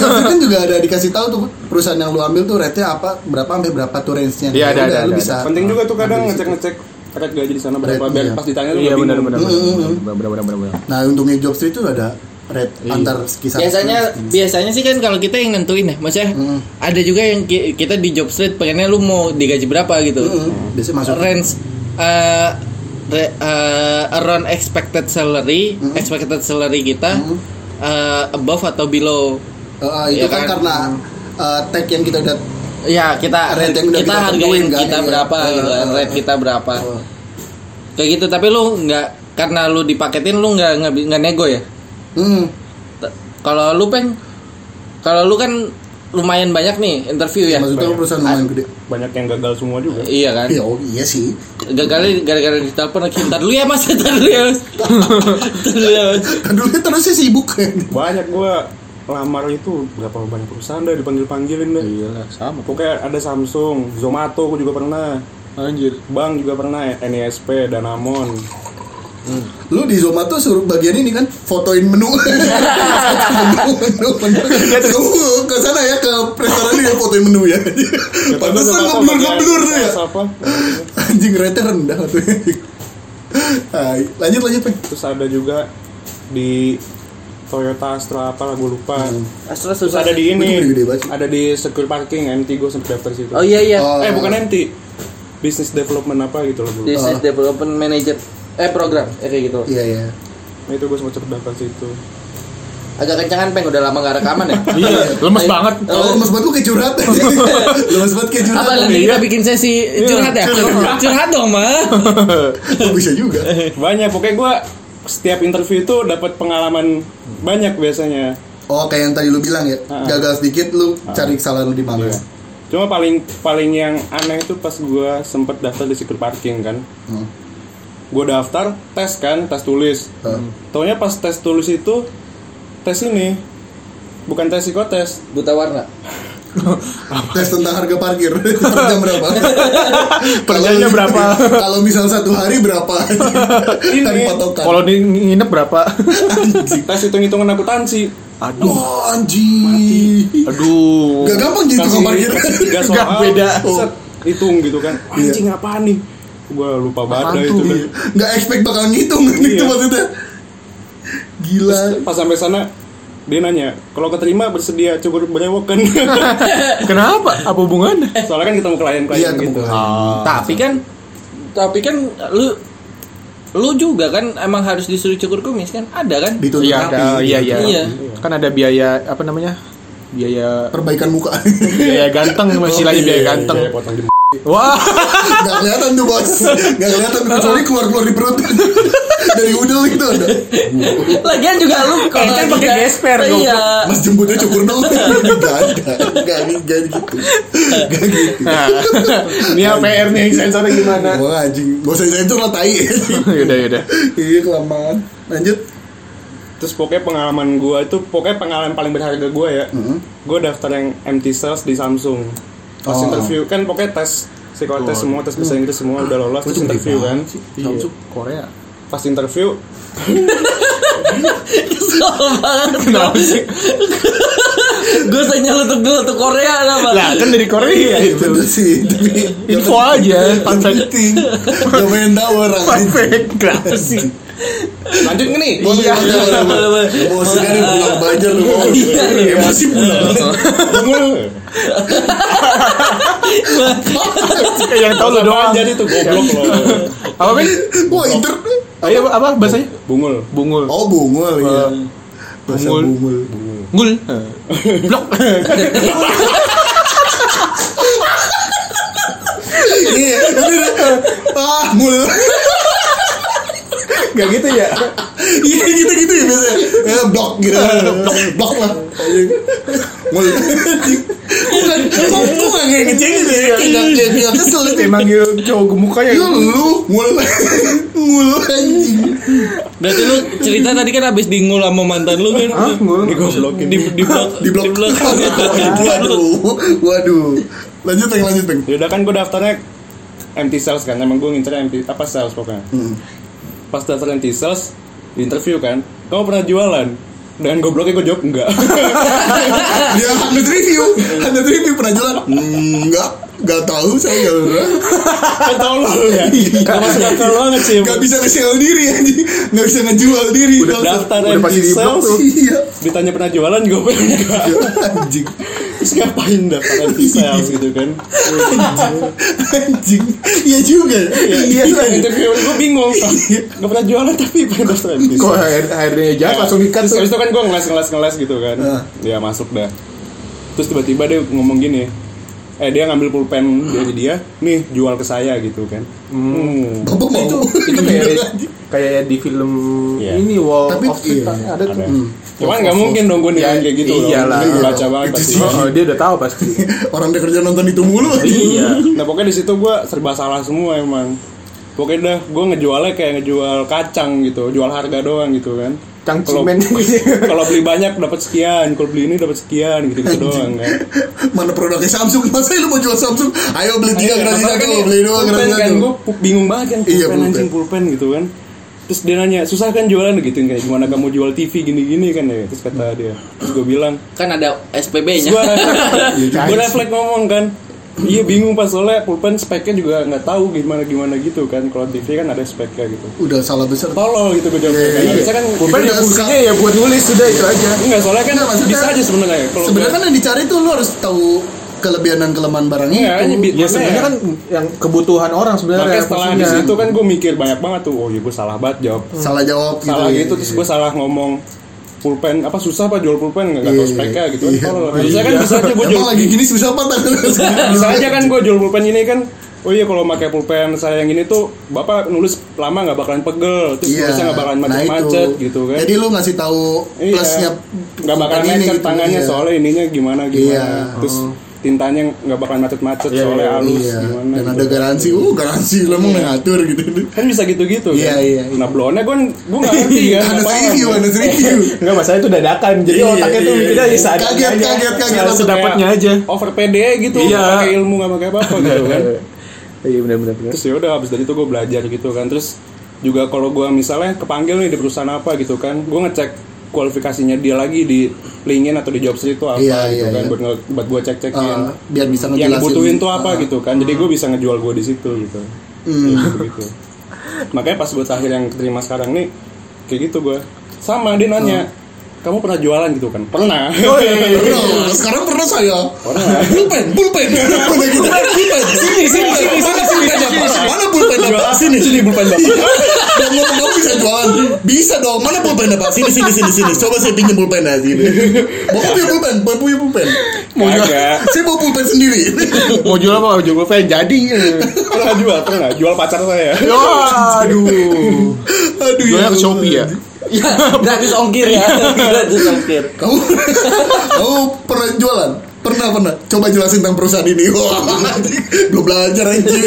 [SPEAKER 3] job street kan juga ada dikasih tahu tuh perusahaan yang lu ambil tuh rate-nya apa berapa sampai berapa tuh range-nya
[SPEAKER 4] Iya, ada,
[SPEAKER 3] udah,
[SPEAKER 4] ada,
[SPEAKER 3] lu
[SPEAKER 4] ada,
[SPEAKER 3] bisa
[SPEAKER 2] penting juga tuh kadang ngecek-ngecek rate gaji di sana berapa
[SPEAKER 3] Rate,
[SPEAKER 2] biar
[SPEAKER 3] iya.
[SPEAKER 2] pas ditanya tuh
[SPEAKER 4] Iya
[SPEAKER 2] nggak
[SPEAKER 4] benar
[SPEAKER 2] bingung.
[SPEAKER 4] benar.
[SPEAKER 3] Mm-mm.
[SPEAKER 4] Benar benar benar benar.
[SPEAKER 3] nah untungnya job street tuh ada rate
[SPEAKER 4] Iya.
[SPEAKER 3] antar sekitar
[SPEAKER 1] biasanya biasanya sih kan kalau kita yang nentuin ya maksudnya
[SPEAKER 3] Hmm.
[SPEAKER 1] ada juga yang ki- kita di job street pengennya lu mau digaji berapa gitu
[SPEAKER 3] Mm-mm. biasanya masuk
[SPEAKER 1] range eh, re- eh, around expected salary
[SPEAKER 3] Hmm.
[SPEAKER 1] expected salary kita eh, above atau below
[SPEAKER 3] Eh,
[SPEAKER 1] Iya
[SPEAKER 3] itu kan,
[SPEAKER 1] kan?
[SPEAKER 3] karena eh, tag yang kita udah
[SPEAKER 1] ya kita
[SPEAKER 3] Rate yang
[SPEAKER 1] kita,
[SPEAKER 3] udah kita
[SPEAKER 1] hargain
[SPEAKER 3] tentuin kan,
[SPEAKER 1] kita
[SPEAKER 3] iya.
[SPEAKER 1] berapa gitu
[SPEAKER 3] Eh,
[SPEAKER 1] rate kita berapa
[SPEAKER 3] eh.
[SPEAKER 1] kayak gitu tapi lu nggak karena lu dipaketin lu nggak nggak bi- nggak nego ya
[SPEAKER 3] hmm,
[SPEAKER 1] T- kalau lu peng kalau lu kan lumayan banyak nih interview ya
[SPEAKER 3] maksudnya lu perusahaan lumayan gede
[SPEAKER 2] banyak yang gagal semua juga
[SPEAKER 1] Iya kan?
[SPEAKER 3] iya oh, iya sih
[SPEAKER 1] Gagalnya gara-gara ditelepon lagi Ntar dulu ya mas Ntar dulu ya mas Ntar dulu ya mas
[SPEAKER 3] kan dulu terusnya sibuk
[SPEAKER 2] banyak gua lamar itu berapa banyak perusahaan dah dipanggil-panggilin dah
[SPEAKER 4] Iyalah sama.
[SPEAKER 2] Pokoknya ada Samsung, Zomato gue juga pernah
[SPEAKER 4] Anjir.
[SPEAKER 2] Bang juga pernah, NISP, Danamon
[SPEAKER 3] lu di Zomato suruh bagian ini kan fotoin menu menu menu menu kamu ke sana ya ke restoran ini ya fotoin menu ya pantesan
[SPEAKER 2] Zomato
[SPEAKER 3] ngeblur
[SPEAKER 2] pakai
[SPEAKER 3] ngeblur tuh ya
[SPEAKER 2] atas apa.
[SPEAKER 3] anjing rate rendah tuh Hai, lanjut lanjut Pak.
[SPEAKER 2] Terus ada juga di Toyota Astra apa lah gue lupa
[SPEAKER 1] Astra
[SPEAKER 2] Terus ada di
[SPEAKER 3] Itu
[SPEAKER 2] ini,
[SPEAKER 3] gede-gede banget sih.
[SPEAKER 2] ada di secure parking, MT gue sempet daftar situ
[SPEAKER 1] Oh iya iya
[SPEAKER 3] Oh,
[SPEAKER 2] Eh bukan MT, Business Development apa gitu loh dulu
[SPEAKER 1] This is development manager Eh program Eh kayak gitu
[SPEAKER 3] iya iya
[SPEAKER 2] Nah itu gue sempet sempet daftar situ
[SPEAKER 1] Agak kencangan peng Udah lama gak rekaman ya
[SPEAKER 4] Iya, lemes
[SPEAKER 1] Ayo.
[SPEAKER 4] banget.
[SPEAKER 3] kalau lemes banget lu kayak curhat lemes banget kayak curhat
[SPEAKER 1] Apa nanti kita bikin sesi curhat ya? Iya. Curhat dong mah
[SPEAKER 3] Oh, bisa juga
[SPEAKER 2] Eh, Banyak, pokoknya gue setiap interview itu dapat pengalaman banyak biasanya
[SPEAKER 3] oh kayak yang tadi lu bilang ya gagal sedikit lu cari kesalahan lu di mana
[SPEAKER 2] Iya. Cuma paling paling yang aneh itu pas gua sempet daftar di secret parking kan.
[SPEAKER 3] Hmm.
[SPEAKER 2] Gua daftar tes kan, tes tulis.
[SPEAKER 3] Hmm.
[SPEAKER 2] Taunya pas tes tulis itu tes ini bukan tes psikotes.
[SPEAKER 1] Buta warna
[SPEAKER 3] tes tentang harga parkir per jam berapa
[SPEAKER 4] Per jamnya
[SPEAKER 3] Kalau-
[SPEAKER 4] berapa?
[SPEAKER 3] kalau misal satu hari berapa cari patokan
[SPEAKER 4] Kalau di nginep berapa?
[SPEAKER 2] tes hitung-hitungan akuntansi.
[SPEAKER 4] Aduh.
[SPEAKER 3] wah anjing
[SPEAKER 4] Aduh.
[SPEAKER 3] gak gampang jadi tukang parkir
[SPEAKER 2] gitu? tiga soal.
[SPEAKER 4] Gak beda.
[SPEAKER 2] set, hitung gitu kan. Anjing apaan nih? Gua lupa banget dah
[SPEAKER 4] kan.
[SPEAKER 2] itu. kan. dah.
[SPEAKER 3] Iya. gak expect bakal ngitung
[SPEAKER 4] Iya.
[SPEAKER 3] itu maksudnya gila
[SPEAKER 2] Pas sampai sana dia nanya, kalau keterima bersedia cukup berewok kan?
[SPEAKER 4] Kenapa? Apa hubungannya?
[SPEAKER 2] Soalnya kan ketemu klien-klien
[SPEAKER 3] iya
[SPEAKER 2] gitu.
[SPEAKER 3] ketemu
[SPEAKER 4] Ah.
[SPEAKER 1] Tapi kan Tapi kan Lu Lu juga kan Emang harus disuruh cukur kumis kan Ada kan
[SPEAKER 3] dituntut
[SPEAKER 4] Iya,
[SPEAKER 3] rapi.
[SPEAKER 4] ada, iya, iya,
[SPEAKER 1] Iya.
[SPEAKER 4] Kan ada biaya apa namanya? Biaya
[SPEAKER 3] perbaikan muka
[SPEAKER 4] biaya ganteng, istilahnya biaya
[SPEAKER 2] Iya,
[SPEAKER 4] ganteng.
[SPEAKER 2] iya, potong di
[SPEAKER 4] Wah,
[SPEAKER 3] Gak kelihatan tuh bos Gak kelihatan kecuali keluar-keluar di perut Dari udel gitu ada
[SPEAKER 6] Lagian juga lu kalau
[SPEAKER 4] kan pakai
[SPEAKER 6] juga-
[SPEAKER 4] gesper,
[SPEAKER 6] Iya.
[SPEAKER 1] Eh,
[SPEAKER 3] Mas jemputnya cukur dong Gak ada Gak gak gitu Gak gitu
[SPEAKER 4] Nah, ini apa PR nih Iya, yang sensornya gimana?
[SPEAKER 3] Wah anjing Gak usah sensor lah tai
[SPEAKER 4] yaudah yaudah.
[SPEAKER 3] Iya kelamaan Lanjut
[SPEAKER 2] Terus pokoknya pengalaman gua itu pokoknya pengalaman paling berharga gua ya. Gua daftar yang MT sales di Samsung. Pas
[SPEAKER 3] Oh.
[SPEAKER 2] interview kan pokoknya tes psikotes semua, tes bahasa Inggris semua udah lolos
[SPEAKER 3] Gua
[SPEAKER 2] terus
[SPEAKER 3] juga
[SPEAKER 2] interview kan.
[SPEAKER 3] banget
[SPEAKER 2] Iya.
[SPEAKER 4] Korea.
[SPEAKER 2] Pas interview
[SPEAKER 6] Kesel banget. Kenapa sih? gue tanya lu tuh dulu tuh Korea apa?
[SPEAKER 4] Lah kan dari Korea itu.
[SPEAKER 3] Iya, Bener sih Tapi
[SPEAKER 4] Info aja, fun fact.
[SPEAKER 3] Gak main tahu orang
[SPEAKER 4] Fun fact, kenapa sih?
[SPEAKER 5] Lanjut nggak nih?
[SPEAKER 3] Iya,
[SPEAKER 6] boleh, boleh.
[SPEAKER 3] emosi kan yang pulang belajar lu mau
[SPEAKER 6] Iya, iya.
[SPEAKER 3] emosi pulang.
[SPEAKER 4] Eh, Yang tahu lu doang.
[SPEAKER 2] jadi tuh goblok lo.
[SPEAKER 4] Apa kan?
[SPEAKER 3] Wah inter,
[SPEAKER 4] Ayo Ah, iya, apa bahasanya?
[SPEAKER 2] Bungul.
[SPEAKER 4] Bungul.
[SPEAKER 3] oh bungul ya, bahasa
[SPEAKER 4] Bungul.
[SPEAKER 3] bungul.
[SPEAKER 4] Ngul. Blok.
[SPEAKER 3] Iya, udah, udah. ah mul,
[SPEAKER 4] Gak gitu ya?
[SPEAKER 3] iya gitu gitu ya biasanya, ya, blok gitu, blok, blok lah, mul. Bukan, kok kok gak kayak
[SPEAKER 6] gitu.
[SPEAKER 3] ngecengin ya? Kayak kayak kayak kesel itu.
[SPEAKER 4] Emang dia cowok gemuknya
[SPEAKER 3] Ya lu mul, mul anjing.
[SPEAKER 1] Berarti lu cerita tadi kan abis dingul sama mantan lu kan?
[SPEAKER 4] Hah? Ngul.
[SPEAKER 1] Di, di blok.
[SPEAKER 3] Di blok. Waduh, waduh. Lanjut peng, lanjut peng.
[SPEAKER 2] Ya udah kan gua daftarnya MT sales kan. Emang gua ngincer MT apa sales pokoknya.
[SPEAKER 3] Hmm.
[SPEAKER 2] Pas daftar MT sales di interview kan. Kamu pernah jualan? Dengan gobloknya gua jawab enggak.
[SPEAKER 3] dia hundred review hundred review pernah jalan enggak nggak tahu saya ya nggak
[SPEAKER 2] kan
[SPEAKER 3] pernah
[SPEAKER 2] tolol ya. Gak masuk akal banget sih.
[SPEAKER 3] nggak bisa nge-sell diri anjing nggak bisa ngejual diri
[SPEAKER 2] Udah
[SPEAKER 3] Nggak-
[SPEAKER 2] daftar
[SPEAKER 3] udah
[SPEAKER 2] MT
[SPEAKER 3] pasti di blok
[SPEAKER 2] sales.
[SPEAKER 3] tuh. iya
[SPEAKER 2] Ditanya pernah jualan juga gua enggak.
[SPEAKER 3] Ya, anjing
[SPEAKER 2] Terus ngapain daftar MT sales gitu kan.
[SPEAKER 3] anjing iya juga iya
[SPEAKER 2] Iya, interview gua bingung. Gak pernah jualan tapi pengen daftar MT
[SPEAKER 4] Kok
[SPEAKER 2] sales.
[SPEAKER 4] akhirnya jahat langsung di
[SPEAKER 2] Terus habis itu kan gue ngeles-ngeles-ngeles gitu kan
[SPEAKER 3] Ah.
[SPEAKER 2] Ya masuk dah Terus tiba-tiba dia ngomong gini Eh dia ngambil pulpen dia ke dia Nih jual ke saya gitu kan Hmm.
[SPEAKER 3] bapak mau
[SPEAKER 4] itu itu Kan kayak gitu. kayak di film
[SPEAKER 2] Iya.
[SPEAKER 4] ini Wall
[SPEAKER 3] Tapi
[SPEAKER 4] of Street
[SPEAKER 3] iya.
[SPEAKER 4] ada tuh.
[SPEAKER 2] Ada. Cuman gak mungkin dong gue nilai
[SPEAKER 4] Ya,
[SPEAKER 2] kayak gitu
[SPEAKER 4] iyalah.
[SPEAKER 2] dong Gue Baca banget
[SPEAKER 3] Itu
[SPEAKER 2] pasti. Iya.
[SPEAKER 3] sih.
[SPEAKER 4] Oh, oh, dia udah tahu pasti.
[SPEAKER 3] orang dia kerja nonton itu mulu
[SPEAKER 4] iya.
[SPEAKER 2] Nah pokoknya di situ gue serba salah semua emang Pokoknya dah gue ngejualnya kayak ngejual kacang gitu Jual harga doang gitu kan
[SPEAKER 4] Cang
[SPEAKER 2] Kalau-
[SPEAKER 4] cimen.
[SPEAKER 2] kalau beli banyak dapat sekian, kalau beli ini dapat sekian gitu, gitu doang kan.
[SPEAKER 3] mana produknya Samsung masa lu mau jual Samsung ayo beli tiga
[SPEAKER 2] Padahal
[SPEAKER 3] gratis satu
[SPEAKER 2] kan
[SPEAKER 3] Iya, beli dua
[SPEAKER 2] pulpen
[SPEAKER 3] gratis
[SPEAKER 2] kan
[SPEAKER 3] satu
[SPEAKER 2] gue bingung banget kan pulpen,
[SPEAKER 3] Iya, pulpen.
[SPEAKER 2] anjing pulpen gitu kan terus dia nanya susah kan jualan gitu kayak gimana kamu jual TV gini-gini kan ya terus kata dia terus gue bilang
[SPEAKER 1] Kan ada SPB-nya.
[SPEAKER 2] gue gue refleks ngomong kan iya bingung pas soalnya pulpen speknya juga nggak tahu gimana gimana gitu kan kalau TV kan ada speknya gitu
[SPEAKER 3] udah salah besar
[SPEAKER 2] tolol gitu gue jawab
[SPEAKER 3] Iya,
[SPEAKER 2] kan bisa kan
[SPEAKER 4] Pulpen
[SPEAKER 3] Udah
[SPEAKER 4] ada fungsinya ya buat nulis sudah itu aja.
[SPEAKER 2] enggak soalnya kan
[SPEAKER 3] Enggak, maksudnya-
[SPEAKER 2] bisa aja sebenarnya kalau
[SPEAKER 3] sebenarnya kan yang dicari tuh lu harus tahu kelebihan dan kelemahan barangnya
[SPEAKER 2] Iya,
[SPEAKER 3] itu.
[SPEAKER 2] ini bi-
[SPEAKER 4] Ya sebenarnya kan yang kebutuhan orang sebenarnya.
[SPEAKER 2] makanya setelah di
[SPEAKER 4] fungsinya.
[SPEAKER 2] situ kan gue mikir banyak banget tuh oh iya gue salah banget jawab
[SPEAKER 3] salah jawab gitu
[SPEAKER 2] salah
[SPEAKER 3] ya.
[SPEAKER 2] gitu terus gue salah ngomong pulpen apa susah apa jual pulpen nggak nggak
[SPEAKER 3] Iya,
[SPEAKER 2] tahu speknya gitu
[SPEAKER 3] iya.
[SPEAKER 2] kan kalau bisa kan bisa aja gue
[SPEAKER 3] Emang
[SPEAKER 2] jual
[SPEAKER 3] lagi gini susah apa tangan
[SPEAKER 2] bisa aja kan gue jual pulpen ini kan oh iya kalau pakai pulpen saya yang ini tuh bapak nulis lama nggak bakalan pegel terus nulisnya nggak bakalan
[SPEAKER 3] nah itu.
[SPEAKER 2] macet-macet gitu kan
[SPEAKER 3] Jadi lu ngasih tahu
[SPEAKER 2] Iya.
[SPEAKER 3] plusnya
[SPEAKER 2] nggak bakalan
[SPEAKER 3] ini
[SPEAKER 2] macet
[SPEAKER 3] gitu,
[SPEAKER 2] tangannya
[SPEAKER 3] iya.
[SPEAKER 2] soalnya ininya gimana gimana
[SPEAKER 3] Iya.
[SPEAKER 2] terus tintanya nggak bakalan macet-macet
[SPEAKER 4] Iya,
[SPEAKER 2] soalnya
[SPEAKER 4] iya,
[SPEAKER 2] halus
[SPEAKER 3] Iya.
[SPEAKER 2] gimana
[SPEAKER 3] Dan
[SPEAKER 2] gitu.
[SPEAKER 3] ada garansi. Uh, garansi lu emang ngatur gitu.
[SPEAKER 2] kan bisa gitu-gitu kan?
[SPEAKER 3] Iya, iya, iya.
[SPEAKER 2] nah blonnya gue gue nggak ngerti ya
[SPEAKER 3] Ada Iya.
[SPEAKER 2] nggak paham.
[SPEAKER 3] review, ada review.
[SPEAKER 4] Enggak masalah itu dadakan. Jadi
[SPEAKER 3] Iya,
[SPEAKER 4] otaknya tuh
[SPEAKER 3] iya,
[SPEAKER 4] mikirnya
[SPEAKER 3] iya.
[SPEAKER 4] ya seadanya
[SPEAKER 3] Kaget,
[SPEAKER 4] aja.
[SPEAKER 3] kaget, kaget.
[SPEAKER 4] Ya,
[SPEAKER 3] Langsung
[SPEAKER 4] Sedapatnya
[SPEAKER 2] Kayak
[SPEAKER 4] aja.
[SPEAKER 2] over pede gitu
[SPEAKER 4] Iya.
[SPEAKER 2] nggak pakai ilmu nggak pakai apa-apa gitu kan
[SPEAKER 4] Iya benar-benar.
[SPEAKER 2] terus ya udah habis dari itu gue belajar gitu kan terus juga kalau gue misalnya kepanggil nih di perusahaan apa gitu kan gue ngecek kualifikasinya dia lagi di LinkedIn atau di Jobstreet itu apa
[SPEAKER 3] Iya,
[SPEAKER 2] gitu
[SPEAKER 3] iya,
[SPEAKER 2] kan
[SPEAKER 3] iya.
[SPEAKER 2] buat nge- buat gue cek cekin
[SPEAKER 3] Ah, biar bisa
[SPEAKER 2] yang
[SPEAKER 3] ngejelasin.
[SPEAKER 2] dibutuhin tuh apa
[SPEAKER 3] Ah. Hmm.
[SPEAKER 2] gitu kan jadi gue bisa ngejual gue di situ gitu gitu makanya pas buat akhir yang keterima sekarang nih kayak gitu gue sama dia
[SPEAKER 3] Ah.
[SPEAKER 2] nanya kamu pernah jualan gitu kan pernah
[SPEAKER 3] Oh, iya, Bro, sekarang pernah saya. Pulpen, pulpen. Pulpen gitu. Pulpen. Sini, sini, sini, sini, sini. Mana pulpen Bapak? Iya. Sini, sini pulpen Bapak. Dong ngomong ngomong bisa jualan. Bisa dong. Mana pulpen Bapak? Sini, sini, sini, sini. Coba saya pinjam pulpen aja sini. Bapak punya pulpen, Bapak punya pulpen.
[SPEAKER 4] mau jual
[SPEAKER 2] Kagak.
[SPEAKER 3] Saya mau pulpen sendiri.
[SPEAKER 4] mau jual apa mau jual fan jadi
[SPEAKER 2] Pernah jual, pernah jual pacar saya.
[SPEAKER 4] ya aduh
[SPEAKER 3] Aduh
[SPEAKER 4] jualnya ke
[SPEAKER 3] Allah.
[SPEAKER 4] shopee ya
[SPEAKER 6] Ya, gratis ongkir ya. gratis ongkir.
[SPEAKER 3] Kamu, kamu pernah jualan? Pernah pernah. Coba jelasin tentang perusahaan ini. Wah, anjing. gue belajar anjing.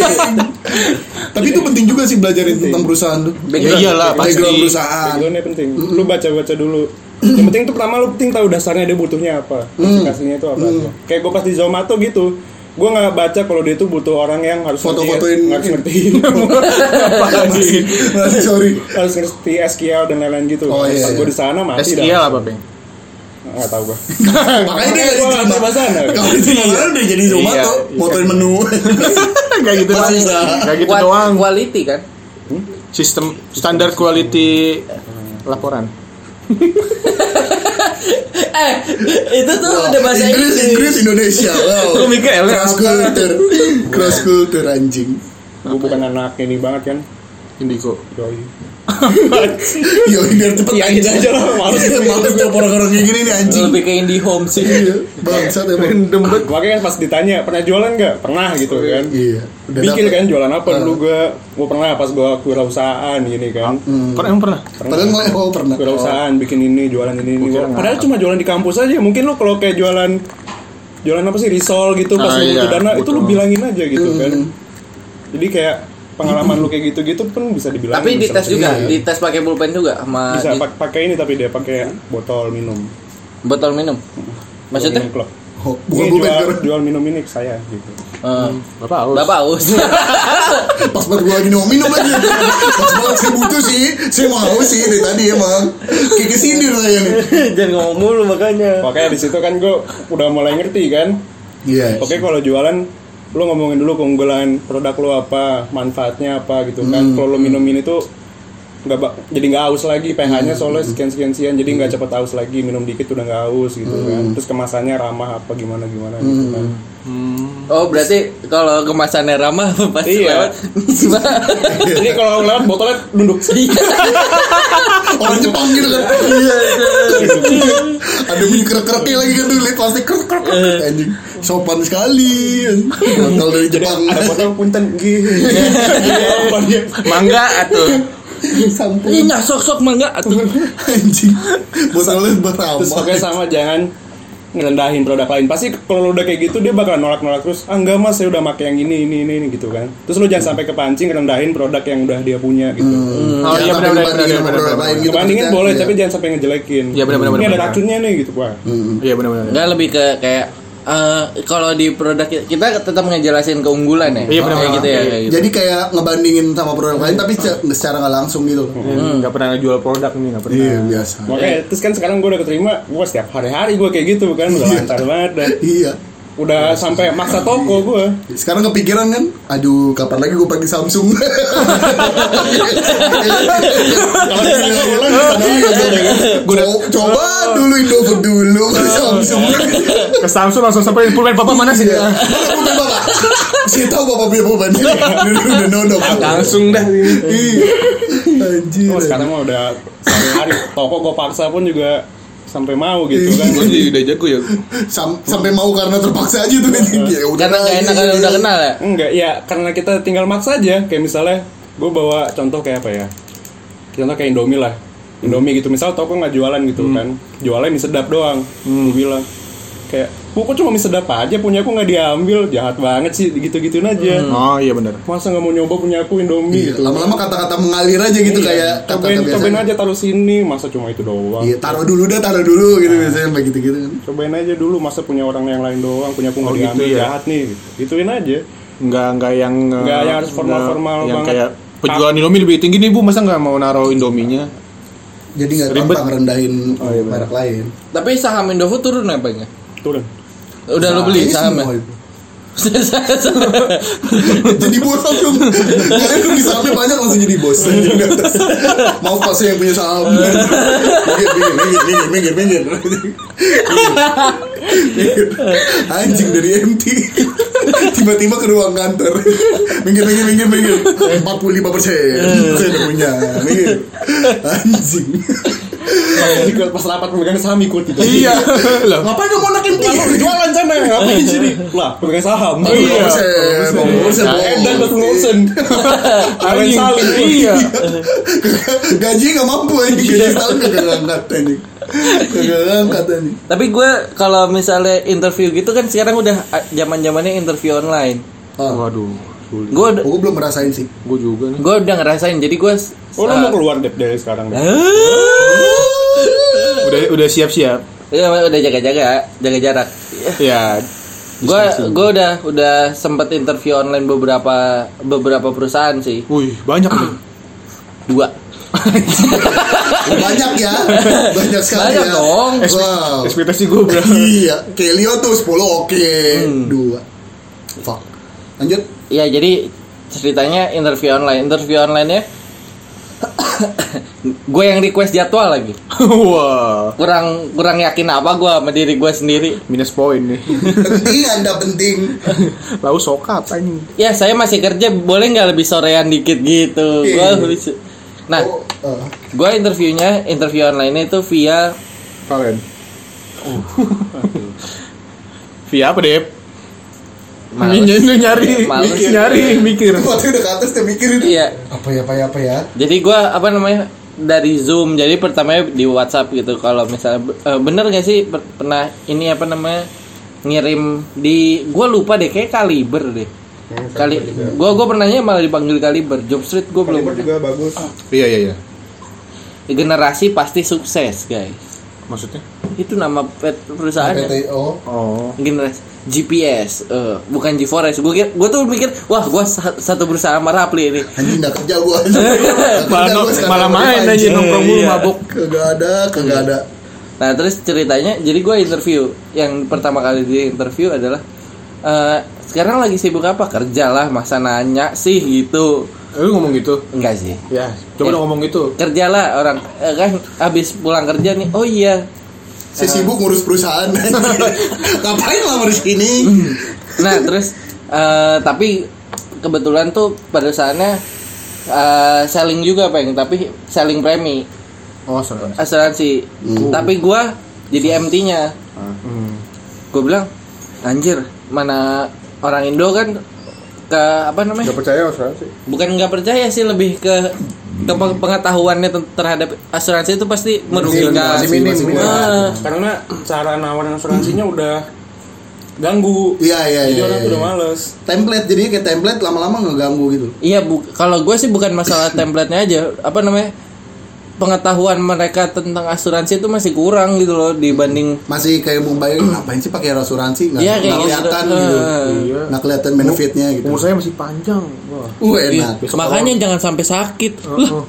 [SPEAKER 3] Tapi itu penting juga sih belajarin tentang perusahaan tuh.
[SPEAKER 4] ya iyalah
[SPEAKER 3] Background
[SPEAKER 4] pasti
[SPEAKER 3] perusahaan.
[SPEAKER 2] Backgroundnya penting. Lu baca-baca dulu. Yang penting tuh pertama lu penting tahu dasarnya dia butuhnya apa,
[SPEAKER 3] Mm.
[SPEAKER 2] aplikasinya itu apa. aja. Kayak gue pas di Zomato gitu, gue nggak baca kalau dia tuh butuh orang yang harus
[SPEAKER 3] Foto-fotoin.
[SPEAKER 2] ngerti- harus ngerti, apa lagi.
[SPEAKER 3] Masih sorry.
[SPEAKER 2] harus ngerti SQL dan lain-lain gitu.
[SPEAKER 3] Oh, iya, iya.
[SPEAKER 2] gue di sana mati
[SPEAKER 4] SQL
[SPEAKER 2] dah.
[SPEAKER 4] apa peng
[SPEAKER 2] Nggak tahu gue.
[SPEAKER 3] Makanya dia
[SPEAKER 2] Makanya
[SPEAKER 3] nggak
[SPEAKER 2] gua nggak
[SPEAKER 3] diterima.
[SPEAKER 2] terima sana.
[SPEAKER 3] Kalau diterima kan udah jadi Zomato,
[SPEAKER 4] Iya,
[SPEAKER 3] fotoin menu.
[SPEAKER 4] kayak gitu doang
[SPEAKER 3] Pasti.
[SPEAKER 4] kayak gitu
[SPEAKER 6] Kuat-
[SPEAKER 4] doang
[SPEAKER 6] Quality kan.
[SPEAKER 4] sistem standar quality laporan
[SPEAKER 6] Eh, itu tuh udah bahasa
[SPEAKER 3] Oh, Inggris, Inggris, Indonesia. Wow.
[SPEAKER 4] Gua mikir, elah,
[SPEAKER 3] cross
[SPEAKER 4] apa?
[SPEAKER 3] culture, cross culture anjing.
[SPEAKER 2] Gue bukan anak ini banget kan.
[SPEAKER 4] indigo
[SPEAKER 2] Doi.
[SPEAKER 3] Yo, biar cepet
[SPEAKER 2] Iya, iya aja lah, males.
[SPEAKER 3] Males tiap orang-orang kayak gini nih anjing.
[SPEAKER 6] Lebih ke indie home sih.
[SPEAKER 3] Iya, bangsat emang.
[SPEAKER 4] random banget
[SPEAKER 2] Makanya kan pas ditanya pernah jualan nggak? Pernah gitu kan.
[SPEAKER 3] Iya. Ah. udah
[SPEAKER 2] Bikin
[SPEAKER 3] dapet.
[SPEAKER 2] kan jualan apa dulu gue? Gue pernah pas gue kewirausahaan gini kan.
[SPEAKER 3] Mm.
[SPEAKER 4] pernah emang pernah
[SPEAKER 3] Padahal mulai oh pernah.
[SPEAKER 2] Kewirausahaan bikin ini jualan ini ini.
[SPEAKER 4] Gua kira
[SPEAKER 2] Padahal cuma jualan di kampus aja. Mungkin lu kalau kayak jualan jualan apa sih risol gitu pas
[SPEAKER 4] Ah,
[SPEAKER 2] lu butuh
[SPEAKER 4] iya,
[SPEAKER 2] dana itu lu
[SPEAKER 4] betul. Hmm.
[SPEAKER 2] bilangin aja gitu kan. Jadi kayak pengalaman lu kayak gitu-gitu pun bisa dibilangin.
[SPEAKER 6] Tapi
[SPEAKER 2] bisa
[SPEAKER 6] dites
[SPEAKER 2] pakai-
[SPEAKER 6] juga, dites pakai pulpen juga sama
[SPEAKER 2] Bisa
[SPEAKER 6] di- Hmm.
[SPEAKER 2] pak- pakai ini tapi dia pakai botol minum.
[SPEAKER 6] botol minum. Maksudnya?
[SPEAKER 2] Minum klok.
[SPEAKER 3] Oh, bukan
[SPEAKER 2] Ini
[SPEAKER 3] bukan
[SPEAKER 2] jual,
[SPEAKER 3] Ger.
[SPEAKER 2] jual minum ini ke saya gitu.
[SPEAKER 6] Eh,
[SPEAKER 4] bapak aus
[SPEAKER 6] Bapak aus.
[SPEAKER 3] Pas banget gua lagi mau minum lagi. Pas banget saya butuh sih. Saya mau sih dari tadi emang. Kayak kesindir saya nih.
[SPEAKER 6] Jangan ngomong mulu makanya.
[SPEAKER 2] Makanya di situ kan gue udah mulai ngerti kan.
[SPEAKER 3] Iya.
[SPEAKER 2] Oke kalau jualan lu ngomongin dulu keunggulan produk lu apa, manfaatnya apa gitu kan. Kalau lu minumin itu nggak ba- jadi nggak haus lagi pH-nya soalnya sekian sekian sekian jadi nggak cepet haus lagi minum dikit udah nggak haus gitu kan terus kemasannya ramah apa gimana gimana gitu kan
[SPEAKER 6] Oh, berarti kalau kemasannya ramah pasti lewat.
[SPEAKER 2] Iya. jadi kalau lewat botolnya dunduk
[SPEAKER 3] Orang Jepang gitu kan. Iya. Ada bunyi krek-kreknya lagi kan dulu pasti krek-krek anjing. Sopan sekali. Kalau dari
[SPEAKER 2] jadi
[SPEAKER 3] Jepang
[SPEAKER 2] ada botol punten gitu Apa dia?
[SPEAKER 4] mangga atuh
[SPEAKER 1] Iya,
[SPEAKER 3] sampul
[SPEAKER 6] Ih, nyasok sok mangga atuh.
[SPEAKER 3] anjing. Botol lu
[SPEAKER 2] terus
[SPEAKER 3] berapa?
[SPEAKER 2] pokoknya sama jangan ngerendahin produk lain pasti kalau lu udah kayak gitu dia bakal nolak nolak terus ah enggak mas saya udah pakai yang ini ini ini ini," gitu kan terus lu
[SPEAKER 4] Hmm.
[SPEAKER 2] jangan sampai kepancing ngerendahin produk yang udah dia punya gitu
[SPEAKER 4] oh iya benar benar benar benar, benar
[SPEAKER 3] benar.
[SPEAKER 2] Ngebandingin boleh,
[SPEAKER 3] iya.
[SPEAKER 2] tapi jangan sampai ngejelekin.
[SPEAKER 4] Iya, benar, benar,
[SPEAKER 2] Ini
[SPEAKER 4] benar,
[SPEAKER 2] ada
[SPEAKER 4] benar.
[SPEAKER 2] racunnya nih gitu, Pak.
[SPEAKER 4] iya benar benar
[SPEAKER 6] Enggak lebih ke kayak eh, kalau di produk kita- kita tetap ngejelasin keunggulan ya.
[SPEAKER 4] Iya, benar,
[SPEAKER 6] Kayak
[SPEAKER 4] benar.
[SPEAKER 6] gitu ya. kayak gitu.
[SPEAKER 3] Jadi kayak ngebandingin sama produk lain tapi ce- secara nggak langsung gitu.
[SPEAKER 6] Hmm.
[SPEAKER 4] nggak pernah jual produk nih nggak pernah
[SPEAKER 3] Iya biasa.
[SPEAKER 2] Makanya terus kan sekarang gue udah keterima, gue setiap hari-hari gue kayak gitu kan udah lancar banget dan
[SPEAKER 3] Iya.
[SPEAKER 2] udah sampai maksa toko gue.
[SPEAKER 3] Sekarang kepikiran kan, aduh kapan lagi gue pakai Samsung. Iya.
[SPEAKER 2] Kalau bisa gue ulang
[SPEAKER 3] Co- coba dulu Indofood dulu baru Samsung.
[SPEAKER 4] ke Samsung langsung sampai pulpen bapak mana sih
[SPEAKER 3] Iya. Mana pulpen bapak? Saya tahu bapak punya pulpen. Udah nodok.
[SPEAKER 4] langsung dah
[SPEAKER 3] Iya. Anjir.
[SPEAKER 4] Iya.
[SPEAKER 2] Oh,
[SPEAKER 6] iya.
[SPEAKER 2] sekarang mah udah sehari-hari toko gue paksa pun juga sampai mau gitu
[SPEAKER 4] Iya.
[SPEAKER 2] kan.
[SPEAKER 4] udah jago ya
[SPEAKER 3] Sam- sampai mau karena terpaksa aja tuh. Ya udah.
[SPEAKER 6] Karena nggak enak kalau udah kenal ya.
[SPEAKER 2] Enggak, ya karena kita tinggal maksa aja. Kayak misalnya gue bawa contoh kayak apa ya? Contoh kayak Indomie lah. Indomie gitu. Misal toko nggak jualan gitu kan. Jualnya mie sedap doang. Gue bilang kayak, "Bu, kok cuma mie sedap aja punya aku nggak diambil? Jahat banget sih gitu-gituin aja."
[SPEAKER 4] oh iya benar
[SPEAKER 2] Masa nggak mau nyoba punya aku Indomie
[SPEAKER 3] Iya,
[SPEAKER 2] gitu.
[SPEAKER 3] Lama-lama kata-kata mengalir aja gitu kayak
[SPEAKER 2] Iya.
[SPEAKER 3] kata-kata
[SPEAKER 2] cobain, cobain
[SPEAKER 3] biasa.
[SPEAKER 2] aja taruh sini, masa cuma itu doang.
[SPEAKER 3] Iya, taruh dulu dah, taruh dulu
[SPEAKER 2] Ah.
[SPEAKER 3] gitu biasanya kayak gitu-gitu kan.
[SPEAKER 2] Cobain aja dulu, masa punya orang yang lain doang, punya aku nggak
[SPEAKER 4] Oh, gitu
[SPEAKER 2] diambil,
[SPEAKER 4] ya.
[SPEAKER 2] jahat nih. Gituin aja.
[SPEAKER 4] nggak nggak yang
[SPEAKER 2] Nggak
[SPEAKER 4] eh,
[SPEAKER 2] yang harus formal-formal
[SPEAKER 4] nggak- yang
[SPEAKER 2] banget.
[SPEAKER 4] kayak penjualan Indomie lebih tinggi nih bu masa nggak mau naruh Indominya
[SPEAKER 3] Jadi nggak
[SPEAKER 4] Ribet.
[SPEAKER 3] gampang rendahin
[SPEAKER 2] Oh, iya,
[SPEAKER 3] merek lain.
[SPEAKER 6] Tapi saham Indofood turun apa ya?
[SPEAKER 2] Turun.
[SPEAKER 6] Udah lo beli ya?
[SPEAKER 1] ya?
[SPEAKER 3] Kayaknya semua
[SPEAKER 6] sahamnya.
[SPEAKER 3] itu. jadi bos dong. Jadi lu di sahamnya banyak langsung jadi bos. Jadi di atas. Maaf pak saya yang punya saham.
[SPEAKER 2] Ah.
[SPEAKER 3] Minggir, minggir, minggir, minggir, minggir, minggir. Minggir. Anjing dari MT Tiba-tiba ke ruang kantor Minggir, minggir, minggir, minggir 45 persen Saya udah punya Minggir Anjing
[SPEAKER 4] pas, ikut pas rapat pemegang saham ikut gitu
[SPEAKER 2] iya loh
[SPEAKER 3] Ngapain lu mau naikin
[SPEAKER 4] Lah, lu jualan sana ngapain sini lah pemegang saham
[SPEAKER 3] Iya. Mau ngurusin,
[SPEAKER 4] Nah,
[SPEAKER 3] mau
[SPEAKER 4] edan pas
[SPEAKER 3] ngurusin.
[SPEAKER 4] ngurusin Kalian
[SPEAKER 2] Anjing.
[SPEAKER 4] saling
[SPEAKER 2] iya
[SPEAKER 3] Gaji nggak mampu aja gaji salam kagak angkat ini. Kagak angkat ini.
[SPEAKER 1] Tapi gue kalau misalnya interview gitu kan sekarang udah ah, zaman-zamannya interview online.
[SPEAKER 3] Ah,
[SPEAKER 2] waduh sulit
[SPEAKER 1] Gue udah-
[SPEAKER 3] gue belum merasain sih.
[SPEAKER 2] gue juga nih
[SPEAKER 1] gue udah ngerasain jadi gue
[SPEAKER 4] oh
[SPEAKER 6] eh,
[SPEAKER 4] lu mau keluar deh dari sekarang deh
[SPEAKER 2] udah udah siap-siap
[SPEAKER 1] ya udah jaga-jaga, jaga jarak.
[SPEAKER 2] ya
[SPEAKER 1] Gue gue udah udah sempat interview online beberapa beberapa perusahaan sih.
[SPEAKER 2] wih banyak nih
[SPEAKER 1] Dua.
[SPEAKER 3] Banyak ya. Banyak sekali
[SPEAKER 1] Banyak
[SPEAKER 3] ya.
[SPEAKER 1] dong.
[SPEAKER 3] Wow.
[SPEAKER 2] ekspektasi gue berapa
[SPEAKER 3] Iya, Kelio tuh 10 oke, dua. Fuck. Lanjut.
[SPEAKER 1] Ya jadi ceritanya interview online, interview online ya. gue yang request jadwal lagi.
[SPEAKER 2] wah
[SPEAKER 1] Kurang kurang yakin apa gue sama diri gue sendiri.
[SPEAKER 2] minus poin nih
[SPEAKER 3] Penting Anda iya, penting.
[SPEAKER 2] lalu sokap anjing
[SPEAKER 1] Ya saya masih kerja, boleh nggak lebih sorean dikit gitu.
[SPEAKER 3] Iya.
[SPEAKER 1] Gua habis- Nah,
[SPEAKER 3] Oh, eh,
[SPEAKER 1] gue interviewnya interview online itu via
[SPEAKER 2] kalian via apa deh
[SPEAKER 1] Males.
[SPEAKER 2] Nyari, nyari,
[SPEAKER 1] Males.
[SPEAKER 2] mikir, nyari, mikir.
[SPEAKER 3] waktu udah ke atas dia mikir itu.
[SPEAKER 1] Iya.
[SPEAKER 3] Apa ya, apa ya, apa ya?
[SPEAKER 1] Jadi gua apa namanya dari Zoom. Jadi pertamanya di WhatsApp gitu. Kalau misalnya eh, bener gak sih per- pernah ini apa namanya ngirim di gua lupa deh kayak kaliber deh. Kali gua gua pernahnya malah dipanggil kaliber. Job Street gua belum. pernah.
[SPEAKER 4] juga bagus
[SPEAKER 2] Iya, iya, iya.
[SPEAKER 1] Generasi pasti sukses, guys.
[SPEAKER 2] Maksudnya?
[SPEAKER 1] Itu nama pet- perusahaannya.
[SPEAKER 3] PTO.
[SPEAKER 2] Oh.
[SPEAKER 1] generasi GPS eh, bukan GeForce gue gue tuh mikir wah gue satu berusaha sama Rapli ini
[SPEAKER 3] Anjing nggak kerja gua. Nggak kerja
[SPEAKER 2] Malah,
[SPEAKER 3] gua sekarang.
[SPEAKER 2] malah main aja nongkrong mulu mabuk.
[SPEAKER 3] Kagak ada, kagak ada.
[SPEAKER 1] nah terus ceritanya jadi gue interview yang pertama kali di interview adalah eh, sekarang lagi sibuk apa kerjalah masa nanya sih gitu
[SPEAKER 2] Eh, Lu ngomong gitu?
[SPEAKER 1] enggak sih
[SPEAKER 2] Ya, coba
[SPEAKER 1] Ya.
[SPEAKER 2] dong ngomong gitu.
[SPEAKER 1] kerjalah orang eh, kan habis pulang kerja nih oh iya
[SPEAKER 3] Saya sibuk ngurus perusahaan. Ngapain lama di sini?
[SPEAKER 1] nah terus eh, tapi kebetulan tuh pada saatnya eh, selling juga peng tapi selling premi
[SPEAKER 2] Oh, sorry.
[SPEAKER 1] asuransi
[SPEAKER 3] Hmm.
[SPEAKER 1] tapi gua jadi MT-nya gue bilang anjir mana orang Indo kan ke apa namanya
[SPEAKER 2] percaya asuransi.
[SPEAKER 1] bukan nggak percaya sih lebih ke ke pe- pengetahuannya ten- terhadap asuransi itu pasti merugikan
[SPEAKER 3] masih minim,
[SPEAKER 1] Nah,
[SPEAKER 3] minim.
[SPEAKER 4] karena cara nawarin asuransinya udah ganggu
[SPEAKER 3] Iya, iya,
[SPEAKER 4] jadi
[SPEAKER 3] iya.
[SPEAKER 4] orang
[SPEAKER 3] iya.
[SPEAKER 4] udah males
[SPEAKER 3] Template jadi kayak template lama-lama ngeganggu gitu.
[SPEAKER 1] iya bu kalau gue sih bukan masalah template-nya aja apa namanya pengetahuan mereka tentang asuransi itu masih kurang gitu loh dibanding
[SPEAKER 3] Masih kayak Mumbai ngapain sih pakai asuransi nggak
[SPEAKER 1] Iya, kayak
[SPEAKER 3] nggak
[SPEAKER 1] gitu.
[SPEAKER 3] kelihatan
[SPEAKER 1] Eh.
[SPEAKER 3] gitu.
[SPEAKER 2] Iya.
[SPEAKER 3] Nggak kelihatan benefitnya gitu.
[SPEAKER 2] Umur saya masih panjang. Wah.
[SPEAKER 3] Uh,
[SPEAKER 1] Iya.
[SPEAKER 3] enak.
[SPEAKER 1] makanya jangan sampai sakit
[SPEAKER 2] Oh,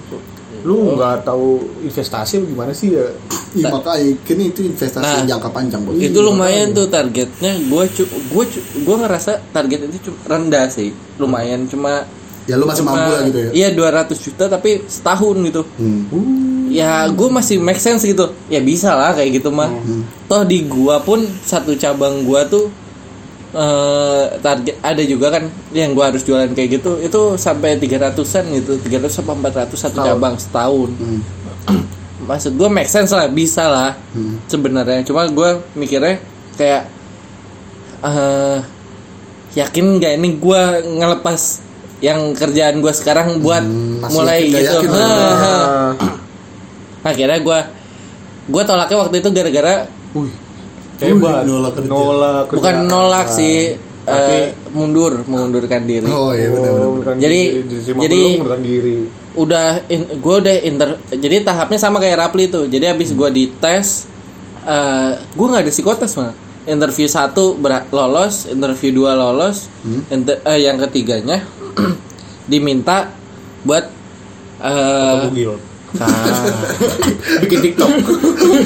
[SPEAKER 2] Lu nggak tahu investasi apa gimana sih ya?
[SPEAKER 3] Iya, makanya kini itu investasi
[SPEAKER 1] Nah,
[SPEAKER 3] yang jangka panjang, Bos.
[SPEAKER 1] itu lumayan tuh targetnya gue gue gue ngerasa target itu cu- rendah sih lumayan cuma
[SPEAKER 3] Ya lu masih mampu lah gitu
[SPEAKER 1] iya
[SPEAKER 3] ya.
[SPEAKER 1] 200 juta tapi setahun gitu
[SPEAKER 3] Hmm.
[SPEAKER 1] ya gue masih make sense gitu ya bisa lah kayak gitu mah
[SPEAKER 3] Hmm.
[SPEAKER 1] toh di gua pun satu cabang gua tuh eh target ada juga kan yang gua harus jualan kayak gitu itu sampai 300-an gitu 300 sampai 400 satu cabang setahun
[SPEAKER 3] Hmm.
[SPEAKER 1] maksud gue make sense lah bisa lah
[SPEAKER 3] Hmm.
[SPEAKER 1] sebenarnya cuma gue mikirnya kayak eh yakin nggak ini gue ngelepas yang kerjaan gue sekarang buat
[SPEAKER 3] Hmm, masih
[SPEAKER 1] mulai
[SPEAKER 3] yakin nggak
[SPEAKER 1] gitu
[SPEAKER 3] yakin lah.
[SPEAKER 1] Ha, ha. akhirnya gue gue tolaknya waktu itu gara-gara
[SPEAKER 2] Wih.
[SPEAKER 3] Wih, nolak kerja.
[SPEAKER 2] Nolak kerja.
[SPEAKER 1] bukan nolak sih eh,
[SPEAKER 2] Tapi-
[SPEAKER 1] mundur mengundurkan diri
[SPEAKER 3] Oh iya benar benar.
[SPEAKER 2] Oh, bukan
[SPEAKER 1] Jadi-
[SPEAKER 2] diri, diterima
[SPEAKER 1] jadi-
[SPEAKER 2] belum, bukan diri.
[SPEAKER 1] udah gue udah inter jadi tahapnya sama kayak Rapli tuh jadi abis gue dites eh gue nggak ada psikotes mah interview satu ber- lolos interview dua lolos inter- eh, yang ketiganya diminta buat eh
[SPEAKER 2] Kan.
[SPEAKER 1] ah,
[SPEAKER 2] Bikin TikTok.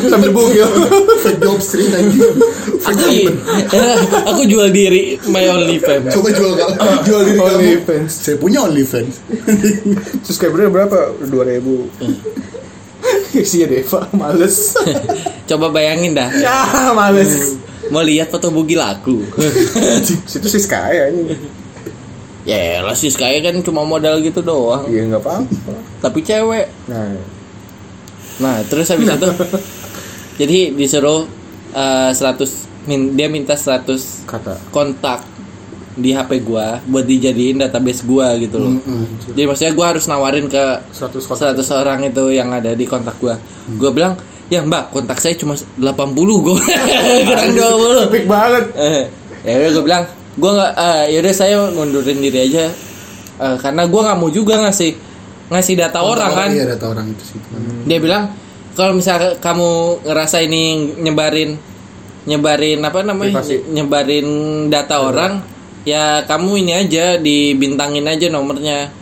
[SPEAKER 2] Sambil bugil.
[SPEAKER 1] Oh.
[SPEAKER 3] Fake job street aja.
[SPEAKER 1] aku, aku jual diri my only fans
[SPEAKER 3] Coba jual kamu, jual diri kamu.
[SPEAKER 2] OnlyFans.
[SPEAKER 3] Saya punya OnlyFans.
[SPEAKER 2] Subscribernya berapa? 2000. Isinya Deva, males.
[SPEAKER 1] coba bayangin dah
[SPEAKER 2] ya, males.
[SPEAKER 1] mau lihat foto bugil aku
[SPEAKER 2] Situ sih kaya ini.
[SPEAKER 1] ya lah sis kayak kan cuma modal gitu doang
[SPEAKER 2] Iya, enggak apa-apa.
[SPEAKER 1] tapi cewek
[SPEAKER 2] Nah,
[SPEAKER 1] Nah, terus habis itu jadi disuruh eh, 100 min- dia minta 100
[SPEAKER 4] Kata.
[SPEAKER 1] kontak di HP gua buat dijadiin database gua gitu loh. Jadi maksudnya gua harus nawarin ke
[SPEAKER 4] 100
[SPEAKER 1] 100 orang itu yang ada di kontak gua. Gua bilang, "Ya, Mbak, kontak saya cuma 80 gua." Kurang 20.
[SPEAKER 4] Epic banget.
[SPEAKER 1] Eh, ya udah gue bilang gue nggak eh, ya udah saya ngundurin diri aja Eh, karena gue nggak mau juga ngasih ngasih data orang kan
[SPEAKER 3] Iya data orang itu sih.
[SPEAKER 1] dia bilang kalau misal kamu ngerasa ini nyebarin nyebarin apa namanya nyebarin
[SPEAKER 3] Iya.
[SPEAKER 1] data orang ya kamu ini aja dibintangin aja nomornya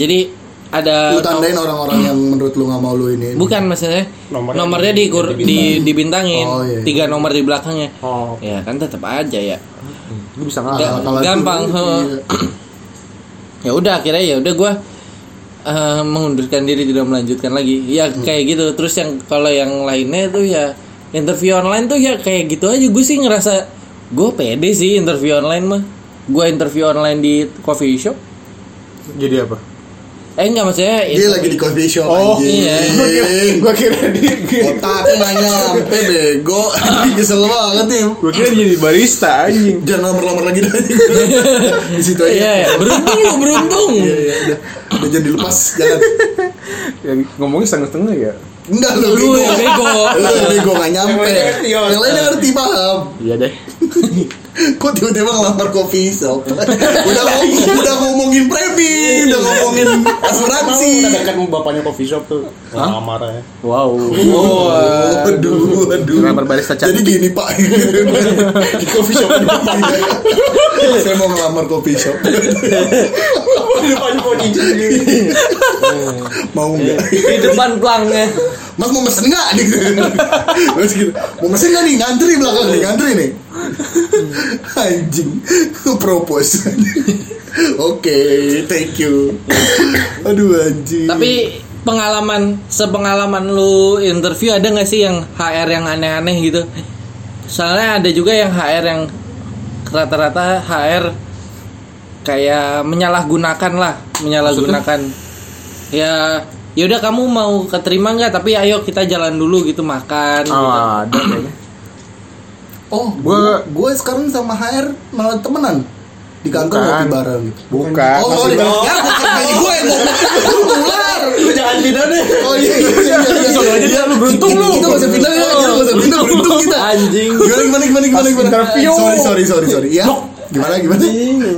[SPEAKER 1] jadi ada
[SPEAKER 3] Lu tandain orang-orang yang menurut lu nggak mau lu
[SPEAKER 1] Eh,
[SPEAKER 3] ini.
[SPEAKER 1] bukan maksudnya
[SPEAKER 2] Nomornya
[SPEAKER 1] nomornya, di, di dibintangin
[SPEAKER 3] Oh, iya.
[SPEAKER 1] tiga nomor di belakangnya
[SPEAKER 4] Oh,
[SPEAKER 1] ya kan tetap aja ya
[SPEAKER 4] gue bisa
[SPEAKER 3] Ah,
[SPEAKER 4] ngalah.
[SPEAKER 1] Ga-
[SPEAKER 3] kalau itu-
[SPEAKER 1] gampang, heeh.
[SPEAKER 3] iya.
[SPEAKER 1] ya udah akhirnya ya udah gue eh, mengundurkan diri tidak melanjutkan lagi ya
[SPEAKER 3] Hmm.
[SPEAKER 1] kayak gitu terus yang kalau yang lainnya tuh ya interview online tuh ya kayak gitu aja gue sih ngerasa gue pede sih interview online mah gue interview online di coffee shop
[SPEAKER 4] Jadi apa?
[SPEAKER 1] eh enggak maksudnya
[SPEAKER 3] Dia lagi di coffee shop
[SPEAKER 4] Oh,
[SPEAKER 3] anjing.
[SPEAKER 1] iya.
[SPEAKER 4] Gue kira di
[SPEAKER 3] Otaknya nggak nyampe bego. Anjing, Kesel banget nih.
[SPEAKER 4] gue kira dia jadi barista anjing.
[SPEAKER 3] Jangan nomor-nomor lagi dah. di situ aja.
[SPEAKER 1] Iya, iya. beruntung lu beruntung
[SPEAKER 3] Iya, iya, udah. Udah jangan dilepas, jangan.
[SPEAKER 4] Ya, ngomongnya setengah-setengah ya.
[SPEAKER 3] Enggak lu
[SPEAKER 1] lu
[SPEAKER 3] bego.
[SPEAKER 1] yang bego
[SPEAKER 3] Lu ya, bego nggak
[SPEAKER 2] Yang
[SPEAKER 3] nyampe.
[SPEAKER 2] lainnya ngerti, Yon.
[SPEAKER 3] Yang lainnya ngerti paham.
[SPEAKER 4] Iya deh.
[SPEAKER 3] Kok tiba-tiba ngelamar coffee shop? udah ngomong, udah ngomongin premi, udah ngomongin asuransi.
[SPEAKER 2] Mau udah dekat sama bapaknya coffee shop tuh. Ngelamar ya.
[SPEAKER 4] Wow.
[SPEAKER 3] Waduh, waduh.
[SPEAKER 4] Ngelamar barista
[SPEAKER 3] Jadi
[SPEAKER 4] cantik.
[SPEAKER 3] gini pak, di coffee shop di depan. Saya mau ngelamar coffee shop.
[SPEAKER 2] Di depannya kok cincin gini.
[SPEAKER 3] Mau nggak?
[SPEAKER 1] di depan pelangnya
[SPEAKER 3] Mas mau mesen nggak? Gitu. Mas gitu. Mau mesen nggak nih? Ngantri belakang nih, ngantri nih. Anjing, propose. Oke, thank you. Aduh anjing.
[SPEAKER 1] tapi pengalaman sepengalaman lu interview ada nggak sih yang HR yang aneh-aneh gitu soalnya ada juga yang HR yang rata-rata HR kayak menyalahgunakan lah menyalahgunakan ya yaudah kamu mau keterima nggak tapi ayo kita jalan dulu gitu makan gitu.
[SPEAKER 4] Ah, ada kayaknya.
[SPEAKER 3] Oh,
[SPEAKER 4] Gua-
[SPEAKER 3] gua gua sekarang sama HR malah temenan di kantor
[SPEAKER 4] Bukan.
[SPEAKER 3] ngopi bareng gitu.
[SPEAKER 4] Bukan.
[SPEAKER 3] Oh, sorry.
[SPEAKER 4] Maksud-
[SPEAKER 3] Ya, bukan gue yang ngomong. Lu ular.
[SPEAKER 2] Lu jangan pindah deh.
[SPEAKER 3] Oh iya iya iya.
[SPEAKER 4] Sorry aja,
[SPEAKER 3] iya.
[SPEAKER 4] lu beruntung
[SPEAKER 3] Kita-
[SPEAKER 4] lu.
[SPEAKER 3] Kita masih pindah ya, kita masih pindah beruntung kita.
[SPEAKER 4] Anjing.
[SPEAKER 3] Gimana gimana gimana gimana gimana.
[SPEAKER 4] interview.
[SPEAKER 3] Sorry sorry sorry sorry ya. Gimana gimana?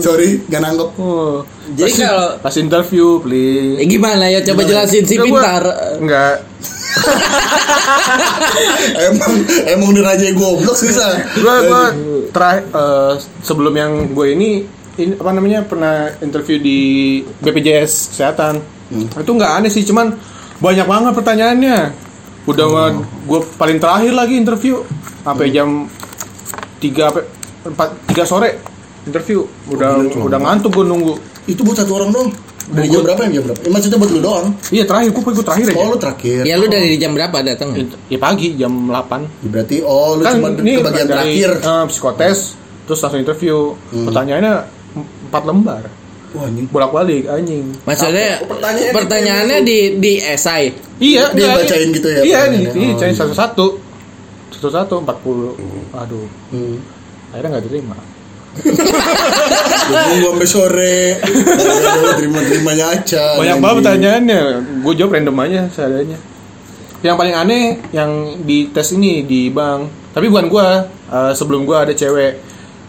[SPEAKER 3] Sorry, gak nanggep.
[SPEAKER 4] Oh.
[SPEAKER 1] jadi
[SPEAKER 4] Pas-
[SPEAKER 1] kalau
[SPEAKER 4] pas interview, please.
[SPEAKER 1] Eh, gimana ya coba jelasin si
[SPEAKER 4] Enggak, gua-
[SPEAKER 1] pintar
[SPEAKER 4] Enggak.
[SPEAKER 3] Emang emang diraja goblok susah.
[SPEAKER 4] Gua gua terakhir eh, sebelum yang gue ini ini apa namanya pernah interview di BPJS kesehatan.
[SPEAKER 3] Hmm.
[SPEAKER 4] Itu nggak aneh sih, cuman banyak banget pertanyaannya. Udah
[SPEAKER 3] Hmm.
[SPEAKER 4] gue paling terakhir lagi interview sampai jam 3 apa 4 3 sore interview.
[SPEAKER 3] Oh,
[SPEAKER 4] Udah
[SPEAKER 3] gitu.
[SPEAKER 4] udah ngantuk gue nunggu.
[SPEAKER 3] Itu buat satu orang doang. Dari jam berapa ya jam berapa? Eh, maksudnya buat lu doang.
[SPEAKER 4] Iya, terakhir gue gue terakhir aja.
[SPEAKER 3] Oh lu terakhir.
[SPEAKER 1] ya lu dari jam berapa datang
[SPEAKER 4] Ya pagi jam 8.
[SPEAKER 3] Berarti oh lu cuma ke bagian
[SPEAKER 4] dari,
[SPEAKER 3] terakhir. Hmm.
[SPEAKER 4] eh, psikotes terus langsung interview pertanyaannya empat lembar
[SPEAKER 3] Wah anjing.
[SPEAKER 4] bolak balik anjing
[SPEAKER 1] maksudnya
[SPEAKER 2] Pertanyaannya di-
[SPEAKER 1] pertanyaannya di di esai
[SPEAKER 4] iya
[SPEAKER 3] Dia
[SPEAKER 4] enggak,
[SPEAKER 3] bacain
[SPEAKER 4] iya.
[SPEAKER 3] gitu ya,
[SPEAKER 4] iya
[SPEAKER 3] pertanyaannya.
[SPEAKER 4] di-
[SPEAKER 3] Oh,
[SPEAKER 4] dibacain
[SPEAKER 3] iya.
[SPEAKER 4] satu satu satu satu empat puluh aduh
[SPEAKER 3] Hmm.
[SPEAKER 4] akhirnya nggak diterima
[SPEAKER 3] Nunggu sampai sore. Aduh, Terima-terimanya aja.
[SPEAKER 4] banyak banget pertanyaannya gue jawab random aja seadanya yang paling aneh yang di tes ini di bank tapi bukan gue sebelum gue ada cewek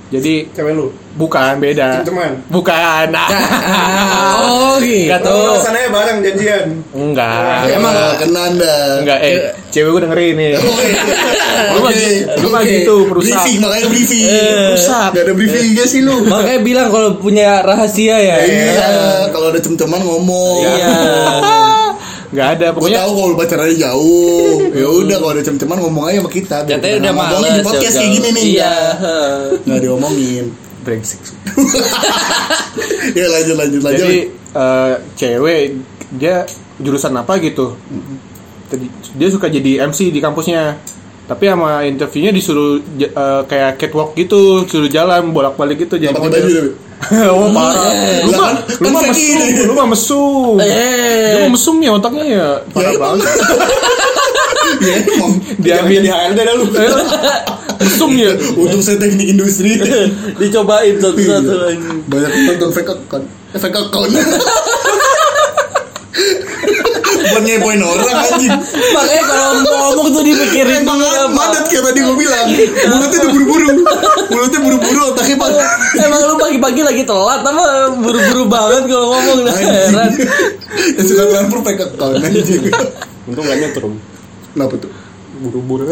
[SPEAKER 4] jadi
[SPEAKER 2] Cewek lu.
[SPEAKER 4] bukan beda
[SPEAKER 2] Cem-ceman.
[SPEAKER 4] bukan
[SPEAKER 3] Nah.
[SPEAKER 1] Ah, oh
[SPEAKER 4] Enggak
[SPEAKER 1] gitu.
[SPEAKER 4] tahu.
[SPEAKER 2] Lu sana ya bareng janjian.
[SPEAKER 4] enggak
[SPEAKER 3] Emang kena anda.
[SPEAKER 4] Enggak, eh, cewek gue dengerin nih. Lu mah gitu- lu mah gitu, perusak.
[SPEAKER 3] Briefing, makanya briefing.
[SPEAKER 4] Eh. perusak.
[SPEAKER 3] Gak ada briefingnya sih lu.
[SPEAKER 1] Makanya bilang kalau punya rahasia ya.
[SPEAKER 4] Eh.
[SPEAKER 3] Iya, kalau ada cem-ceman ngomong.
[SPEAKER 1] Iya.
[SPEAKER 4] Enggak ada,
[SPEAKER 3] Gue
[SPEAKER 4] pokoknya
[SPEAKER 3] tahu kalau lu pacarannya jauh. Ya udah kalau ada cem-ceman ngomong aja sama kita. biar
[SPEAKER 1] Katanya
[SPEAKER 3] kita
[SPEAKER 1] udah
[SPEAKER 3] ngomongin
[SPEAKER 1] males.
[SPEAKER 3] di podcast
[SPEAKER 1] udah-
[SPEAKER 3] kayak gini nih.
[SPEAKER 1] Iya.
[SPEAKER 3] Nggak diomongin.
[SPEAKER 4] brengsek.
[SPEAKER 3] Ya lanjut lanjut lanjut.
[SPEAKER 4] Jadi eh, cewek dia jurusan apa gitu. Jadi, Dia suka jadi MC di kampusnya. Tapi sama interviewnya disuruh j- eh, kayak catwalk gitu, suruh jalan bolak-balik gitu jadi
[SPEAKER 3] Gak pakai baju tapi.
[SPEAKER 4] oh, parah. Lu mah
[SPEAKER 3] Kan-
[SPEAKER 4] lu mah
[SPEAKER 3] kan kayak
[SPEAKER 4] mesum,
[SPEAKER 1] Iya.
[SPEAKER 3] gini. Eh,
[SPEAKER 1] Eh.
[SPEAKER 4] lu mah mesum. Lu mah mesum ya otaknya ya. Parah
[SPEAKER 3] emang.
[SPEAKER 4] banget.
[SPEAKER 3] Iya emang.
[SPEAKER 2] Diambil
[SPEAKER 4] Diambil.
[SPEAKER 3] ya.
[SPEAKER 2] di HRD dah lu.
[SPEAKER 4] Zoom ya.
[SPEAKER 3] Untung saya teknik industri.
[SPEAKER 1] Dicobain satu-satu
[SPEAKER 3] Iya.
[SPEAKER 1] lagi.
[SPEAKER 3] Banyak nonton fake account. Eh, Fake account. Buat ngepoin orang anjing.
[SPEAKER 1] Makanya kalau ngomong tuh dipikirin
[SPEAKER 3] Emang
[SPEAKER 1] dulu apa.
[SPEAKER 3] padat kayak tadi gue bilang. Mulutnya udah buru-buru. Mulutnya buru-buru, otaknya padat.
[SPEAKER 1] Emang lu pagi-pagi lagi telat apa buru-buru banget kalau ngomong dah
[SPEAKER 3] Anjing. Ya,
[SPEAKER 1] heran.
[SPEAKER 3] Yang suka transfer fake account anjing.
[SPEAKER 2] Untung gak nyetrum.
[SPEAKER 3] Kenapa tuh?
[SPEAKER 2] Buru-buru.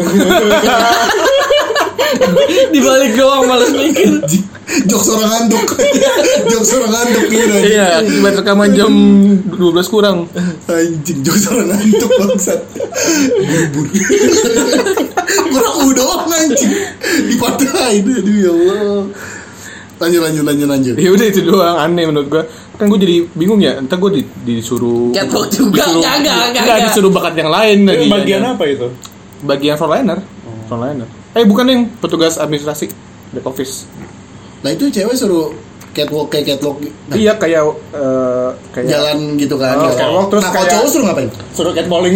[SPEAKER 1] Dibalik doang males mikir.
[SPEAKER 3] Anjing. Jokes orang ngantuk. Jokes orang ngantuk nih anjing.
[SPEAKER 4] Iya, akibat rekaman jam 12 kurang.
[SPEAKER 3] Anjing, jokes orang ngantuk bangsat. Buru-buru. Kurang u doang anjing. Dipatahin aduh ya Allah. Lanjut lanjut lanjut lanjut.
[SPEAKER 4] Ya udah itu doang aneh menurut gua. Kan gua jadi bingung ya, entar gua di- disuruh
[SPEAKER 1] Catwalk juga
[SPEAKER 4] disuruh-
[SPEAKER 1] enggak enggak enggak.
[SPEAKER 4] Enggak, disuruh bakat yang lain lagi. kan.
[SPEAKER 2] Bagian apa itu?
[SPEAKER 4] Bagian frontliner. Frontliner. Eh bukan yang petugas administrasi back office.
[SPEAKER 3] Nah itu cewek suruh catwalk kayak catwalk nah,
[SPEAKER 4] Iya kayak eh, kayak
[SPEAKER 3] jalan gitu kan.
[SPEAKER 4] Oh, catwalk, terus
[SPEAKER 3] nah, kalau
[SPEAKER 4] kayak-
[SPEAKER 3] cowok suruh ngapain?
[SPEAKER 2] Suruh catcalling.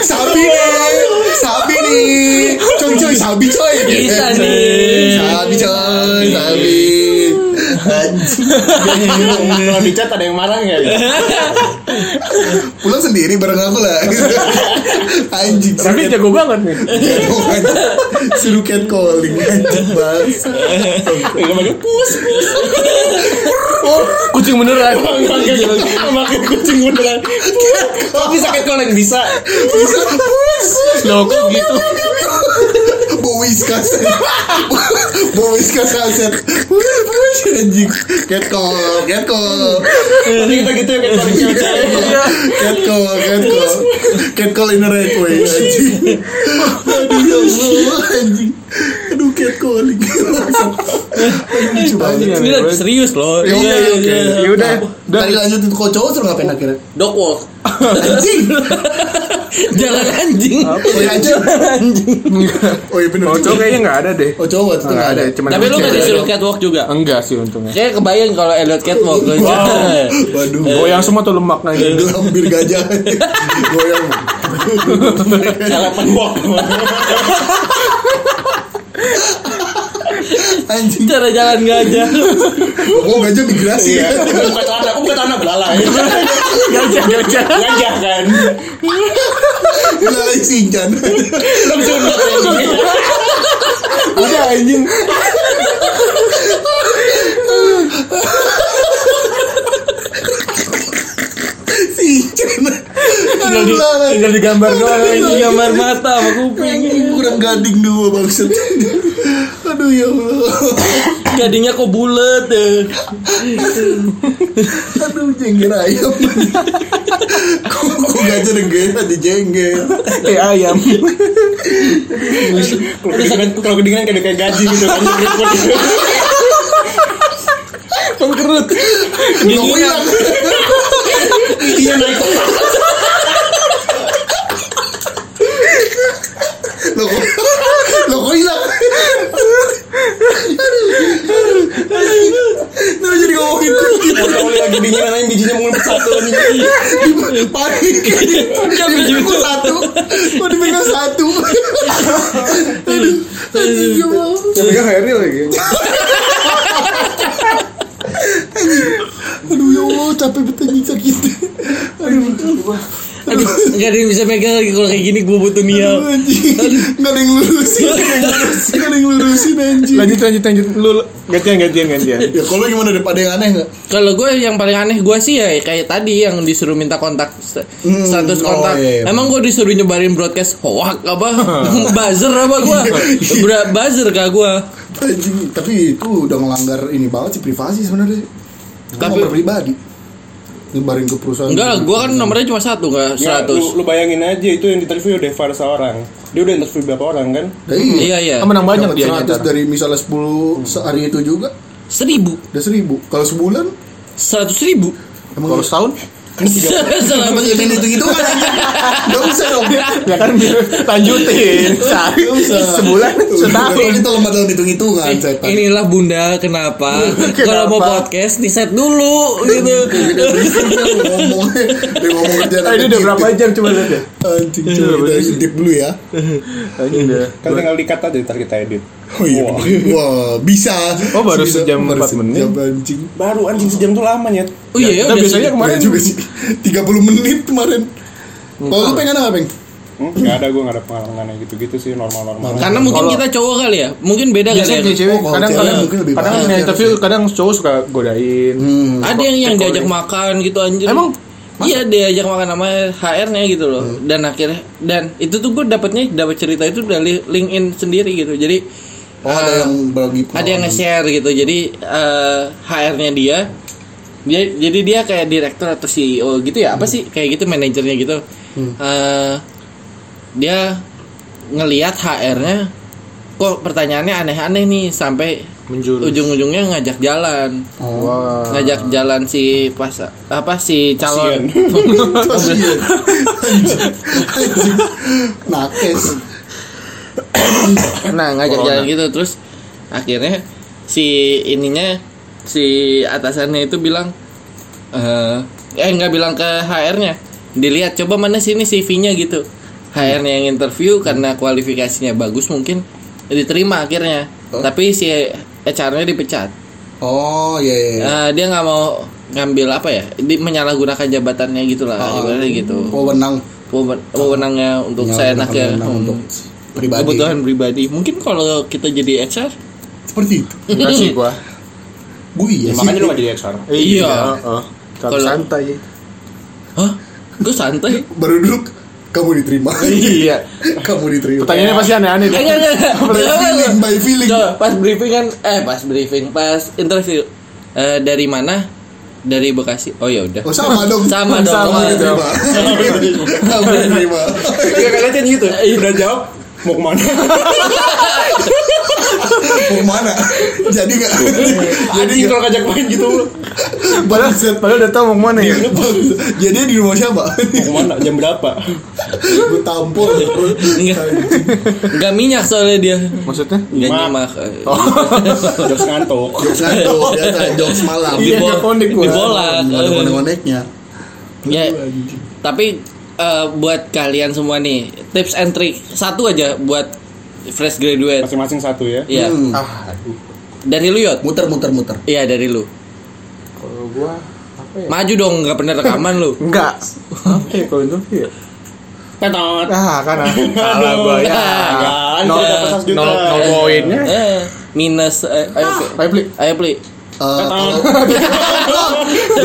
[SPEAKER 3] Sabi nih, sabi nih, coy coy sabi coy.
[SPEAKER 1] Bisa nih.
[SPEAKER 3] Sabi coy, sabi. Anjing.
[SPEAKER 2] Kalau dicat ada yang marah nggak
[SPEAKER 4] Iya.
[SPEAKER 2] ya?
[SPEAKER 3] Pulang sendiri bareng aku lah. Anjing. suruh
[SPEAKER 4] Tapi
[SPEAKER 3] cat-
[SPEAKER 4] jago banget nih.
[SPEAKER 3] Jagoan. Suruh catcalling anjing banget.
[SPEAKER 2] Enggak pakai pus.
[SPEAKER 4] Kucing beneran. iya.
[SPEAKER 2] gitu. Pakai kucing beneran. Kok bisa catcalling bisa?
[SPEAKER 3] Bisa
[SPEAKER 4] Loh kok gitu.
[SPEAKER 3] Bawa whiskas Bawa whiskas kaset Push push anjing Catcall Catcall
[SPEAKER 2] Tapi kita gitu ya catcalling cewek-cewek.
[SPEAKER 3] Catcall Catcall Catcall in the right way anjing Aduh ya Allah anjing Aduh catcalling Anjing banget
[SPEAKER 1] Ini lagi serius loh. Iya,
[SPEAKER 3] Ya oke oke
[SPEAKER 4] Ya udah.
[SPEAKER 3] Nah, Tadi lanjut itu kok cowok suruh ngapain akhirnya
[SPEAKER 1] Dog walk.
[SPEAKER 3] Anjing
[SPEAKER 1] Jalan anjing.
[SPEAKER 3] Oh iya anjing
[SPEAKER 1] Jalan anjing.
[SPEAKER 3] Oh iya bener
[SPEAKER 4] Oh, cowok kayaknya enggak ada deh.
[SPEAKER 3] Oh cowok itu
[SPEAKER 4] Enggak
[SPEAKER 3] gak
[SPEAKER 4] ada,
[SPEAKER 3] ada
[SPEAKER 4] cuma
[SPEAKER 1] Tapi lu
[SPEAKER 4] kucing.
[SPEAKER 1] gak disuruh catwalk juga.
[SPEAKER 4] Enggak sih untungnya.
[SPEAKER 1] Kayak kebayang kalau Elliot catwalk.
[SPEAKER 3] Waduh
[SPEAKER 4] Goyang semua tuh lemak Nah, iya. lagi.
[SPEAKER 3] Gelam bir gajah Goyang
[SPEAKER 2] Telepan walk.
[SPEAKER 3] Anjing
[SPEAKER 1] Cara jalan gajah.
[SPEAKER 3] Oh gajah migrasi
[SPEAKER 2] Iya.
[SPEAKER 3] ya
[SPEAKER 2] Bukan tanah, bukan tanah belalai.
[SPEAKER 4] Gajah, gajah.
[SPEAKER 2] Gajah kan.
[SPEAKER 3] Lalai sincan
[SPEAKER 2] Tapi cuma
[SPEAKER 3] Udah anjing Sincan Tinggal di
[SPEAKER 4] Tinggal digambar doang.
[SPEAKER 1] Itu gambar mata sama kuping.
[SPEAKER 3] Kurang gading dua maksud Aduh ya Allah
[SPEAKER 1] Jadinya kok bulat eh.
[SPEAKER 3] Aduh jengger ayam Kok kok gajah negara di jengger
[SPEAKER 4] Eh ayam.
[SPEAKER 2] Kalau kedinginan, kalau kedinginan kayak kayak gaji gitu kan.
[SPEAKER 3] Belum hilang
[SPEAKER 2] Iya naik.
[SPEAKER 3] Loh kok Loh kok hilang Nah jadi ngomongin kucing
[SPEAKER 2] Kalau lagi dinginan aja bijinya mengumpul satu nih.
[SPEAKER 3] Panik Dipikul satu Oh dipikul satu Aduh Anjing ya Allah.
[SPEAKER 4] Tapi kan Harry lagi.
[SPEAKER 3] Aduh ya Allah capek betul anjing sakit Aduh
[SPEAKER 1] Aduh, gak ada yang bisa megang lagi kalau kayak gini gue butuh niat.
[SPEAKER 3] Aduh, anjing Gak ada yang lurusin Gak ada yang lurusin anjing
[SPEAKER 4] Lanjut lanjut lanjut. Lu gantian gantian gantian.
[SPEAKER 3] Ya kalau gimana daripada yang aneh gak?
[SPEAKER 1] Kalau gue yang paling aneh gue sih ya kayak tadi yang disuruh minta kontak st-
[SPEAKER 3] Hmm,
[SPEAKER 1] status
[SPEAKER 3] oh,
[SPEAKER 1] kontak.
[SPEAKER 3] iya, iya.
[SPEAKER 1] Emang gue disuruh nyebarin broadcast hoak apa buzzer apa gue? Bra- buzzer kah gue?
[SPEAKER 3] Anjing, tapi itu udah ngelanggar ini banget sih privasi sebenarnya. Tapi
[SPEAKER 1] Tapi-
[SPEAKER 3] pribadi. Nyebarin ke perusahaan.
[SPEAKER 1] Enggak, gue kan nomornya cuma satu nggak
[SPEAKER 2] Ya,
[SPEAKER 1] seratus.
[SPEAKER 2] lu, lu bayangin aja itu yang interview Deva seorang. Dia udah interview berapa orang kan?
[SPEAKER 3] Nah, iya.
[SPEAKER 1] Iya iya.
[SPEAKER 4] Kan menang banyak
[SPEAKER 3] Dapat
[SPEAKER 4] dia
[SPEAKER 3] 100 dari misalnya 10 sehari itu juga
[SPEAKER 1] Seribu,
[SPEAKER 3] udah 1000. Kalau sebulan
[SPEAKER 1] seratus ribu.
[SPEAKER 3] emang
[SPEAKER 4] Kalau setahun
[SPEAKER 2] kan tiga
[SPEAKER 1] Selama
[SPEAKER 3] Emang ini hitung hitungan anjing. Gak usah dong.
[SPEAKER 4] ya kan biar lanjutin sehari
[SPEAKER 3] Gak usah.
[SPEAKER 4] sebulan
[SPEAKER 3] Kalau
[SPEAKER 4] setahun Eh,
[SPEAKER 3] Kita lemah dalam hitung hitungan. setan.
[SPEAKER 1] Inilah bunda kenapa, kalau mau
[SPEAKER 4] Kenapa?
[SPEAKER 1] podcast di set dulu gitu.
[SPEAKER 3] Dia ngomongnya, dia ngomong kerjaan.
[SPEAKER 4] Ah, ini udah berapa jam coba lihat ya
[SPEAKER 3] Anjing, coba kita edit dulu ya.
[SPEAKER 4] Ini udah
[SPEAKER 2] kan tinggal dikat aja ntar kita edit
[SPEAKER 3] Oh iya,
[SPEAKER 2] Wah.
[SPEAKER 3] wah bisa.
[SPEAKER 4] Oh, baru
[SPEAKER 3] Bisa.
[SPEAKER 4] sejam
[SPEAKER 3] Baru
[SPEAKER 4] empat menit.
[SPEAKER 3] sejam, anjing.
[SPEAKER 2] baru anjing sejam tuh lama nyet
[SPEAKER 1] Oh iya ya
[SPEAKER 4] Nah,
[SPEAKER 1] udah sih.
[SPEAKER 4] biasanya kemarin
[SPEAKER 3] Kemarin juga sih 30 menit kemarin. Kalau lu pengen apa, Peng?
[SPEAKER 1] Ah.
[SPEAKER 2] hmm? nggak ada gue nggak ada pengalaman yang gitu-gitu sih normal-normal
[SPEAKER 1] Karena mungkin
[SPEAKER 4] Kalau-
[SPEAKER 1] kita cowok kali ya, mungkin beda kali
[SPEAKER 4] biasanya
[SPEAKER 1] ya.
[SPEAKER 4] kayak cewek
[SPEAKER 3] Oh, kalau
[SPEAKER 4] kadang
[SPEAKER 3] cewek
[SPEAKER 4] kadang
[SPEAKER 3] mungkin lebih Hmm.
[SPEAKER 4] kadang
[SPEAKER 3] banyak.
[SPEAKER 4] punya interview kadang cowok suka godain
[SPEAKER 1] Ada yang yang diajak makan gitu anjir.
[SPEAKER 4] Emang?
[SPEAKER 1] Iya diajak makan sama HR-nya gitu loh.
[SPEAKER 3] Hmm.
[SPEAKER 1] Dan akhirnya dan itu tuh gue dapetnya dapat cerita itu dari LinkedIn sendiri gitu. Jadi eh,
[SPEAKER 3] Oh, ada yang Oh. bagi
[SPEAKER 1] ada yang nge-share gitu jadi eh, HR-nya dia dia jadi dia kayak direktur atau CEO gitu ya apa
[SPEAKER 3] Hmm.
[SPEAKER 1] sih kayak gitu manajernya gitu Eh, dia ngelihat HR-nya kok pertanyaannya aneh-aneh nih sampai
[SPEAKER 4] menjurus
[SPEAKER 1] ujung-ujungnya ngajak jalan
[SPEAKER 3] Oh,
[SPEAKER 4] Wah.
[SPEAKER 1] ngajak jalan si pas apa si calon
[SPEAKER 3] Kasian. Anjing. Anjing. Nakes.
[SPEAKER 1] nah ngajak jalan gitu terus akhirnya si ininya si atasannya itu bilang eh eh nggak bilang ke HR-nya dilihat coba mana sini CV-nya gitu HR-nya yang interview karena kualifikasinya bagus mungkin diterima akhirnya tapi si HR-nya dipecat
[SPEAKER 3] Oh, iya iya. iya.
[SPEAKER 1] Eh, dia nggak mau ngambil apa ya di, menyalahgunakan jabatannya gitulah
[SPEAKER 3] Oh. Ah,
[SPEAKER 1] ibaratnya gitu
[SPEAKER 3] Wewenang
[SPEAKER 1] Wewen-
[SPEAKER 3] Oh.
[SPEAKER 1] wewenangnya untuk saya
[SPEAKER 3] Menyalahgunakan
[SPEAKER 1] enaknya hmm.
[SPEAKER 3] wewenang Ya, untuk pribadi.
[SPEAKER 1] kebutuhan pribadi mungkin kalau kita jadi HR
[SPEAKER 3] Seperti itu.
[SPEAKER 4] enggak sih gua
[SPEAKER 3] Gue iya
[SPEAKER 2] Ya,
[SPEAKER 3] sih.
[SPEAKER 2] makanya lu nggak jadi HR
[SPEAKER 1] Hmm. Iya.
[SPEAKER 4] heeh. oh. Terlalu
[SPEAKER 1] Kalau-
[SPEAKER 4] santai
[SPEAKER 1] Hah? Gue santai.
[SPEAKER 3] Baru duduk kamu diterima.
[SPEAKER 4] iya
[SPEAKER 3] kamu diterima.
[SPEAKER 4] pertanyaannya pasti aneh-aneh deh.
[SPEAKER 1] Eh, Enggak, enggak, enggak.
[SPEAKER 3] Feeling by feeling.
[SPEAKER 1] Coba, pas briefing kan eh pas briefing, pas interview. Eh, dari mana? Dari Bekasi. Oh ya udah.
[SPEAKER 3] Oh, sama gitu. dong.
[SPEAKER 1] Sama dong. Iya.
[SPEAKER 4] Sama
[SPEAKER 3] Kamu
[SPEAKER 4] dong.
[SPEAKER 3] diterima. Kamu diterima.
[SPEAKER 2] iya kan aja gitu
[SPEAKER 1] Eh,
[SPEAKER 2] udah jawab mau kemana
[SPEAKER 3] Mau mana? Jadi nggak? Jadi
[SPEAKER 2] anjing kalau ngajak main gitu lu
[SPEAKER 3] Padahal
[SPEAKER 4] Iya, padahal udah tau mau kemana
[SPEAKER 3] Iya.
[SPEAKER 4] ya
[SPEAKER 3] Jadi di rumah siapa?
[SPEAKER 2] mau kemana jam berapa
[SPEAKER 3] Gue tampol.
[SPEAKER 1] Enggak. Enggak minyak soalnya dia.
[SPEAKER 4] maksudnya
[SPEAKER 1] Enggak
[SPEAKER 2] Mak.
[SPEAKER 1] nyimak. Eh,
[SPEAKER 2] jokes ngantuk
[SPEAKER 3] Jokes ngantuk, biasa jokes malam.
[SPEAKER 4] Iya,
[SPEAKER 1] dibol-
[SPEAKER 4] nggak kondik gua.
[SPEAKER 1] dibolak.
[SPEAKER 3] Ada
[SPEAKER 1] Eh,
[SPEAKER 3] konek-koneknya.
[SPEAKER 1] Ya. Tapi eh, buat kalian semua nih, tips and trick satu aja buat fresh graduate.
[SPEAKER 2] masing-masing satu ya
[SPEAKER 1] Iya.
[SPEAKER 3] Hmm.
[SPEAKER 4] ah
[SPEAKER 1] Dari lu Yot.
[SPEAKER 3] Muter, muter, muter. Eh,
[SPEAKER 1] Iya, dari lu.
[SPEAKER 4] kalau gua apa ya
[SPEAKER 1] Maju dong, nggak pernah rekaman lu.
[SPEAKER 4] enggak apa ya kalau interview ya
[SPEAKER 2] tetot
[SPEAKER 4] ah kan ah. salah gua ya
[SPEAKER 2] kan
[SPEAKER 4] nol
[SPEAKER 2] kita dapat 100 juta
[SPEAKER 4] nol nol poinnya
[SPEAKER 1] Eh, minus eh, ayo
[SPEAKER 3] Ah.
[SPEAKER 1] Pli.
[SPEAKER 4] ayo beli
[SPEAKER 1] Ayo Pli.
[SPEAKER 3] Eh, kalau-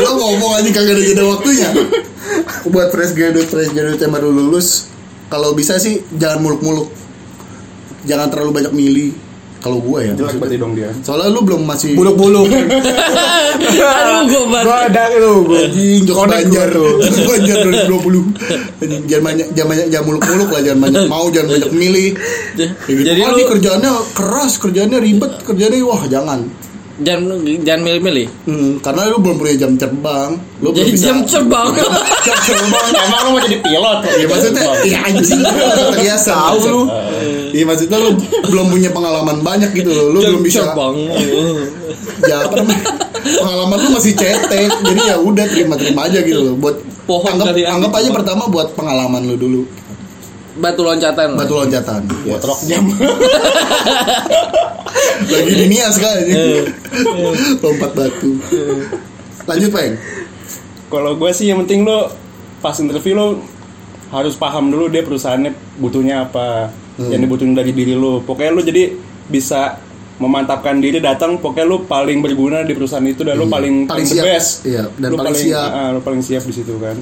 [SPEAKER 3] Lo ngomong aja kagak ada jeda waktunya. Buat fresh graduate, fresh graduate yang baru lulus, kalau bisa sih jangan muluk-muluk. Jangan terlalu banyak milih. Kalau gue ya.
[SPEAKER 2] jelek berarti dong dia
[SPEAKER 3] Soalnya lu belum masih
[SPEAKER 4] buluk-buluk
[SPEAKER 1] Aduh, gue
[SPEAKER 4] gua ada itu gua
[SPEAKER 3] anjing jokes
[SPEAKER 4] Konek
[SPEAKER 3] banjar
[SPEAKER 4] gua tuh.
[SPEAKER 3] Jokes banjar 2020 Anjing, jangan banyak jangan banyak jangan muluk-muluk lah jangan banyak mau jangan banyak milih Ya gitu.
[SPEAKER 1] Jadi
[SPEAKER 3] oh,
[SPEAKER 1] lu-
[SPEAKER 3] ini kerjaannya keras kerjaannya ribet kerjaannya wah jangan
[SPEAKER 1] jangan jangan milih-milih.
[SPEAKER 3] hmm, karena lu belum punya jam terbang lu belum
[SPEAKER 1] Jadi
[SPEAKER 3] bisa
[SPEAKER 1] jam terbang.
[SPEAKER 3] jam terbang
[SPEAKER 2] emang lu mau jadi pilot
[SPEAKER 3] ya maksudnya ya anjing terbiasa tahu lu iya maksudnya lu belum punya pengalaman banyak gitu loh lu belum bisa
[SPEAKER 1] terbang.
[SPEAKER 3] ya apa namanya pengalaman lu masih cetek jadi ya udah terima-terima aja gitu loh buat
[SPEAKER 1] Pohon
[SPEAKER 3] anggap,
[SPEAKER 1] dari angin.
[SPEAKER 3] anggap aja pertama buat pengalaman lu dulu
[SPEAKER 1] Batu loncatan.
[SPEAKER 3] batu loncatan
[SPEAKER 2] buat rok jam
[SPEAKER 3] lagi di nias kan
[SPEAKER 1] Eh,
[SPEAKER 3] anjing. lompat batu lanjut peng
[SPEAKER 2] kalau gue sih yang penting lo pas interview lo harus paham dulu dia perusahaannya butuhnya apa
[SPEAKER 3] Hmm.
[SPEAKER 2] yang dibutuhin dari diri lo pokoknya lo jadi bisa memantapkan diri datang pokoknya lo paling berguna di perusahaan itu dan lo paling
[SPEAKER 3] Iya. Paling
[SPEAKER 2] the
[SPEAKER 3] siap.
[SPEAKER 2] best
[SPEAKER 3] Iya, dan
[SPEAKER 2] Lo
[SPEAKER 3] paling siap.
[SPEAKER 2] ah, lo paling siap di situ kan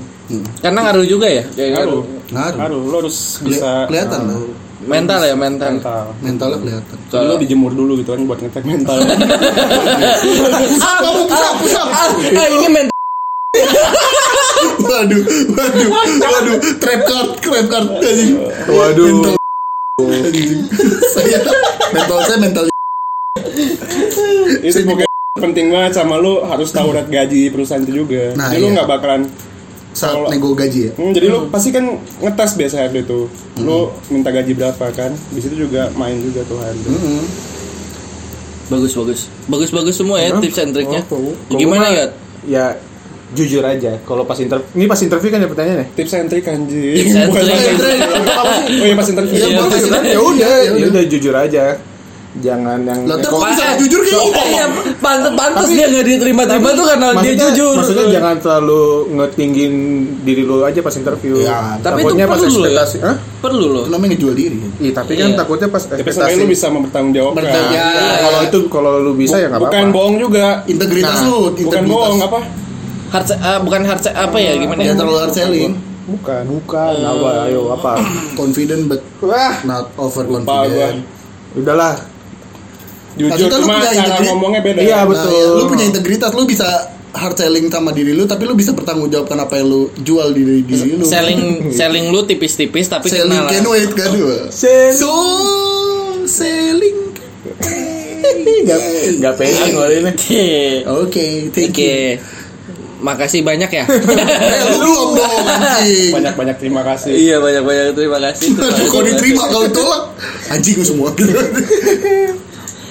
[SPEAKER 1] Karena ngaruh juga ya. Kayak
[SPEAKER 2] ngaruh
[SPEAKER 1] ngaruh.
[SPEAKER 3] Ngaruh.
[SPEAKER 2] ngaruh lo harus bisa
[SPEAKER 3] Iya. Keli- kelihatan lah
[SPEAKER 1] Mental ya mental.
[SPEAKER 2] mental
[SPEAKER 3] mentalnya kelihatan
[SPEAKER 2] jadi lo dijemur dulu gitu kan buat ngetek mental
[SPEAKER 3] ah kamu pusap pusap
[SPEAKER 1] Ah, ini mental.
[SPEAKER 3] waduh waduh waduh trap card trap card anjing
[SPEAKER 4] Waduh.
[SPEAKER 3] mental anjing saya mental saya mental
[SPEAKER 2] itu pokoknya penting banget sama lo harus tahu red gaji perusahaan itu juga
[SPEAKER 3] Nah,
[SPEAKER 2] jadi lo
[SPEAKER 3] iya.
[SPEAKER 2] nggak bakalan
[SPEAKER 3] saat
[SPEAKER 2] Kalau-
[SPEAKER 3] nego gaji ya
[SPEAKER 2] Hmm, jadi lu pasti kan ngetes biasa HRD itu.
[SPEAKER 3] Hmm.
[SPEAKER 2] Lu minta gaji berapa kan? Di situ juga main juga tuh HRD.
[SPEAKER 3] Hmm.
[SPEAKER 1] Bagus bagus. Bagus bagus semua ya tips and triknya.
[SPEAKER 4] Oh, tuh.
[SPEAKER 1] Gimana
[SPEAKER 4] Gua
[SPEAKER 1] ya?
[SPEAKER 4] mah- Ya jujur aja. Kalau pas interview, ini pas interview kan ya pertanyaannya.
[SPEAKER 2] Tips and trick anjing.
[SPEAKER 1] Tips and
[SPEAKER 2] Bukan
[SPEAKER 1] trick.
[SPEAKER 2] pas interview. Oh iya pas interview.
[SPEAKER 3] Iya,
[SPEAKER 4] Iya,
[SPEAKER 3] pas
[SPEAKER 4] gitu kan?
[SPEAKER 3] interview.
[SPEAKER 4] ya udah,
[SPEAKER 3] Ya
[SPEAKER 4] ya
[SPEAKER 3] udah.
[SPEAKER 4] udah jujur aja. Jangan yang
[SPEAKER 3] lah ntar kok
[SPEAKER 4] Kok-
[SPEAKER 3] bisa jujur kayak gitu
[SPEAKER 1] Iya, pantes pantes dia nggak diterima-terima tuh
[SPEAKER 4] Nah,
[SPEAKER 1] karena dia
[SPEAKER 4] maksudnya,
[SPEAKER 1] jujur.
[SPEAKER 4] Maksudnya jangan terlalu ngetinggin diri lu aja pas interview.
[SPEAKER 3] Ya,
[SPEAKER 1] tapi itu
[SPEAKER 4] takutnya pas
[SPEAKER 1] perlu loh ya.
[SPEAKER 4] ekspektasi. Hah?
[SPEAKER 1] perlu loh.
[SPEAKER 3] itu namanya ngejual diri kan
[SPEAKER 4] Iya, tapi kan
[SPEAKER 1] Iya.
[SPEAKER 4] takutnya pas
[SPEAKER 2] Tapi seenggaknya
[SPEAKER 4] ekspektasi.
[SPEAKER 2] lu bisa mempertanggungjawabkan.
[SPEAKER 3] Bertanya.
[SPEAKER 4] Nah, Kalau itu kalau lu bisa ya nggak apa-apa.
[SPEAKER 2] Bukan bohong juga.
[SPEAKER 3] integritas
[SPEAKER 4] Nah,
[SPEAKER 3] lu
[SPEAKER 2] Bukan
[SPEAKER 3] integritas
[SPEAKER 2] bohong apa?
[SPEAKER 1] Hard se- ah, bukan hard se- apa ya gimana ya?
[SPEAKER 3] Jangan terlalu hard selling
[SPEAKER 4] Bukan. Bukan. apa? Ayo apa?
[SPEAKER 3] confident but
[SPEAKER 4] Wah,
[SPEAKER 3] not
[SPEAKER 2] Lupa gua.
[SPEAKER 3] overconfident
[SPEAKER 4] udahlah.
[SPEAKER 2] Jujur
[SPEAKER 3] Maksudnya kan lu
[SPEAKER 2] cuma
[SPEAKER 3] punya
[SPEAKER 2] cara
[SPEAKER 3] integri-
[SPEAKER 2] ngomongnya beda.
[SPEAKER 4] Iya,
[SPEAKER 3] Nah,
[SPEAKER 4] betul.
[SPEAKER 3] ya, lu punya integritas lu bisa hard selling sama diri lu tapi lu bisa pertanggungjawabkan apa yang lu jual di diri, diri lu
[SPEAKER 1] Selling selling lu tipis-tipis tapi
[SPEAKER 3] selling
[SPEAKER 1] kenalan.
[SPEAKER 3] can wait kan gua.
[SPEAKER 4] Sen.
[SPEAKER 3] so selling
[SPEAKER 4] Enggak enggak pengen kali ini.
[SPEAKER 1] Oke.
[SPEAKER 3] oke thank
[SPEAKER 1] Oke. Makasih banyak ya.
[SPEAKER 3] you eh lu belum dong anjing
[SPEAKER 2] Banyak-banyak terima kasih.
[SPEAKER 1] iya banyak-banyak terima kasih.
[SPEAKER 3] Aduh, kau diterima kau tolak anjing semua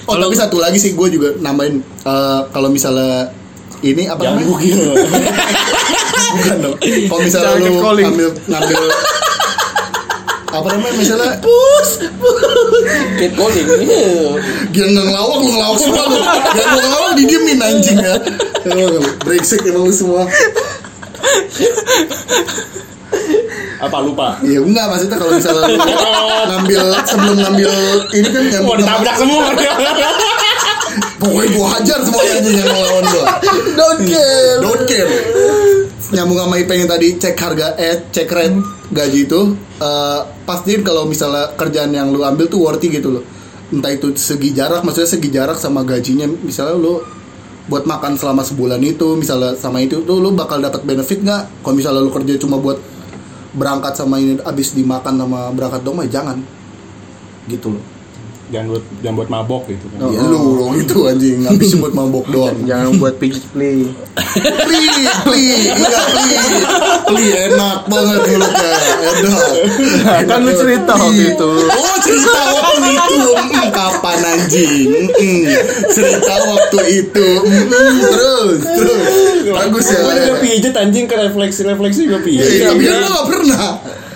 [SPEAKER 3] oh tapi satu lagi sih gue juga nambahin eh, kalau misalnya ini apa
[SPEAKER 2] Jangan
[SPEAKER 3] namanya bukan dong kalau misalnya
[SPEAKER 4] Jangan
[SPEAKER 3] lu
[SPEAKER 4] calling.
[SPEAKER 3] ngambil ngambil apa namanya misalnya
[SPEAKER 1] Cat calling.
[SPEAKER 3] dia nggak ngelawak lu ngelawak semua lu dia mau ngelawak didiemin anjing ya Emang, brengsek emang lu semua
[SPEAKER 2] Apa lupa?
[SPEAKER 3] ya enggak maksudnya kalau misalnya lu ngambil sebelum ngambil ini kan yang
[SPEAKER 2] Wah ditabrak semua.
[SPEAKER 3] Pokoknya gue hajar semuanya anjing yang melawan gue Don't care Don't care Nyambung sama Ipeng yang tadi Cek harga eh Cek rate gaji itu eh, Pastiin kalau misalnya kerjaan yang lu ambil tuh worthy gitu loh Entah itu segi jarak Maksudnya segi jarak sama gajinya Misalnya lu buat makan selama sebulan itu misalnya sama itu tuh lu bakal dapat benefit nggak kalau misalnya lu kerja cuma buat berangkat sama ini abis dimakan sama berangkat dong mah jangan gitu loh
[SPEAKER 2] Jangan buat jangan buat mabok gitu kan.
[SPEAKER 3] ya lu dong itu anjing habis buat mabok doang
[SPEAKER 4] Jangan buat pijit play.
[SPEAKER 3] Pli, pli, iya pli, pli enak banget mulutnya, enak.
[SPEAKER 4] Kan lu cerita waktu itu.
[SPEAKER 3] Oh cerita waktu itu, Mm, kapan anjing? Mm, cerita waktu itu, Mm, terus, terus, bagus ya.
[SPEAKER 2] Gua juga pijet anjing ke refleksi-refleksi juga pijet.
[SPEAKER 3] Iya, tapi kan lu nggak pernah.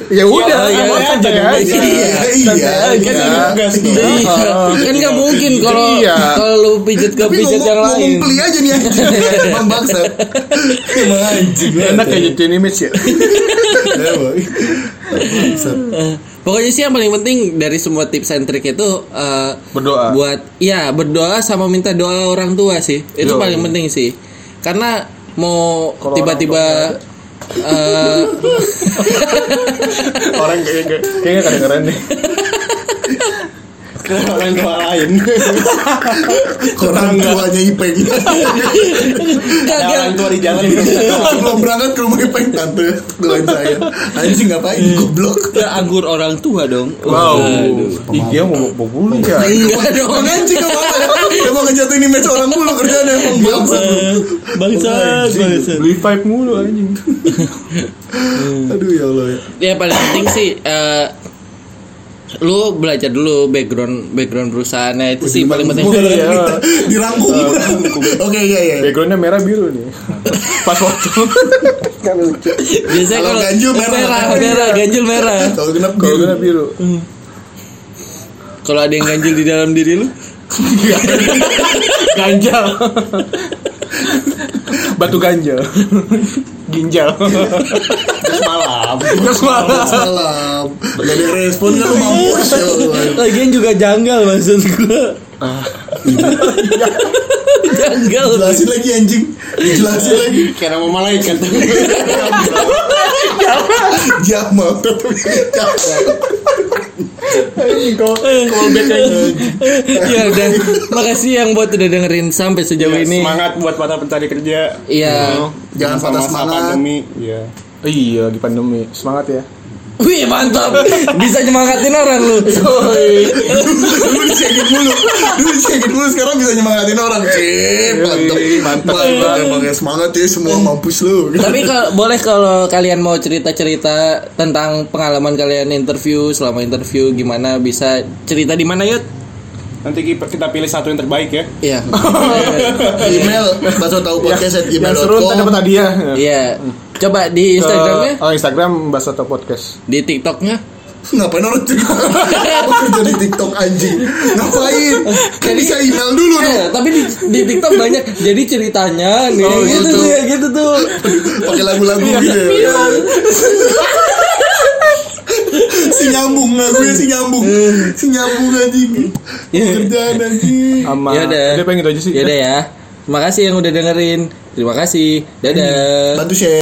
[SPEAKER 4] Ya udah,
[SPEAKER 2] iya,
[SPEAKER 4] emang
[SPEAKER 2] iya,
[SPEAKER 4] santai
[SPEAKER 2] iya,
[SPEAKER 4] aja.
[SPEAKER 3] Iya, iya,
[SPEAKER 2] Kan
[SPEAKER 3] iya.
[SPEAKER 2] ini tugas tuh.
[SPEAKER 1] Iya. Kan nggak mungkin kalau
[SPEAKER 4] Iya.
[SPEAKER 1] kalau lu pijet ke
[SPEAKER 3] Tapi
[SPEAKER 1] pijet
[SPEAKER 3] ngomong,
[SPEAKER 1] yang
[SPEAKER 3] ngomong
[SPEAKER 1] lain.
[SPEAKER 3] pli aja nih anjing, emang bangsa. Emang anjing.
[SPEAKER 4] Enak kayak jadiin image ya.
[SPEAKER 3] Emang. Bangsat.
[SPEAKER 1] Eh, Pokoknya sih yang paling penting dari semua tips and trick itu eh,
[SPEAKER 4] Berdoa.
[SPEAKER 1] buat ya berdoa sama minta doa orang tua sih itu
[SPEAKER 4] Yo.
[SPEAKER 1] paling penting sih karena mau tiba-tiba eh,
[SPEAKER 4] Orang kayak kayak- kayaknya kedengeran nih.
[SPEAKER 2] Ke orang tua lain.
[SPEAKER 3] Orang tuanya Ipeng.
[SPEAKER 1] kagak
[SPEAKER 2] Orang tua di jalan gitu.
[SPEAKER 3] Kan Belum berangkat ke rumah Ipeng tante doain saya. Anjing ngapain
[SPEAKER 2] Hmm.
[SPEAKER 3] goblok.
[SPEAKER 1] Ya, anggur orang tua dong
[SPEAKER 4] Wow.
[SPEAKER 1] Waduh.
[SPEAKER 4] Ih, dia mau mau bully ya.
[SPEAKER 1] enggak dong
[SPEAKER 3] Emang anjing emang ya? Emang ngejatuhin image orang mulu kerjaan emang
[SPEAKER 2] Iya.
[SPEAKER 3] bangsa
[SPEAKER 1] bangsa
[SPEAKER 4] Beli pipe mulu anjing.
[SPEAKER 3] Aduh ya Allah ya
[SPEAKER 1] ya paling penting sih eh, lu belajar dulu background background perusahaannya itu sih paling penting
[SPEAKER 4] Iya.
[SPEAKER 3] Dirangkum Oke iya iya
[SPEAKER 4] Backgroundnya merah biru nih. Pas waktu.
[SPEAKER 1] biasanya
[SPEAKER 3] Kalau
[SPEAKER 1] kalau
[SPEAKER 3] ganjil merah.
[SPEAKER 1] merah merah ganjil merah
[SPEAKER 3] Kalau genap
[SPEAKER 4] Kalau
[SPEAKER 3] biru
[SPEAKER 4] merah
[SPEAKER 2] iya.
[SPEAKER 4] biru.
[SPEAKER 1] kalau ada yang ganjil di dalam diri lu
[SPEAKER 4] Ganjal. Batu ganjal. Ginjal.
[SPEAKER 2] Terus malam.
[SPEAKER 4] Terus malah.
[SPEAKER 3] Salam Gak ada respon kan lu mampus ya Allah
[SPEAKER 1] Lagian juga janggal maksud gue
[SPEAKER 3] Ah, iya.
[SPEAKER 1] Janggal
[SPEAKER 3] Jelasin lagi anjing Jelasin lagi
[SPEAKER 2] Kayak nama malaikat.
[SPEAKER 3] Ya, Jamal
[SPEAKER 1] Ya udah Makasih yang buat udah dengerin sampai sejauh
[SPEAKER 2] Ya,
[SPEAKER 1] ini
[SPEAKER 2] Semangat buat para pencari kerja.
[SPEAKER 1] Iya
[SPEAKER 3] Jangan patah
[SPEAKER 2] Masa-masa
[SPEAKER 3] semangat
[SPEAKER 2] Pandemi, ya.
[SPEAKER 4] Iya lagi pandemi. Semangat ya.
[SPEAKER 1] Wih mantap Bisa nyemangatin orang lu
[SPEAKER 3] dulu dicengin mulu dulu dicengin mulu sekarang bisa nyemangatin orang cip mantap mantap emang ya semangat ya semua mampus lu
[SPEAKER 1] Tapi kalau boleh kalau kalian mau cerita-cerita Tentang pengalaman kalian interview Selama interview gimana bisa Cerita di mana Yud?
[SPEAKER 2] Nanti kita kita pilih satu yang terbaik ya.
[SPEAKER 1] Iya
[SPEAKER 3] email bakso tahu podcast at
[SPEAKER 4] Yang seru ntar dapat
[SPEAKER 3] gmail.com
[SPEAKER 4] hadiah.
[SPEAKER 1] Iya Coba di Instagramnya
[SPEAKER 4] Ke- ya? oh, Instagram Bahasa Talk Podcast.
[SPEAKER 1] Di TikToknya
[SPEAKER 3] ngapain orang tiktok Aku kerja di tiktok anjing ngapain kan bisa email dulu dong
[SPEAKER 1] Eh, tapi di, di TikTok banyak jadi ceritanya nih
[SPEAKER 3] Oh,
[SPEAKER 1] gitu,
[SPEAKER 3] gitu.
[SPEAKER 1] tuh ya gitu tuh
[SPEAKER 3] pakai lagu-lagu
[SPEAKER 4] Iya.
[SPEAKER 3] gitu ya si nyambung nggak gue si nyambung
[SPEAKER 4] Iya.
[SPEAKER 3] si nyambung anjing kerjaan anjing
[SPEAKER 4] Sama
[SPEAKER 1] ya udah
[SPEAKER 4] Dia pengen gitu aja sih.
[SPEAKER 1] ya udah ya makasih yang udah dengerin terima kasih dadah
[SPEAKER 3] bantu share